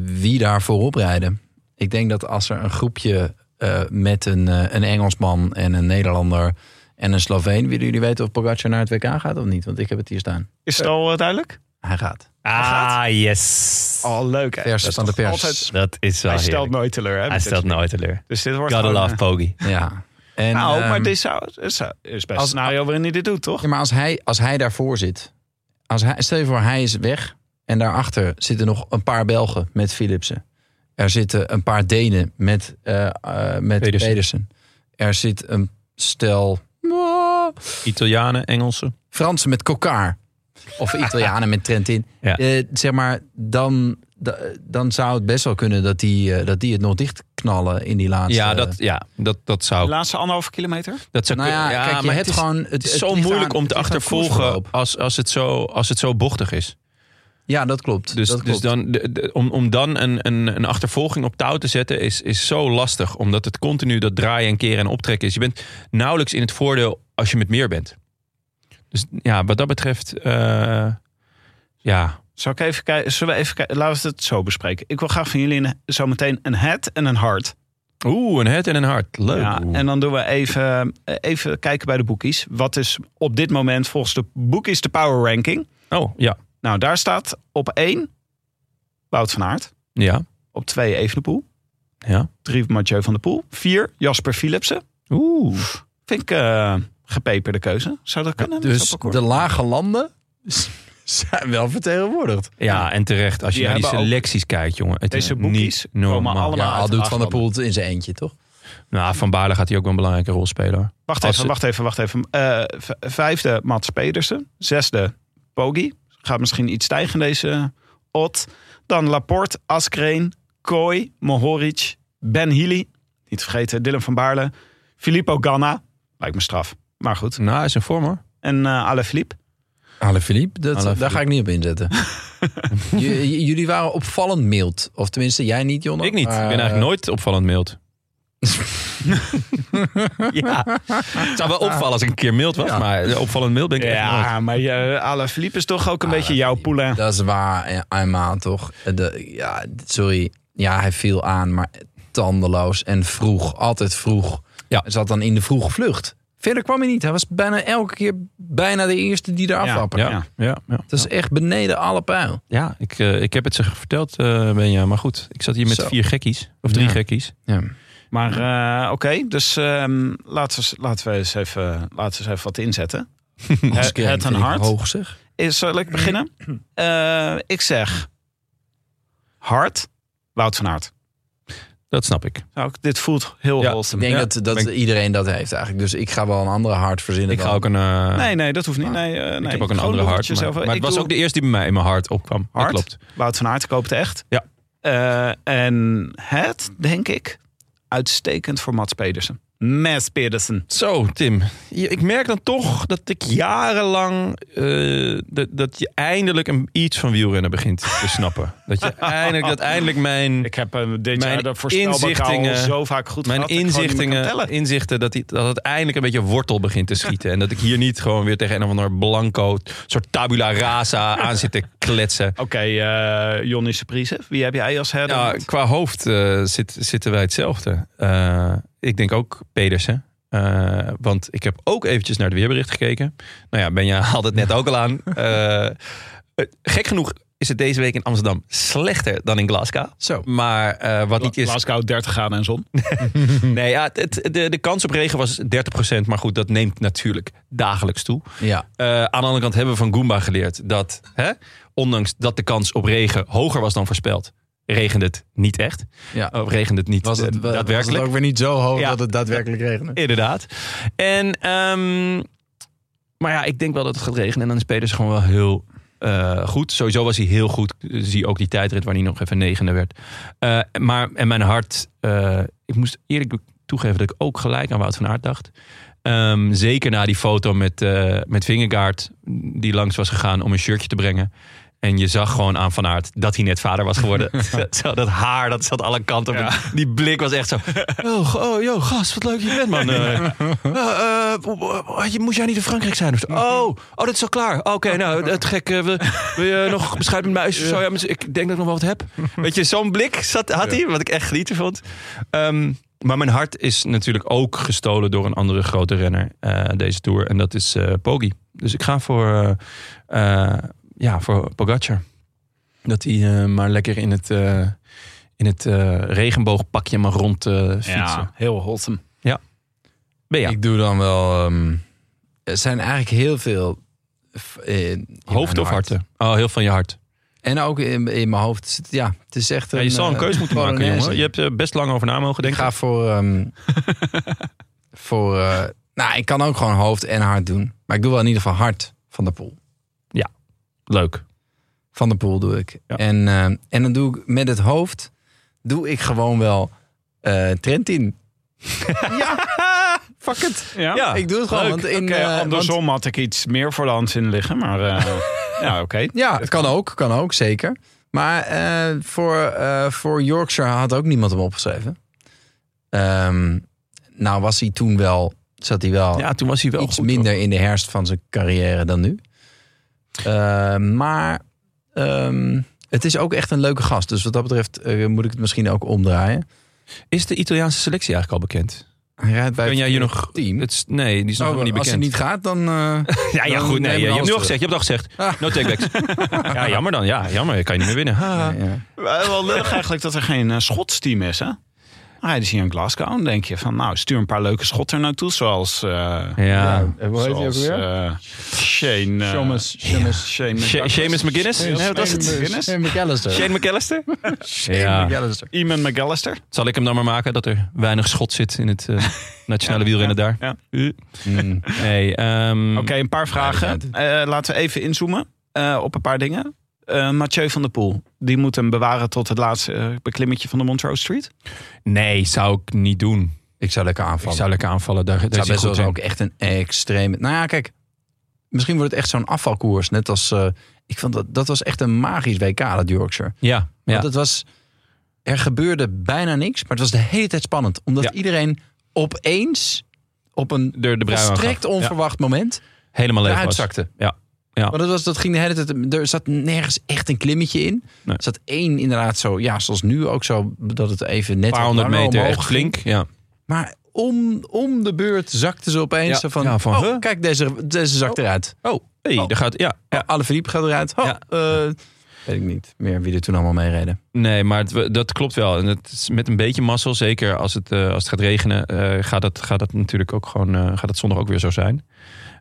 B: wie daar voorop rijden. Ik denk dat als er een groepje eh, met een, eh, een Engelsman en een Nederlander en een Sloveen... Willen jullie weten of Pogacar naar het WK gaat of niet? Want ik heb het hier staan.
C: Is het al eh, duidelijk?
B: Hij gaat.
A: Ah, yes.
C: Al leuk. hè?
B: Vers
C: Dat is
B: van de
C: toch
B: pers.
C: altijd-
A: Dat is wel
C: Oh. hij stelt
A: heerlijk.
C: nooit teleur. Hè,
A: Hij
C: met
A: stelt
C: dit.
A: nooit teleur.
C: Dus dit wordt
A: Gotta
C: gewoon,
A: love
C: eh,
A: Pogi.
B: Ja. En,
C: Nou, maar
B: ehm,
C: dit zou, is, zou- is best
B: Als-
C: een scenario waarin hij dit doet, toch?
B: ja, maar als hij, als hij daarvoor zit... Als hij, stel je voor, hij is weg en daarachter zitten nog een paar Belgen met Philipsen. Er zitten een paar Denen met, eh eh, met
A: Pedersen.
B: Pedersen. Er zit een stel...
A: Italianen, Engelsen.
B: Fransen met Kokar. Of Italianen met Trentin.
A: Ja.
B: Eh, zeg maar, dan, da- dan zou het best wel kunnen dat die, eh, dat die het nog dicht knallen in die laatste.
A: Ja, dat, ja dat, dat
C: De
A: zou...
C: laatste anderhalve kilometer?
A: Dat zou
B: Nou ja,
A: kunnen.
B: kijk, je
A: maar
B: hebt
A: het is,
B: gewoon. Het,
A: het is
B: het
A: zo
B: ligt
A: moeierlijk
B: aan-
A: om te
B: het ligt aan
A: achtervolgen
B: koersverloop.
A: als, als, het zo, als het zo bochtig is.
B: Ja, dat klopt.
A: Dus,
B: dat
A: dus
B: klopt.
A: dan, de- de- om, om dan een, een, een achtervolging op touw te zetten is, is zo lastig. Omdat het continu dat draaien en keren en optrekken is. Je bent nauwelijks in het voordeel als je met meer bent. Dus ja, wat dat betreft... eh, ja,
C: Zal ik even kijken? Zullen we even kijken? Laten we het zo bespreken. Ik wil graag van jullie een, zo meteen een head en een hart.
A: oeh, een head en een hart. Leuk.
C: Ja, en dan doen we even, eh, even kijken bij de boekies. Wat is op dit moment volgens de boekies de power ranking?
A: Oh, ja.
C: Nou, daar staat op 1 Wout van Aert.
A: Ja,
C: Op 2 Evenepoel.
A: ja.
C: 3 Mathieu van der Poel. 4 Jasper Philipsen.
A: Oeh.
C: Vind ik eh, gepeperde keuze. Zou dat kunnen?
B: dus
C: Zo'n parcours?
B: de lage landen zijn wel vertegenwoordigd.
A: Ja, en terecht. Als je
C: Die
A: naar die
C: hebben ook-
A: selecties kijkt, jongen. Het
C: Deze
A: is
C: boekies
A: niet normaal.
C: komen allemaal
B: Ja, al
C: uit de
B: doet Van der
C: achterlanden.
B: Poel het in zijn eentje, toch?
A: Nou, Van Baarle gaat hij ook wel een belangrijke rol spelen. hoor.
C: Wacht
A: Als
C: even,
A: ze-
C: wacht even, wacht even. Eh, v- vijfde Mats Pedersen. Zesde Poggi. Gaat misschien iets stijgen deze odd. Dan Laporte, Askreen, Kooi, Mohoric, Ben Healy. Niet vergeten, Dylan van Baarle. Filippo Ganna. Lijkt me straf. Maar goed.
A: Nou, hij is in vorm hoor.
C: En eh Ale Philippe.
B: Alle Philippe, dat,
A: Alain
B: daar ga ik niet op inzetten. J- j- jullie waren opvallend mild. Of tenminste, jij niet, Jonne.
A: Ik niet. ik ben
B: Maar,
A: eigenlijk
B: eh,
A: nooit opvallend mild. ja. Het zou wel opvallen als ik een keer mild was, maar opvallend mild ben ik echt nooit.
C: Ja, maar je Ale Philippe is toch ook een beetje jouw poulain.
B: Dat is waar, ja, Ayman toch. De, ja, sorry. Ja, hij viel aan, maar tandeloos en vroeg. Altijd vroeg.
A: Ja.
B: Hij zat dan in de vroege vlucht. Verder kwam hij niet. Hij was bijna elke keer bijna de eerste die eraf
C: Ja,
B: afwappen.
A: Ja, ja,
C: Ja.
A: ja, ja.
B: Dat is echt beneden alle pijl.
A: ik, eh, ik heb het ze verteld, eh Benja. Maar goed, ik zat hier met
B: Zo.
A: vier gekkies. Of drie
B: Ja.
A: gekkies.
B: Ja.
C: Maar eh, oké, dus ehm, laten, we, laten, we eens even, laten we eens even wat inzetten.
B: Hans Kerk
C: het een
B: vind ik
C: hart?
B: Hoog zeg.
C: Is, zal ik beginnen? Eh, ik zeg hard, Wout van Aert.
A: Dat snap ik.
C: Nou, ik- dit voelt heel
A: Ja.
B: Ik
C: wholesome.
B: denk
A: Ja,
B: dat, dat
A: ben
B: iedereen dat heeft eigenlijk. Dus ik ga wel een andere hart verzinnen.
A: Ik ga
B: dan-
A: ook een... eh,
C: Nee, nee, dat hoeft niet. Nee, eh, nee.
A: Ik heb ook een
C: Gewoon
A: andere
C: doe het
A: hart. Maar,
C: jezelf.
A: maar
C: Ik
A: het was
C: doe
A: ook de eerste die bij mij in mijn hart opkwam.
C: Hart?
A: Dat klopt.
C: Wout van Aert, ik hoop het echt.
A: Ja.
C: Eh, en het, denk ik, uitstekend voor Mats Pedersen. Mats Pedersen.
A: Zo, Tim. Je- Ik merk dan toch dat ik jarenlang. eh, dat, dat je eindelijk een, iets van wielrennen begint te snappen. dat, je eindelijk, dat eindelijk mijn,
C: Ik heb eh, dit
A: Mijn
C: jaar dat voorspelbokaal
A: inzichtingen-
C: zo vaak goed
A: mijn
C: gehad. dat ik gewoon niet meer kan
A: inzichtingen,
C: tellen.
A: inzichten. Dat, die, dat het eindelijk een beetje wortel begint te schieten. en dat ik hier niet gewoon weer tegen een of ander blanco. soort tabula rasa aan zit te kletsen.
C: Oké, eh, Jonny Surprise. Wie heb jij als herder?
A: Ja, qua hoofd eh, zit, zitten wij hetzelfde. Eh, ik denk ook Pedersen. Eh, want ik heb ook eventjes naar het weerbericht gekeken. Nou ja, Benja haalde het net ook al aan. Eh, eh, gek genoeg is het deze week in Amsterdam slechter dan in Glasgow.
B: Zo.
A: Maar eh, wat niet is...
C: Glasgow 30 graden en zon.
A: Nee, ja, het, het- de, de kans op regen was 30%. Maar goed, dat neemt natuurlijk dagelijks toe.
B: Ja.
A: Eh, aan de andere kant hebben we van Goomba geleerd dat hè, ondanks dat de kans op regen hoger was dan voorspeld, regende het niet echt.
B: Ja.
A: Of regende het niet
B: Was het,
A: eh,
B: was
A: daadwerkelijk.
B: het ook weer niet zo hoog
A: Ja.
B: dat het daadwerkelijk regende?
A: Inderdaad. En, ehm, maar ja, ik denk wel dat het gaat regenen. En dan is Peters gewoon wel heel eh, goed. Sowieso was hij heel goed. Zie ook die tijdrit waar hij nog even negende werd. Eh, maar, en mijn hart... eh, ik moest eerlijk toegeven dat ik ook gelijk aan Wout van Aert dacht. Ehm, zeker na die foto met, eh met Vingegaard... die langs was gegaan om een shirtje te brengen. En je zag gewoon aan Van Aert dat hij net vader was geworden. zo, dat haar, dat zat alle kanten op. Die blik was echt zo... Oh, go- oh, yo, gast, wat leuk dat je bent, man. Eh, eh, eh, eh, moest jij niet in Frankrijk zijn? Of zo? Oh, oh, dat is al klaar. Oké,
B: Oh.
A: nou, het gek. eh, wil, wil je nog beschuit met mij? Of zo? Ja, misschien- ik denk dat ik nog wel wat heb. Weet je, zo'n blik zat, had hij, wat ik echt genieten vond. Ehm, maar mijn hart is natuurlijk ook gestolen door een andere grote renner eh, deze Tour. En dat is eh Poggi. Dus ik ga voor, eh, eh, ja, voor Pogacar. Dat hij eh, maar lekker in het, eh, in het eh, regenboogpakje maar rond eh, fietsen.
C: Ja, heel Holtem.
A: Ben jij?
B: Ik doe dan wel. ehm, er zijn eigenlijk heel veel. f- eh, in- in
A: Hoofd
B: mijn
A: of
B: hart.
A: harten? Oh, heel van je hart.
B: En ook in, in mijn hoofd. zit- Ja, het is echt.
A: Ja, je zal een
B: eh,
A: keus moeten maken,
B: polonaise.
A: jongen. Je hebt er best lang over na mogen
B: Ik
A: denken.
B: ga voor. ehm, voor. eh, nou, ik kan ook gewoon hoofd en hart doen. Maar ik doe wel in ieder geval hart van de pool.
A: Leuk.
B: Van de pool doe ik.
A: Ja.
B: En, eh, en dan doe ik met het hoofd. Doe ik gewoon wel. eh Trentin.
A: Fuck it.
C: Ja.
A: Ja,
B: ik doe het gewoon.
A: leuk.
B: Want in,
C: Oké,
B: eh, want-
C: andersom had ik iets meer voor de hand in liggen, maar eh, ja, oké.
B: Ja, het kan ook, kan ook, zeker. Maar eh, voor, eh, voor Yorkshire had ook niemand hem opgeschreven. Ehm, nou was hij toen wel, zat hij wel
A: Ja, toen was hij wel
B: iets
A: goed,
B: minder in de herfst van zijn carrière dan nu. Ehm, maar ehm, het is ook echt een leuke gast. Dus wat dat betreft eh, moet ik het misschien ook omdraaien.
A: hoor. Is de Italiaanse selectie eigenlijk al bekend?
B: Hij rijdt bij
A: Kun jij hier
B: het
A: nog...
B: team.
A: Het, is- nee, die is nog
B: Oh,
A: helemaal niet
B: als hij
A: bekend.
B: niet gaat, dan... eh,
A: ja, ja,
B: dan nemen we
A: goed. Nee, je hebt
B: alles
A: nu
B: terug.
A: al
B: Ah.
A: gezegd. Je hebt al gezegd. No takebacks. ja, jammer dan. Ja, jammer. Kan je niet meer winnen. Ha.
B: Ja, ja.
C: Wel wel lullig eigenlijk dat er geen eh, Schots team is, hè? Hij is hier in Glasgow. Dan denk je van, nou, stuur een paar leuke Schotten er naartoe. Zoals... eh
A: Ja.
D: En hoe heet hij ook
C: zoals,
D: weer?
C: eh, Shane... eh,
D: Thomas, Thomas.
C: Shane
A: Sha- Seamus McGuinness? Nee, wat was het?
C: McGuinness?
B: Shane McAllister.
A: Shane McAllister?
B: Shane
A: Ja.
B: McAllister.
C: Iman McAllister?
A: Zal ik hem dan maar maken dat er weinig schot zit in het eh, nationale wielrennen daar?
C: ja.
A: Uh.
B: Mm.
A: Nee, ehm,
C: Oké, een paar vragen. Eh, laten we even inzoomen eh, op een paar dingen. Eh, Mathieu van der Poel, die moet hem bewaren tot het laatste eh, beklimmetje van de Montrose Street.
A: nee, zou ik niet doen.
B: Ik zou lekker aanvallen.
A: Ik zou lekker aanvallen. Daar, daar
B: Het
A: is hij
B: zou best
A: goed
B: wel
A: in.
B: ook echt een extreme... Nou ja, kijk. Misschien wordt het echt zo'n afvalkoers. Net als... eh, ik vond dat, dat was echt een magisch WK, dat Yorkshire.
A: Ja, ja.
B: Want het was... Er gebeurde bijna niks. Maar het was de hele tijd spannend. Omdat
A: Ja.
B: iedereen opeens... Op een
A: de, de Bruyne
B: volstrekt
A: gaf. Ja.
B: onverwacht moment...
A: helemaal leeg
B: eruit
A: was.
B: zakte.
A: Ja. Ja.
B: Want dat, was, dat ging de hele tijd... Er zat nergens echt een klimmetje in.
A: Nee.
B: Er zat één inderdaad zo... Ja, zoals nu ook zo... Dat het even net
A: Een paar
B: wat
A: honderd
B: langer
A: meter,
B: omhoog
A: echt
B: ging.
A: flink. Ja.
B: Maar om, om de beurt zakte ze opeens
A: Ja.
B: zo van,
A: Ja, van,
B: oh,
A: huh?
B: kijk, deze, deze zakt eruit.
A: Oh, hey,
B: Oh.
A: daar gaat... Ja, ja.
B: Ja. Alaphilippe gaat eruit. Oh,
A: Ja.
B: eh, weet ik niet meer wie er toen allemaal mee reden.
A: Nee, maar het- dat klopt wel. En het is met een beetje mazzel, zeker als het, eh, als het gaat regenen, eh, gaat, dat, gaat dat natuurlijk ook gewoon... eh, gaat het zondag ook weer zo zijn.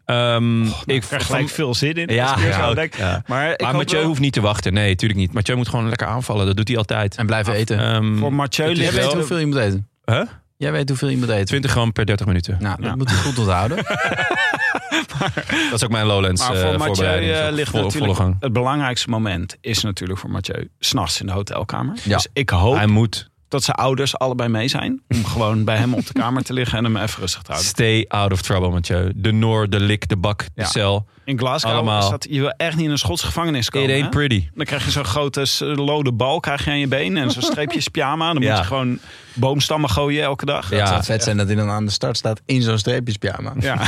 C: Oh,
A: Ehm, ik
C: Ik krijg gelijk veel zin in.
A: Ja,
C: als ik hier
A: ja,
C: zo
A: ook,
C: denk.
A: ja.
C: Maar, nou, ik
A: Maar
C: hoop
A: Mathieu
C: wel-
A: hoeft niet te wachten. Nee, tuurlijk niet. Mathieu moet gewoon lekker aanvallen. Dat doet hij altijd.
B: En blijven eten.
A: Ehm,
C: Voor Mathieu
A: het is
B: Jij
C: ligt
B: weet
A: wel-
C: wel-
B: hoeveel je moet eten.
A: hè?
B: Jij weet hoeveel je moet eten.
A: 20 gram per 30 minuten.
B: Nou, dat
C: Ja.
B: moet je goed onthouden.
A: Dat is ook mijn Lowlands
C: Maar
A: eh,
C: voor Mathieu
A: voorbereiding.
C: eh,
A: Is ook
C: ligt
A: vol-
C: natuurlijk...
A: volle gang.
C: Het belangrijkste moment is natuurlijk voor Mathieu... s'nachts in de hotelkamer.
B: Ja.
C: Dus ik hoop
A: Hij moet
C: dat zijn ouders allebei mee zijn... om gewoon bij hem op de kamer te liggen en hem even rustig te houden.
A: stay out of trouble, Mathieu. De Noor, de Lik, de Bak, de
C: Ja.
A: Cel.
C: In Glasgow
A: Allemaal.
C: is dat... Je wil echt niet in een Schots gevangenis
A: It
C: komen.
A: ain't
C: hè?
A: pretty.
C: Dan krijg je zo'n grote s- lode bal krijg je aan je been... en zo'n streepjes pyjama. Dan
A: Ja.
C: moet je gewoon boomstammen gooien elke dag.
B: Het
A: Ja,
B: zou vet zijn dat hij dan aan de start staat in zo'n streepjespyjama.
C: Ja.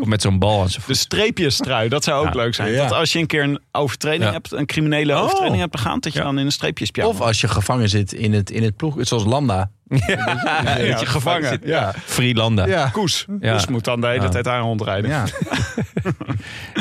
A: of met zo'n bal aan zijn
C: De
A: voet.
C: streepjestrui, dat zou ook
A: Ja.
C: leuk zijn.
B: Ja.
C: Dat als je een keer een overtreding
A: Ja.
C: hebt... een criminele
A: Oh.
C: overtreding hebt begaan... dat je
A: Ja.
C: dan in een streepjespyjama...
B: Of als je gevangen zit in het, in het ploeg, zoals Landa.
C: ja,
A: Ja,
C: dat je gevangen zit.
B: Ja.
A: Freelanda.
B: Ja.
C: Koes.
A: Ja.
C: Koes moet dan de hele
A: Ja.
C: tijd aan rondrijden.
B: ja.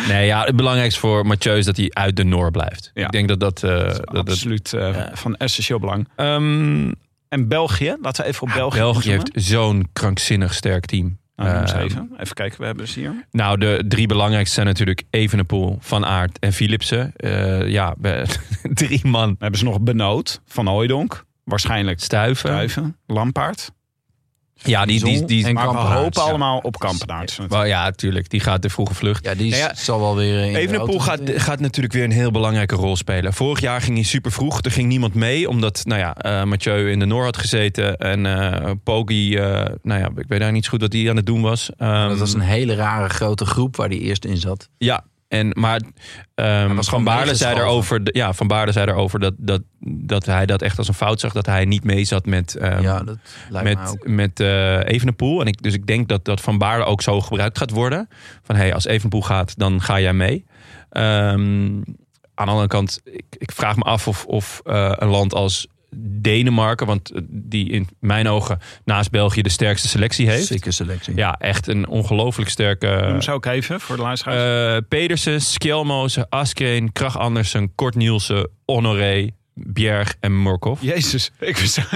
A: Nee, ja, het belangrijkste voor Mathieu is dat hij uit de Noor blijft.
C: Ja.
A: Ik denk dat dat... eh, dat, dat-
C: Absoluut eh, van essentieel belang.
A: Ehm,
C: En België, laten we even op
A: ja,
C: België.
A: België heeft
C: inzoomen.
A: zo'n krankzinnig sterk team.
C: Nou, noem eens
A: Ehm,
C: even. Even kijken, we hebben ze hier.
A: Nou, de drie belangrijkste zijn natuurlijk Evenepoel, Van Aert en Philipsen. Eh, ja, we- drie man
C: We hebben ze nog Benoot van Hooijdonk. Waarschijnlijk
A: stuiven.
C: Duiven, Lampaard.
A: Ja, die, die, die,
B: En
C: Maar we
B: Kampenaerts,
C: hopen
B: ja.
C: allemaal op Kampenaerts.
A: Wel, ja, tuurlijk. Die gaat de vroege vlucht.
B: Ja, die is-
A: Nou ja,
B: zal wel weer in de
A: Evenepoel
B: auto
A: gaat,
B: zitten.
A: gaat natuurlijk weer een heel belangrijke rol spelen. Vorig jaar ging hij super vroeg. Er ging niemand mee, omdat nou ja, eh, Mathieu in de Noor had gezeten. En eh Poggi, eh, nou ja, ik weet daar niet zo goed wat hij aan het doen was. Ehm,
B: Dat was een hele rare grote groep waar die eerst in zat.
A: Ja, en, maar ehm,
B: was
A: Van
B: gewoon
A: Baarle zei
B: meegeschoven.
A: daarover, ja, van Baarle zei daarover dat, dat, dat hij dat echt als een fout zag. Dat hij niet mee zat met, ehm,
B: ja, dat lijkt me
A: met,
B: ook.
A: met eh Evenepoel. En ik, dus ik denk dat, dat Van Baarle ook zo gebruikt gaat worden. Van hey, als Evenepoel gaat, dan ga jij mee. Ehm, aan de andere kant, ik, ik vraag me af of, of eh, een land als Denemarken, want eh, die in mijn ogen naast België de sterkste selectie heeft.
B: Zieke selectie.
A: Ja, echt een ongelooflijk sterke.
C: Noem ze ook even voor de luisteraars.
A: Eh, Pedersen, Skelmozen, Askreen, Krach Andersen, Kort Nielsen, Honoré, Bjerg en Murkoff.
C: Jezus, ik wist-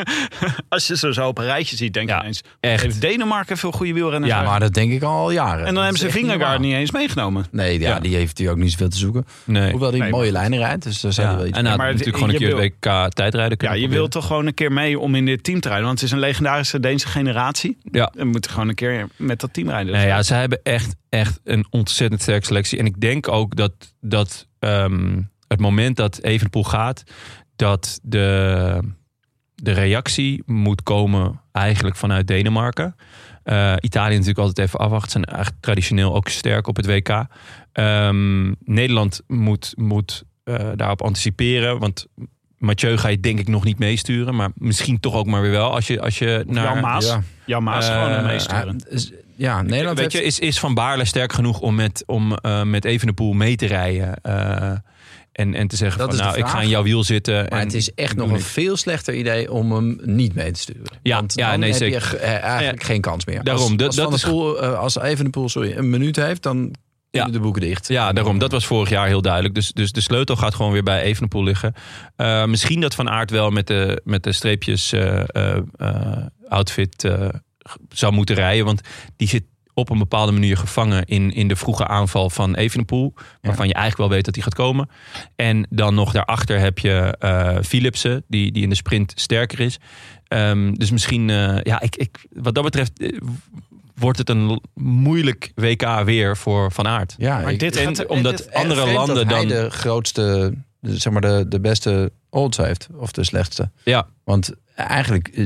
C: als je ze zo op een rijtje ziet, denk je
A: Ja,
C: ineens...
A: echt.
C: Heeft Denemarken veel goede wielrenners?
A: Ja,
C: eigenlijk?
B: Maar dat denk ik al jaren.
C: en dan
B: Dat
C: hebben
B: is
C: ze
B: echt
C: Vingegaard
B: normaal.
C: niet eens meegenomen.
B: Nee, ja,
C: Ja.
B: die heeft hij ook niet zoveel te zoeken.
A: Nee.
B: Hoewel die
C: Nee,
B: mooie lijnen rijdt, dus daar zijn
A: Ja,
B: wel iets mee.
A: en nou,
C: maar het-
A: natuurlijk gewoon een
C: je
A: keer
C: wil-
A: WK tijdrijden
C: Ja,
A: kunnen
C: je
A: proberen.
C: wilt toch gewoon een keer mee om in dit team te rijden. Want het is een legendarische Deense generatie.
A: Ja.
C: En we moeten gewoon een keer met dat team rijden.
A: Nee, ja, ze hebben echt, echt een ontzettend sterke selectie. En ik denk ook dat, dat ehm, het moment dat Evenpoel gaat, dat de, de reactie moet komen eigenlijk vanuit Denemarken. Eh, Italië natuurlijk altijd even afwachten. Zijn eigenlijk traditioneel ook sterk op het WK. Ehm, Nederland moet, moet eh, daarop anticiperen. Want Mathieu ga je denk ik nog niet meesturen. Maar misschien toch ook maar weer wel. Als je, als je naar...
C: Jan Maas.
B: ja.
C: Jan Maas
A: Eh,
C: gewoon een
B: Ja,
C: meesturen.
B: dus- ja, Nederland
A: Weet je,
B: heeft-
A: is, is Van Baarle sterk genoeg om met, om, eh met Evenepoel mee te rijden? eh, en, en te zeggen
B: Dat
A: van,
B: is de
A: nou, ik
B: vraag.
A: ga in jouw wiel zitten.
B: maar
A: en
B: het is echt
A: ik
B: nog
A: doe
B: een
A: niks.
B: veel slechter idee om hem niet mee te sturen.
A: Ja,
B: Want
A: ja,
B: dan
A: nee,
B: heb
A: zeker.
B: je ge- eh, eigenlijk geen kans meer.
A: Daarom,
B: als,
A: dat-
B: als
A: dat
B: Van der
A: is ge-
B: Poel, eh, als Evenepoel sorry, een minuut heeft, dan kunnen
A: Ja.
B: de boeken dicht.
A: Ja, daarom. Dat was vorig jaar heel duidelijk. Dus, dus de sleutel gaat gewoon weer bij Evenepoel liggen. Eh, misschien dat Van Aert wel met de, met de streepjes eh, eh, eh, outfit eh, g- zou moeten rijden. Want die zit op een bepaalde manier gevangen in, in de vroege aanval van Evenepoel. Waarvan je eigenlijk wel weet dat die gaat komen. En dan nog daarachter heb je eh, Philipsen, die, die in de sprint sterker is. Ehm, dus misschien, eh, ja, ik, ik, wat dat betreft eh, wordt het een l- moeilijk WK weer voor Van Aard.
B: Ja,
C: Maar
B: ik-
C: dit
A: en
C: gaat...
A: omdat
C: dit-
B: En
A: andere
B: vreemd
A: landen
B: dat hij
A: dan.
B: de grootste, de- zeg maar de, de beste odds heeft. Of de slechtste.
A: Ja.
B: Want eigenlijk, eh,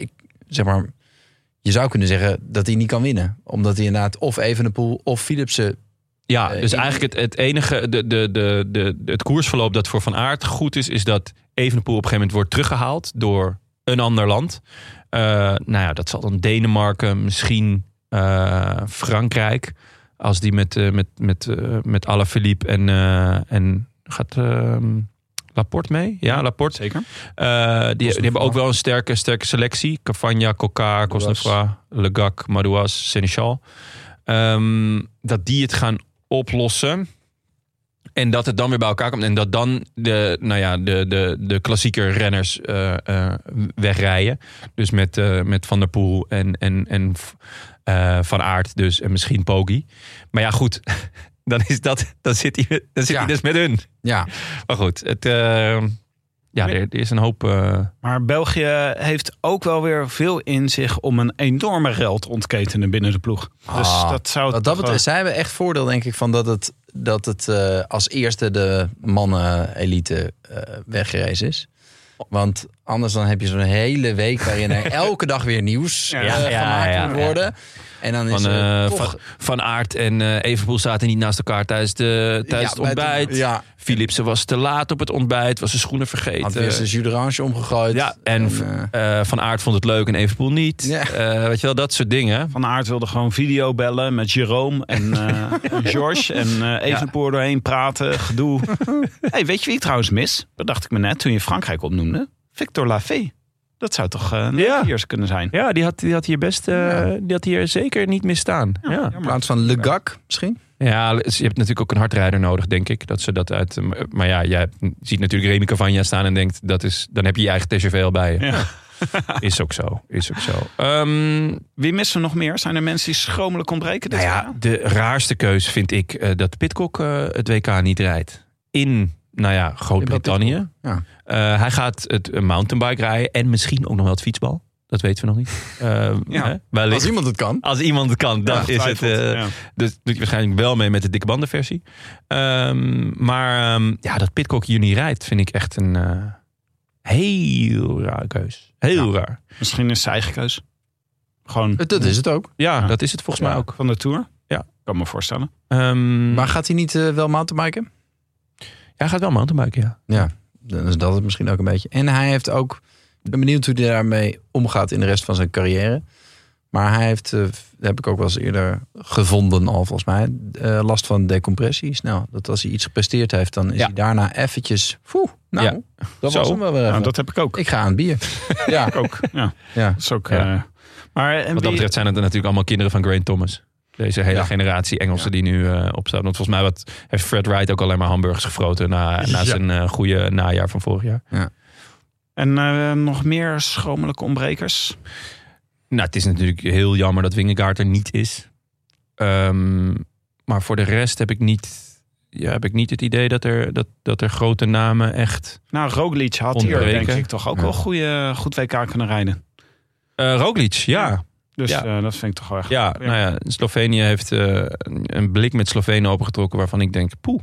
B: ik, zeg maar, je zou kunnen zeggen dat hij niet kan winnen. Omdat hij inderdaad of Evenepoel of Philipsen...
A: Ja,
B: Eh,
A: dus
B: ik-
A: eigenlijk het, het enige, de, de, de, de, het koersverloop dat voor Van Aert goed is, is dat Evenepoel op een gegeven moment wordt teruggehaald door een ander land. Eh, nou ja, dat zal dan Denemarken, misschien eh, Frankrijk. Als die met, eh met, met, eh, met Alaphilippe en, eh, en gaat eh, Laporte mee? Ja, Laporte.
C: Zeker.
A: Eh, die, die hebben ook wel een sterke, sterke selectie. Cavagna, Coca, Cosnefroid, Legac, Madouas, Seneschal. Ehm, dat die het gaan oplossen. En dat het dan weer bij elkaar komt. En dat dan de, nou ja, de, de, de klassieke renners eh, eh, wegrijden. Dus met, eh, met Van der Poel en, en, en eh, Van Aert dus. En misschien Poggi. Maar ja, goed. Dan, is dat, dan zit, hij, dan zit
B: Ja.
A: hij dus met hun.
B: Ja,
C: Oh,
A: Maar goed, het, eh, ja, er, er is een hoop... eh,
C: Maar België heeft ook wel weer veel in zich om een enorme rel te ontketenen binnen de ploeg. Dus
B: Ah,
C: dat zou...
B: wat dat
C: toch eh.
B: betreft,
C: wel-
B: zij hebben echt voordeel denk ik van dat het, dat het eh, als eerste de mannen-elite eh weggereisd is. Want anders dan heb je zo'n hele week waarin er elke dag weer nieuws
C: Ja,
B: eh,
A: ja,
B: gemaakt
A: ja,
B: moet
A: ja.
B: worden. En dan is
A: Van,
B: er
A: eh,
B: toch
A: van, van Aard en eh Evenpoel zaten niet naast elkaar tijdens, de, tijdens
B: Ja,
A: het
B: bij het-
A: ontbijt.
B: ja.
A: Philipsen was te laat op het ontbijt, was zijn schoenen
B: Had weer
A: vergeten.
B: zijn jus d'orange omgegooid.
A: Ja, en
B: eh,
A: eh, Van Aert vond het leuk en Evenpoel niet.
B: Ja.
A: Eh, weet je wel, dat soort dingen.
C: Van Aert wilde gewoon video bellen met Jerome en eh George. En eh Evenepoel doorheen praten, gedoe. hey, weet je wie ik trouwens mis? Dat dacht ik me net toen je Frankrijk opnoemde. Victor Lafay. Dat zou toch eh een
A: Ja.
C: Belgiërs kunnen zijn?
A: Ja, die had, die had hier best, eh, die had hier zeker niet misstaan. Ja, ja.
B: in plaats van Le Gac misschien.
A: dus je hebt natuurlijk ook een hardrijder nodig, denk ik. Dat ze dat uit. Maar ja, jij ziet natuurlijk Remy Cavagna staan en denkt dat is. Dan heb je je eigen TGV al bij je.
C: Ja.
A: Is ook zo. Is ook zo. Ehm,
C: Wie missen we nog meer? Zijn er mensen die schromelijk ontbreken dit
A: nou ja,
C: jaar?
A: de raarste keuze vind ik eh, dat Pitcock het WK niet rijdt. In, nou ja, Groot-Brittannië.
B: Ja.
A: Eh, hij gaat het eh, mountainbike rijden en misschien ook nog wel het fietsbal. Dat weten we nog niet. Eh,
C: Ja.
A: hè, wellicht.
B: Als iemand het kan.
A: Als iemand het kan, dan is het...
C: Ongetwijfeld,
A: eh,
C: ja.
A: Dus doet hij waarschijnlijk wel mee met de dikke bandenversie. Ehm, maar ehm, ja, dat Pitcock hier niet rijdt, vind ik echt een eh, heel raar keus. Heel raar.
C: Misschien is zijn eigen keus. Gewoon
B: Dat is het ook.
A: Ja,
C: Ja.
A: dat is het volgens mij ook.
C: van de Tour.
A: Ja.
C: Kan me voorstellen.
A: Ehm,
B: Maar gaat hij niet eh, wel mountainbiken?
A: ja, hij gaat wel mountainbiken, ja.
B: Ja, dan is dat het misschien ook een beetje. En hij heeft ook, ik ben benieuwd hoe hij daarmee omgaat in de rest van zijn carrière. Maar hij heeft, eh, heb ik ook wel eens eerder gevonden al volgens mij, eh, last van decompressies. Nou, dat als hij iets gepresteerd heeft, dan is
A: Ja.
B: hij daarna eventjes, poeh, nou,
A: Ja.
B: dat
A: Zo.
B: was hem wel weer
C: Nou,
B: even.
C: dat heb ik ook.
B: Ik ga aan het bier. ja,
C: ook. Ja.
B: ja.
C: Dat is ook.
A: Ja.
C: eh, maar en
A: Wat dat
C: wie-
A: betreft zijn het natuurlijk allemaal kinderen van Grant Thomas. Deze hele
B: Ja.
A: generatie Engelsen die nu eh opstaat. Want volgens mij wat, heeft Fred Wright ook alleen maar hamburgers gefroten... na, na
B: Ja.
A: zijn eh, goede najaar van vorig jaar.
C: en eh, nog meer schromelijke ontbrekers.
A: Nou, het is natuurlijk heel jammer dat Wingegaard er niet is. Ehm, maar voor de rest heb ik niet, ja, heb ik niet het idee dat er, dat, dat er grote namen echt...
C: Nou, Roglic had hier
A: Ontbreken.
C: denk ik toch ook
B: Ja.
C: wel goede, goed WK kunnen rijden.
A: Eh Roglic, ja.
C: Dus
A: Ja.
C: eh, dat vind ik toch wel echt.
A: Ja, nou ja, Slovenië heeft eh, een- een blik met Slovenen opengetrokken waarvan ik denk, poeh.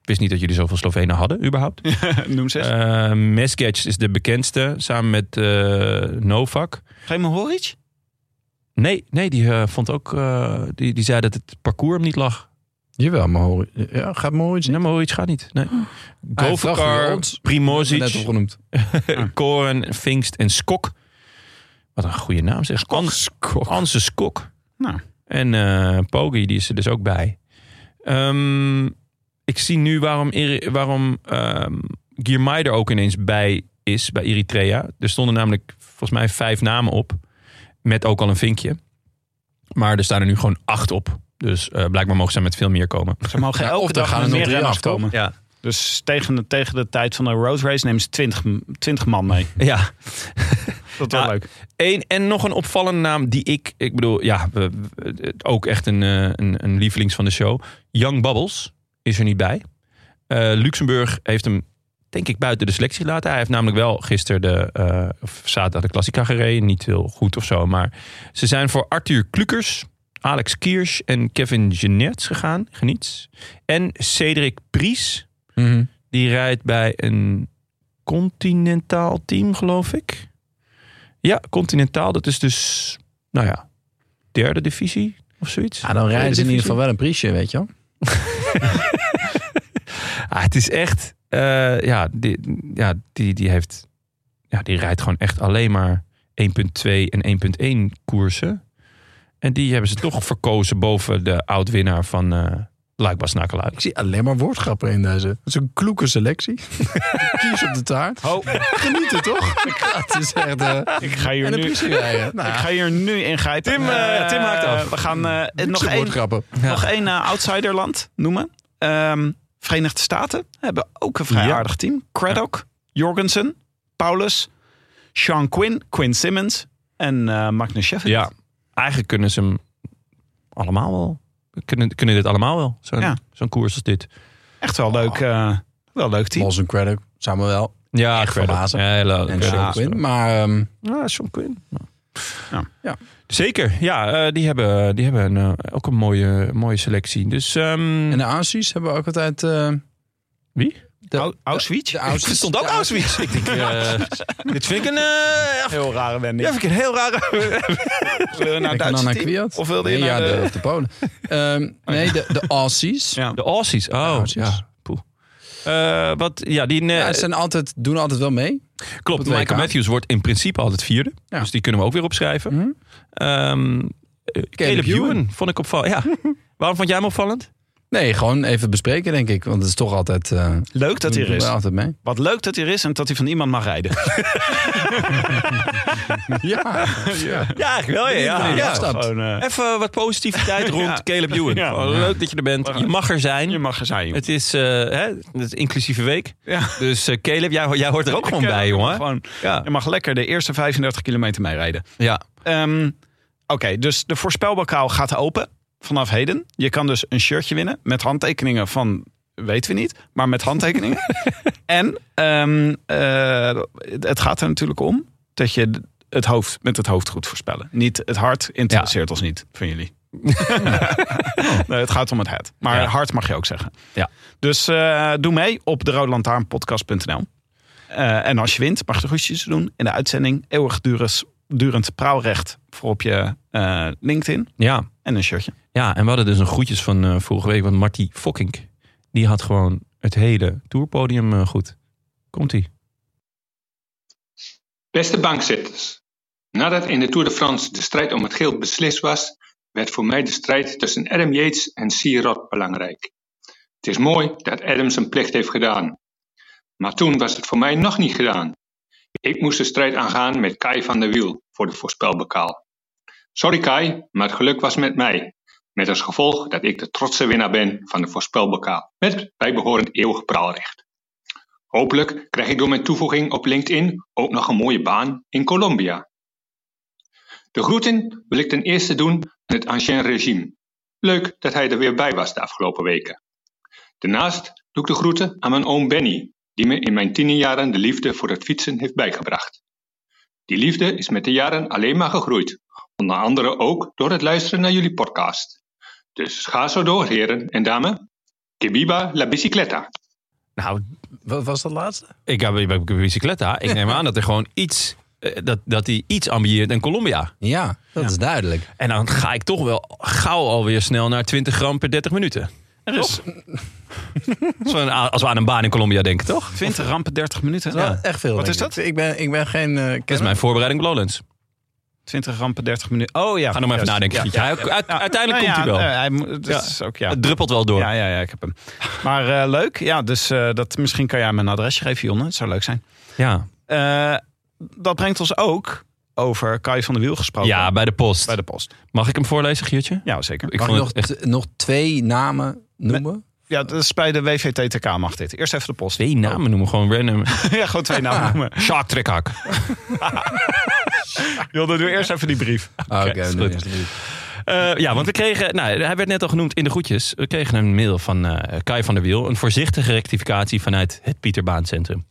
A: Ik wist niet dat jullie zoveel Slovenen hadden, überhaupt.
C: Noem ze eens.
A: Eh Mesgec is de bekendste, samen met eh, Novak.
C: Geen Horic?
A: Nee, nee die, eh, vond ook, eh, die, die zei dat het parcours hem niet lag.
B: Jawel, maar hoor, ja, gaat Moritz niet.
A: Nee, maar iets gaat niet. Nee.
B: Hij heeft wel
A: Govakar,
B: gerold. Net
A: Primozic,
B: opgenoemd.
A: Eh, Koren, Vingst en Skok. Wat een goede naam zeg. Ans, Anse Skok.
C: Nou.
A: En eh Pogi, die is er dus ook bij. Ehm, ik zie nu waarom, Eri- waarom ehm Girmay er ook ineens bij is, bij Eritrea. Er stonden namelijk volgens mij vijf namen op. Met ook al een vinkje. Maar er staan er nu gewoon acht op. Dus eh, blijkbaar mogen ze met veel meer komen.
C: Ze mogen
B: Ja, of
C: elke
B: daar
C: dag
B: gaan
C: met
B: er nog
C: meer
B: drie
C: renners
B: af, toch?
C: komen.
A: Ja,
C: Dus tegen de, tegen de tijd van de road race nemen ze 20, m- 20 man mee.
A: ja.
C: Dat is wel
A: Ja.
C: leuk.
A: Eén, en nog een opvallende naam die ik, ik bedoel, ja, we- we- ook echt een, eh, een, een lievelings van de show. Young Bubbles is er niet bij. Eh, Luxemburg heeft hem, denk ik, buiten de selectie gelaten. Hij heeft namelijk wel gisteren de, eh, of zaterdag de Klassica gereden. Niet heel goed of zo, maar ze zijn voor Arthur Klukers, Alex Kiers en Kevin Genets gegaan. Geniets. En Cedric Pries,
B: Mhm.
A: die rijdt bij een continentaal team, geloof ik. Ja, continentaal. Dat is dus, nou ja, derde divisie of zoiets.
B: Ja, dan rijden ze in
A: Tweede
B: ieder
A: divisie.
B: geval wel een priesje, weet je wel.
A: Ah, het is echt, eh, ja, die, ja, die, die heeft, ja, die rijdt gewoon echt alleen maar 1.2 en 1.1 koersen. En die hebben ze toch verkozen boven de oud-winnaar van eh Luikbas Nakeluik.
B: Ik zie alleen maar woordgrappen in deze. Dat is een kloeke selectie. Kies op de taart. Genieten, toch? Het is echt... eh,
C: Ik ga hier
B: en een
C: nu...
B: priesje rijden. Nou,
C: Ik ga hier nu ingrijpen.
A: Tim, eh, Tim haakt af.
C: Eh, We gaan eh, eh, nog
B: nog
C: één,
B: woordgrappen.
C: nog één eh, outsiderland noemen. Ehm, Verenigde Staten hebben ook een vrij
A: Ja.
C: aardig team. Craddock, Jorgensen, Paulus, Sean Quinn, Quinn Simmons en eh Magnus Sheffield.
A: Ja, eigenlijk kunnen ze hem allemaal wel. Kunnen, kunnen dit allemaal wel, zo'n
C: Ja.
A: zo'n koers als dit.
C: Echt wel leuk, eh, wel leuk team.
B: Los en credit. Samen wel.
A: Ja,
B: Echt
A: verder.
B: verbazen.
A: Ja, hele-
B: En
A: ja,
B: Sean Quinn. Maar ehm,
A: Ja, Sean Quinn. Ja.
B: Ja.
A: Zeker, ja, eh, die hebben, die hebben een, eh, ook een mooie, mooie selectie. Dus ehm,
C: Hm.
B: en de Aussies hebben we ook altijd... eh,
A: Wie?
B: De,
C: Au- Auschwitz?
B: de Aussies.
A: er stond ook
B: De
A: Auschwitz. Ik denk, eh, dit vind ik een, eh, echt-
C: Heel rare wending.
A: ja, vind ik een heel rare...
C: Wil je naar
B: Ik
C: het
B: kan
C: Duitse
B: dan naar
C: team?
B: Kwiat.
C: Of wilde je
B: Nee,
C: naar
B: ja,
C: de-
B: de, of de Polen. Ehm, nee, de, de Aussies.
C: Ja.
A: De Aussies, oh.
B: Aussies.
A: Ja, poeh. Eh, wat, ja, die, eh,
B: Ja, ze zijn altijd, doen altijd wel mee.
A: Klopt,
B: Op het
A: Michael
B: WK.
A: Matthews wordt in principe altijd vierde.
B: Ja.
A: Dus die kunnen we ook weer opschrijven.
B: Mhm.
A: Ehm, eh, Caleb
B: Ewan.
A: Ewan vond ik opvallend. Ja. Waarom vond jij hem opvallend?
B: Nee, gewoon even bespreken, denk ik. Want het is toch altijd... eh,
C: Leuk dat hij er
B: doen we
C: is.
B: altijd mee.
C: Wat leuk dat hij er is en dat hij van iemand mag rijden.
B: Ja,
A: Ja, eigenlijk wel. Ja, ja.
B: Ja,
A: Ja.
B: stapt.
C: Gewoon, eh,
A: Even wat positiviteit rond
C: Ja.
A: Caleb Ewan.
C: Ja.
A: Oh, Leuk dat je er bent. Je mag er zijn.
C: je mag er zijn, joh.
A: Het is, eh, hè, het is inclusieve week.
C: Ja.
A: Dus eh, Caleb, jij, jij hoort er ook gewoon bij, jongen.
C: Gewoon,
A: Ja.
C: je mag lekker de eerste 35 kilometer meerijden.
A: ja.
C: Ehm, Oké, dus de voorspelbokaal gaat open vanaf heden. Je kan dus een shirtje winnen met handtekeningen van, weten we niet, maar met handtekeningen. en ehm, eh, het gaat er natuurlijk om dat je het hoofd met het hoofd goed voorspellen. Niet het hart interesseert ons niet van jullie. nee, het gaat om het het. Maar
A: Ja.
C: hart mag je ook zeggen.
B: Ja.
C: Dus eh, doe mee op de eh, en als je wint, mag je de groetjes doen in de uitzending. Eeuwigdurend durend praalrecht voor op je eh, LinkedIn.
A: Ja.
C: En een shirtje.
A: ja, en we hadden dus een groetjes van eh, vorige week. Want Marty Fokkink, die had gewoon het hele tourpodium eh, goed. Komt-ie.
D: Beste bankzitters, nadat in de Tour de France de strijd om het geel beslist was, werd voor mij de strijd tussen Adam Yates en Sirot belangrijk. Het is mooi dat Adam zijn plicht heeft gedaan. Maar toen was het voor mij nog niet gedaan. Ik moest de strijd aangaan met Kai van der Wiel voor de voorspelbokaal. Sorry Kai, maar het geluk was met mij. Met als gevolg dat ik de trotse winnaar ben van de voorspelbokaal. Met bijbehorend eeuwig praalrecht. Hopelijk krijg ik door mijn toevoeging op LinkedIn ook nog een mooie baan in Colombia. De groeten wil ik ten eerste doen aan het ancien regime. Leuk dat hij er weer bij was de afgelopen weken. Daarnaast doe ik de groeten aan mijn oom Benny, die me in mijn tienerjaren de liefde voor het fietsen heeft bijgebracht. Die liefde is met de jaren alleen maar gegroeid, onder andere ook door het luisteren naar jullie podcast. Dus ga zo door, heren en dames. Que viva la bicicleta!
A: Nou,
B: Wat was dat laatste?
A: ik heb ik heb een bicicletta. Ik neem aan dat er gewoon iets... eh, Dat, dat hij iets ambieert in Colombia.
B: Ja, dat is duidelijk.
A: En dan ga ik toch wel gauw alweer snel naar 20 gram per 30 minuten.
C: Er is
A: Als we aan, als we aan een baan in Colombia denken, toch?
C: 20 rampen 30 minuten.
B: Ja, echt veel.
C: Wat
B: denk
C: is
B: ik.
C: dat?
B: Ik ben, ik ben geen eh
A: Dat is
B: kenner.
A: mijn voorbereiding op Lowlands.
C: 20 rampen 30 minuten. Oh ja.
A: Ga nog maar even
C: juist.
A: nadenken.
C: Ja, ja.
A: Hij- u- uit-
C: Ja.
A: uiteindelijk
C: Nou
A: komt hij
C: ja,
A: wel.
C: eh, hij moet- het is ook, ja.
A: Het druppelt wel door.
C: Ja, ja, ja, ik heb hem. Maar eh, leuk. Ja, dus eh, dat, misschien kan jij mijn adresje geven, Jonne. Het zou leuk zijn.
A: Ja.
C: Eh, dat brengt ons ook over Kai van der Wiel gesproken.
A: Ja, bij de post.
C: bij de post.
A: Mag ik hem voorlezen, Giertje?
C: Ja, zeker.
A: Ik
B: Mag ik
A: vond
B: nog,
A: het echt
B: t- nog twee namen noemen?
C: Ja, dat is bij de WVTTK mag dit. Eerst even de post.
A: twee namen Nou, noemen, gewoon random.
C: ja, gewoon twee namen noemen.
A: Shark Trekhak.
C: Wilde, doe eerst even die brief.
B: Ah, Oké,
A: is
B: nee,
A: goed.
B: nee, nee.
A: Eh, ja, want we kregen, nou, hij werd net al genoemd in de groetjes. We kregen een mail van eh, Kai van der Wiel. Een voorzichtige rectificatie vanuit het Pieterbaancentrum.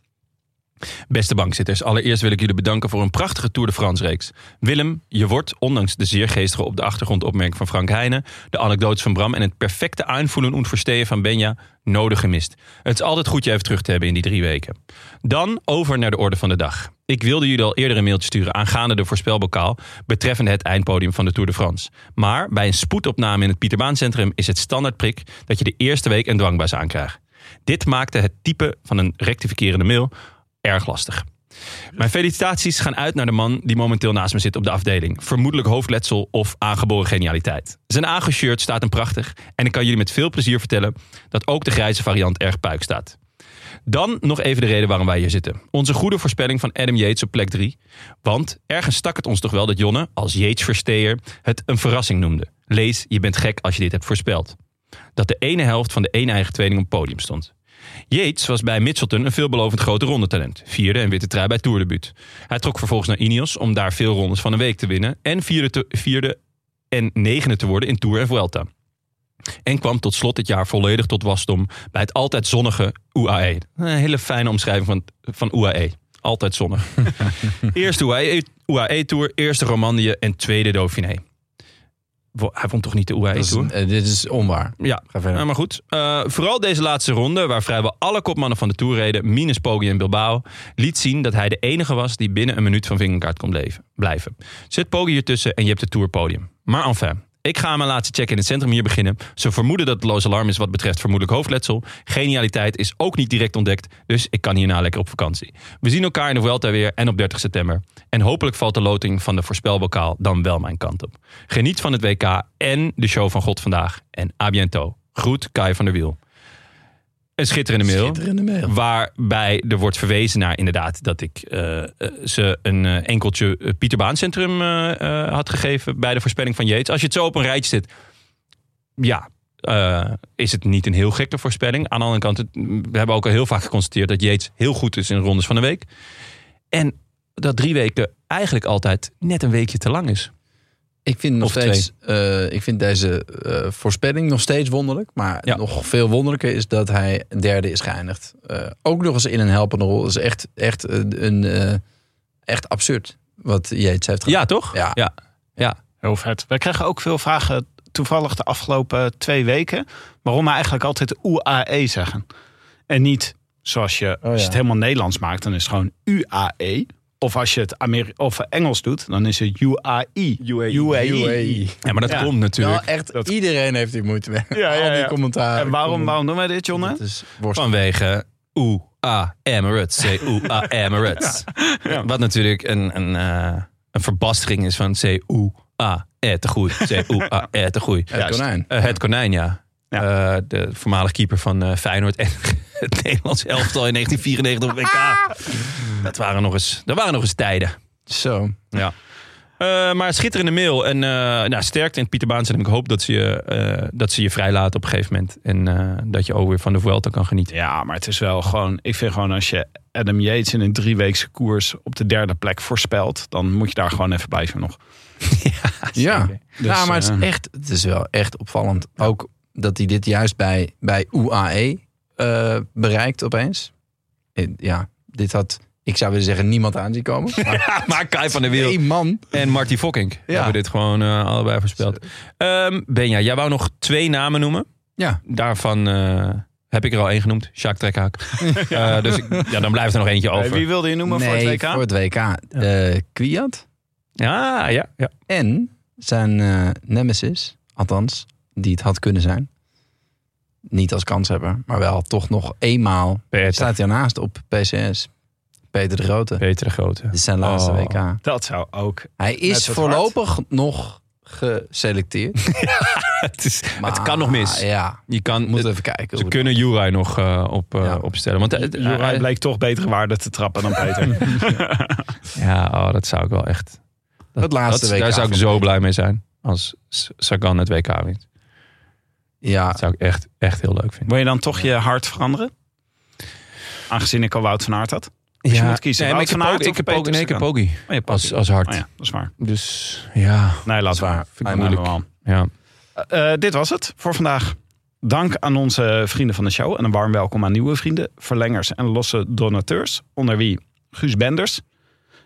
A: Beste bankzitters, allereerst wil ik jullie bedanken voor een prachtige Tour de France-reeks. Willem, je wordt, ondanks de zeer geestige op de achtergrond opmerking van Frank Heijnen, de anekdotes van Bram en het perfecte aanvoelen en verstehen van Benja, nodig gemist. Het is altijd goed je even terug te hebben in die drie weken. Dan over naar de orde van de dag. Ik wilde jullie al eerder een mailtje sturen aangaande de voorspelbokaal betreffende het eindpodium van de Tour de France. Maar bij een spoedopname in het Pieterbaancentrum is het standaardprik dat je de eerste week een dwangbuis aankrijgt. Dit maakte het type van een rectificerende mail erg lastig. Mijn felicitaties gaan uit naar de man die momenteel naast me zit op de afdeling. Vermoedelijk hoofdletsel of aangeboren genialiteit. Zijn aangeshirt staat hem prachtig en ik kan jullie met veel plezier vertellen dat ook de grijze variant erg puik staat. Dan nog even de reden waarom wij hier zitten. Onze goede voorspelling van Adam Yates op plek 3. Want ergens stak het ons toch wel dat Jonne, als Yates-versteer, het een verrassing noemde. Lees, je bent gek als je dit hebt voorspeld. Dat de ene helft van de ene eigen tweeling op het podium stond. Yates was bij Mitchelton een veelbelovend grote rondetalent. Vierde en witte trui bij Tourdebuut. Hij trok vervolgens naar Ineos om daar veel rondes van een week te winnen. En vierde, te- vierde en negende te worden in Tour en Vuelta. En kwam tot slot dit jaar volledig tot wasdom bij het altijd zonnige UAE. Een hele fijne omschrijving van, van UAE. Altijd zonnig. Eerste E, UAE, UAE Tour, eerste Romandie en tweede Dauphiné. Wo- Hij vond toch niet de UAE
B: Dat is-
A: Tour?
B: eh, dit is onwaar.
A: Ja,
B: Ga verder.
A: nou, maar goed. Eh, vooral deze laatste ronde, waar vrijwel alle kopmannen van de Tour reden, minus Poggi en Bilbao, liet zien dat hij de enige was die binnen een minuut van Vingegaard kon bleven, blijven. Zet Poggi ertussen en je hebt het Tourpodium. Maar enfin, ik ga aan mijn laatste check in het centrum hier beginnen. Ze vermoeden dat het loos alarm is wat betreft vermoedelijk hoofdletsel. Genialiteit is ook niet direct ontdekt, dus ik kan hierna lekker op vakantie. We zien elkaar in de Vuelta weer en op 30 september. En hopelijk valt de loting van de voorspelbokaal dan wel mijn kant op. Geniet van het WK en de show van God vandaag. En à bientôt. Groet, Kai van der Wiel. Een schitterende mail.
B: Schitterende mail.
A: Waarbij er wordt verwezen naar inderdaad dat ik eh, eh, ze een eh, enkeltje eh, Pieter Baan Centrum eh, eh, had gegeven bij de voorspelling van Yates. Als je het zo op een rijtje zit, ja, eh, is het niet een heel gekke voorspelling. Aan de andere kant, het- we hebben ook al heel vaak geconstateerd dat Yates heel goed is in de rondes van de week. En dat drie weken eigenlijk altijd net een weekje te lang is.
B: Ik vind, nog
A: Of
B: steeds, eh, ik vind deze eh, voorspelling nog steeds wonderlijk. Maar
A: Ja.
B: nog veel wonderlijker is dat hij derde is geëindigd. Eh, ook nog eens in een helpende rol. Dat is echt, echt, eh, een, eh, echt absurd wat Jeets heeft gedaan.
A: Ja, toch?
B: Ja.
A: ja. ja.
C: Heel vet. We krijgen ook veel vragen toevallig de afgelopen twee weken. Waarom we eigenlijk altijd UAE zeggen. En niet zoals je, als je het helemaal Nederlands maakt, dan is het gewoon UAE. E. Of als je het Ameri of Engels doet, dan is het UAE.
A: UAE.
C: UAE.
B: UAE.
A: Ja, maar dat
C: Ja.
A: komt natuurlijk.
B: E. Nou, echt,
C: E. Dat-
B: iedereen heeft hier moeite mee.
C: Ja, ja,
B: Al die
C: ja.
B: commentaar.
C: En waarom, waarom doen wij dit, Jonne?
B: Dat is worst.
A: Vanwege UA Emirates. CUA Emirates. Wat natuurlijk een, een, eh, een verbastering is van CUA eh, te goed. CUA eh, te goed.
B: Het konijn.
A: Eh, het konijn, ja. Eh, de voormalig keeper van eh, Feyenoord en het Nederlands elftal in 1994 op WK. Dat waren nog eens, dat waren nog eens tijden.
B: Zo.
A: Ja. Eh, maar schitterende mail. En eh nou, sterkte in het Pieter Baans. En ik hoop dat ze, je, eh, dat ze je vrij laten op een gegeven moment. En eh, dat je ook weer van de Vuelta kan genieten.
C: Ja, maar het is wel gewoon. Ik vind gewoon als je Adam Yates in een drieweekse koers op de derde plek voorspelt, dan moet je daar gewoon even blijven nog.
B: Ja, ja maar het is,
C: Ah, eh,
B: echt, het is wel echt opvallend. Ook dat hij dit juist bij, bij UAE eh, bereikt opeens. En ja, dit had, ik zou willen zeggen, niemand aan zien komen. Maar
A: maar Kai van der Wiel
B: één man.
A: en Marty Fokking hebben dit gewoon eh, allebei voorspeld. Ehm, Benja, jij wou nog twee namen noemen.
B: Ja.
A: Daarvan eh, heb ik er al één genoemd. Sjaak Trekhaak. Eh, dus ik- ja, dan blijft er nog eentje
C: eh,
A: over.
C: Wie wilde je noemen voor het
B: Nee,
C: WK?
B: voor het WK. Eh, Kwiat
A: Ja, ja, ja.
B: en zijn eh, nemesis, althans, die het had kunnen zijn. Niet als kanshebber, maar wel toch nog eenmaal
A: Peter,
B: staat hij ernaast op PCS. Peter de Grote.
A: Peter de Grote.
B: Dit is zijn laatste
A: Oh.
B: WK.
C: Dat zou ook.
B: Hij
C: Met
B: is
C: het
B: voorlopig nog geselecteerd.
A: Het, is,
B: Maar,
A: het kan nog mis.
B: Ja,
A: Je kan,
B: moet even kijken.
A: Ze
B: hoe-
A: kunnen Juraj nog eh, op, eh,
B: Ja.
A: opstellen. Want, eh, eh,
C: Juraj bleek toch betere waarde te trappen dan Peter.
A: Ja, oh, dat zou ik wel echt... Dat,
B: Het laatste
A: dat-
B: WK
A: Daar zou ik
B: van
A: zo
B: mij.
A: blij mee zijn. Als S- Sagan het WK wint.
B: Ja,
A: Dat zou ik echt, echt heel leuk vinden.
C: Wil je dan toch je hart veranderen? Aangezien ik al Wout van Aert had. Dus je moet kiezen.
A: Nee, maar ik
C: Wout
A: heb
C: van
A: ook,
C: Aert
A: ik
C: of
A: heb ook,
C: Peter
A: nee, ik heb Pogi
C: Oh, je hebt
A: als,
C: ook-
A: als hart.
C: Oh ja, dat is waar.
A: Dus ja,
C: Nee, laat
B: waar.
C: maar. Vind ik
B: Ah,
C: moeilijk.
B: moeilijk.
A: ja.
C: Eh, dit was het voor vandaag. Dank aan onze vrienden van de show en een warm welkom aan nieuwe vrienden, verlengers en losse donateurs. Onder wie Guus Benders,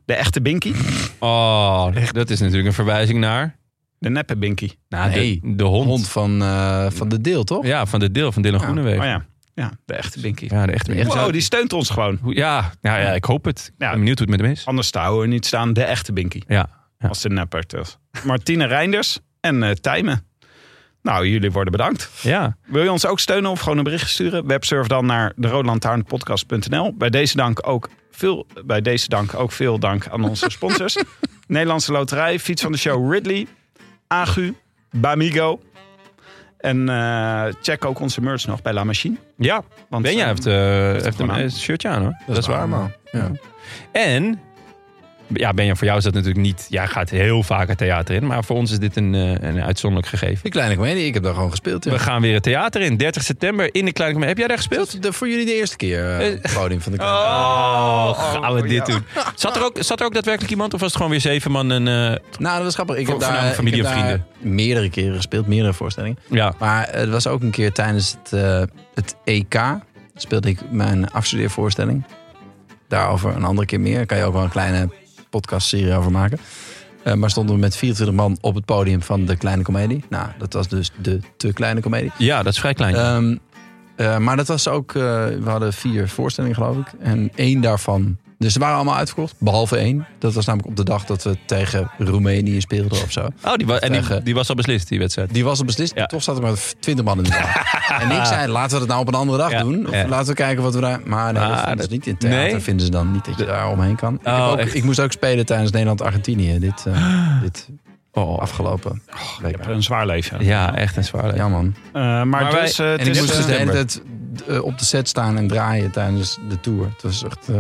C: de echte Binky,
A: Oh, dat is natuurlijk een verwijzing naar...
C: de neppe Binky.
A: Nou,
B: Nee,
A: de, de hond.
B: hond van, eh, van de deel, toch?
A: Ja, van de deel van Dylan
B: Ja.
A: Groenewegen.
C: Oh ja, ja de echte Binky.
A: ja. de echte...
B: De echte-
C: Wow, die steunt ons gewoon.
A: Hoe- Ja, ja, ja, ik hoop het.
C: Ja.
A: Ik ben benieuwd hoe het met hem is.
C: Anders zou er niet staan de echte Binky.
A: Ja. Ja.
C: Als de nepper dus. Martine Reinders en eh Tijmen. Nou, jullie worden bedankt.
A: ja.
C: Wil je ons ook steunen of gewoon een bericht sturen? Websurf dan naar de Bij deze dank ook veel, bij deze dank ook veel dank aan onze sponsors. Nederlandse Loterij, Fiets van de Show Ridley, Agu, Bamigo. En eh, check ook onze merch nog bij La Machine.
A: ja.
C: Want,
A: Benja
C: eh,
A: heeft, eh
C: heeft
A: heeft
C: hem
A: een
C: aan.
A: eh, shirtje aan hoor.
B: Dat is waar, man. Ja.
A: En, ja, Benja, voor jou is dat natuurlijk niet. Jij gaat heel vaak het theater in, maar voor ons is dit een, eh, een uitzonderlijk gegeven.
B: De kleine comedie, ik heb daar gewoon gespeeld. Ja.
A: We gaan weer het theater in. 30 september in de Kleine Comedie. Heb jij daar
B: Dat
A: gespeeld?
B: is de- voor jullie de eerste keer eh, op het podium van de kleine
A: Oh, gaan we dit doen? Zat er, ook, zat er ook daadwerkelijk iemand of was het gewoon weer zeven man? En, eh,
B: Nou, dat was grappig. Ik
A: Voor-
B: heb daar,
A: voornamelijk familie
B: ik heb
A: en
B: daar meerdere keren gespeeld, meerdere voorstellingen.
A: ja.
B: Maar het was ook een keer tijdens het, eh, het EK. Speelde ik mijn afstudeervoorstelling. Daarover een andere keer meer. Kan je ook wel een kleine podcastserie over maken. Eh, maar stonden we met 24 man op het podium van de kleine komedie. Nou, dat was dus de te kleine komedie.
A: ja, dat is vrij klein.
B: Ehm, eh, maar dat was ook, eh, we hadden vier voorstellingen geloof ik. En één daarvan, dus ze waren allemaal uitverkocht, behalve één. Dat was namelijk op de dag dat we tegen Roemenië speelden of zo.
A: oh, die, wa- en die,
B: tegen-
A: die was al beslist, die wedstrijd.
B: Die was al beslist,
A: Ja.
B: maar toch zaten er maar 20 man in de zaal. en ik zei, laten we dat nou op een andere dag
A: Ja,
B: doen. Of
A: ja.
B: laten we kijken wat we daar... Maar nee, dat
A: Ah,
B: vinden ze
A: dat-
B: niet. In het theater
A: nee.
B: vinden ze dan niet dat je daar omheen kan. Ik, heb
A: Oh,
B: ook-
A: echt?
B: ik moest ook spelen tijdens Nederland-Argentinië. Dit, eh, dit Oh, afgelopen. week.
C: Een zwaar leven.
A: Ja, echt een zwaar leven.
B: Ja, man.
C: Eh, maar,
A: Maar wij-
C: dus, eh, het
B: En ik
C: is,
B: moest
C: eh,
B: dus de hele
A: september.
B: tijd eh, op de set staan en draaien tijdens de tour. Het was echt... eh,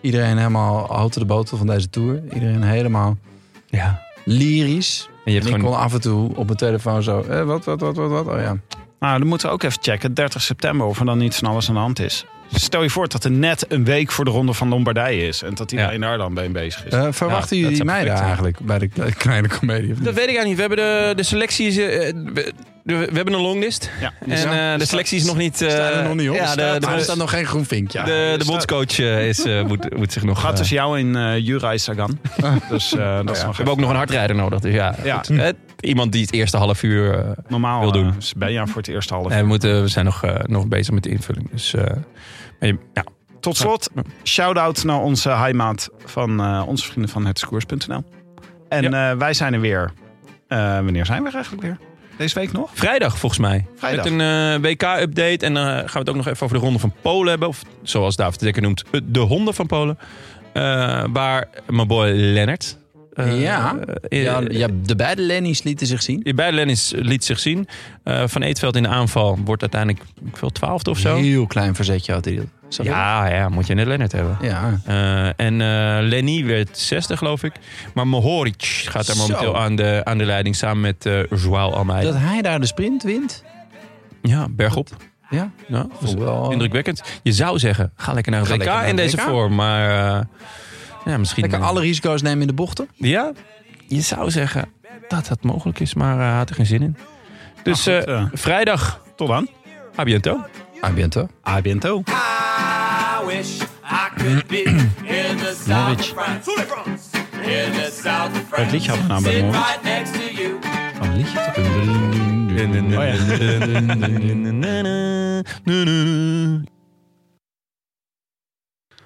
B: iedereen helemaal houten de botel van deze tour. Iedereen helemaal
A: Ja.
B: lyrisch.
A: En je hebt
B: en ik
A: gewoon...
B: kon af en toe op mijn telefoon zo... eh, wat, wat, wat, wat, wat? Oh ja.
C: Nou, dan moeten we ook even checken, 30 september, of er dan niet van alles aan de hand is. Stel je voor dat er net een week voor de Ronde van Lombardije is. En dat iedereen daar dan mee bezig is.
B: Eh, verwachten
A: Ja, dat
B: jullie
A: zou
B: mij
A: perfect
B: daar
A: zijn.
B: eigenlijk bij de kle- kleine comedie? of niet?
A: Dat weet ik eigenlijk niet. We hebben de, de selectie... Is, eh, eh, we, de- we hebben een longlist.
C: Ja. Dus
A: En
B: Ja.
A: eh, de selectie is nog niet... eh,
B: Staan er nog niet op.
A: Ja, de,
B: maar er staat
A: de,
B: nog geen groen vinkje.
A: de, de bondscoach eh, is, eh, moet, moet zich nog...
C: Gaat
A: eh,
C: tussen jou en eh Juraj Sagan. dus eh, dat is
A: Nou we
C: nog
A: hebben ook nog een hardrijder nodig. Dus ja,
C: Ja.
A: goed. Eh, iemand die het eerste half uur... eh,
C: normaal.
A: wil doen.
C: eh, is Benja voor het eerste half.
A: nee, we, moeten, we zijn nog, eh, nog bezig met de invulling. Dus eh, maar je- ja,
C: Tot slot, shout-out naar onze heimaat van eh, onze vrienden van hetskoers.nl. En eh, wij zijn er weer. Eh, wanneer zijn we er eigenlijk weer? Deze week nog?
A: Vrijdag volgens mij.
C: Vrijdag.
A: Met een WK-update. En dan eh, gaan we het ook nog even over de Ronde van Polen hebben. Of zoals David Dekker noemt, eh, de Honden van Polen. Eh, waar mijn boy Lennart... eh,
B: Ja.
A: eh,
B: Ja, ja, de beide Lenny's lieten zich zien.
A: Bij Lennis liet zich zien. Eh, van Eetveld in de aanval wordt uiteindelijk ik wil twaalfde of zo.
B: Heel klein verzetje had hij. dat. Zag je
A: Ja, ja, moet je net Lennart hebben.
B: dat? Ja.
A: Eh, en eh, Lenny werd zesde, geloof ik. Maar Mohoric gaat daar
B: Zo.
A: momenteel aan de, aan de leiding samen met eh Joao Almeida.
B: Dat hij daar de sprint wint.
A: ja, bergop.
B: Ja.
A: Ja, dus
B: Vond ik wel- eh,
A: indrukwekkend. Je zou zeggen, ga lekker naar het
B: Ga
A: WK
B: lekker naar
A: in
B: het
A: deze
B: WK.
A: vorm. Maar eh, ja, misschien...
B: Lekker
A: eh,
B: alle risico's nemen in de bochten.
A: Ja, je zou zeggen dat dat mogelijk is, maar hij had er geen zin in. Dus
C: Nou, goed,
A: eh,
C: eh.
A: vrijdag,
C: Tot dan.
A: à bientôt.
B: Ah, bientôt.
C: A biento.
E: I wish I could be in the south of France. In the south of France.
C: liedje had me nou bij
E: Sit
C: me hoor.
E: right next to you.
B: Een liedje te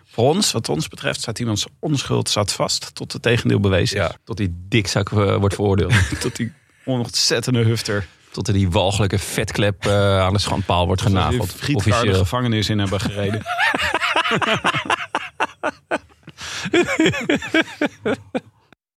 C: Voor ons, wat ons betreft, staat iemands onschuld staat vast tot het tegendeel bewezen is.
A: Ja. Tot die dikzak eh, wordt veroordeeld.
C: Tot die ontzettende hufter.
A: Tot er die walgelijke vetklep eh, aan de schandpaal wordt
C: die
A: genageld.
C: frietkar de
A: Officieel.
C: gevangenis in hebben gereden.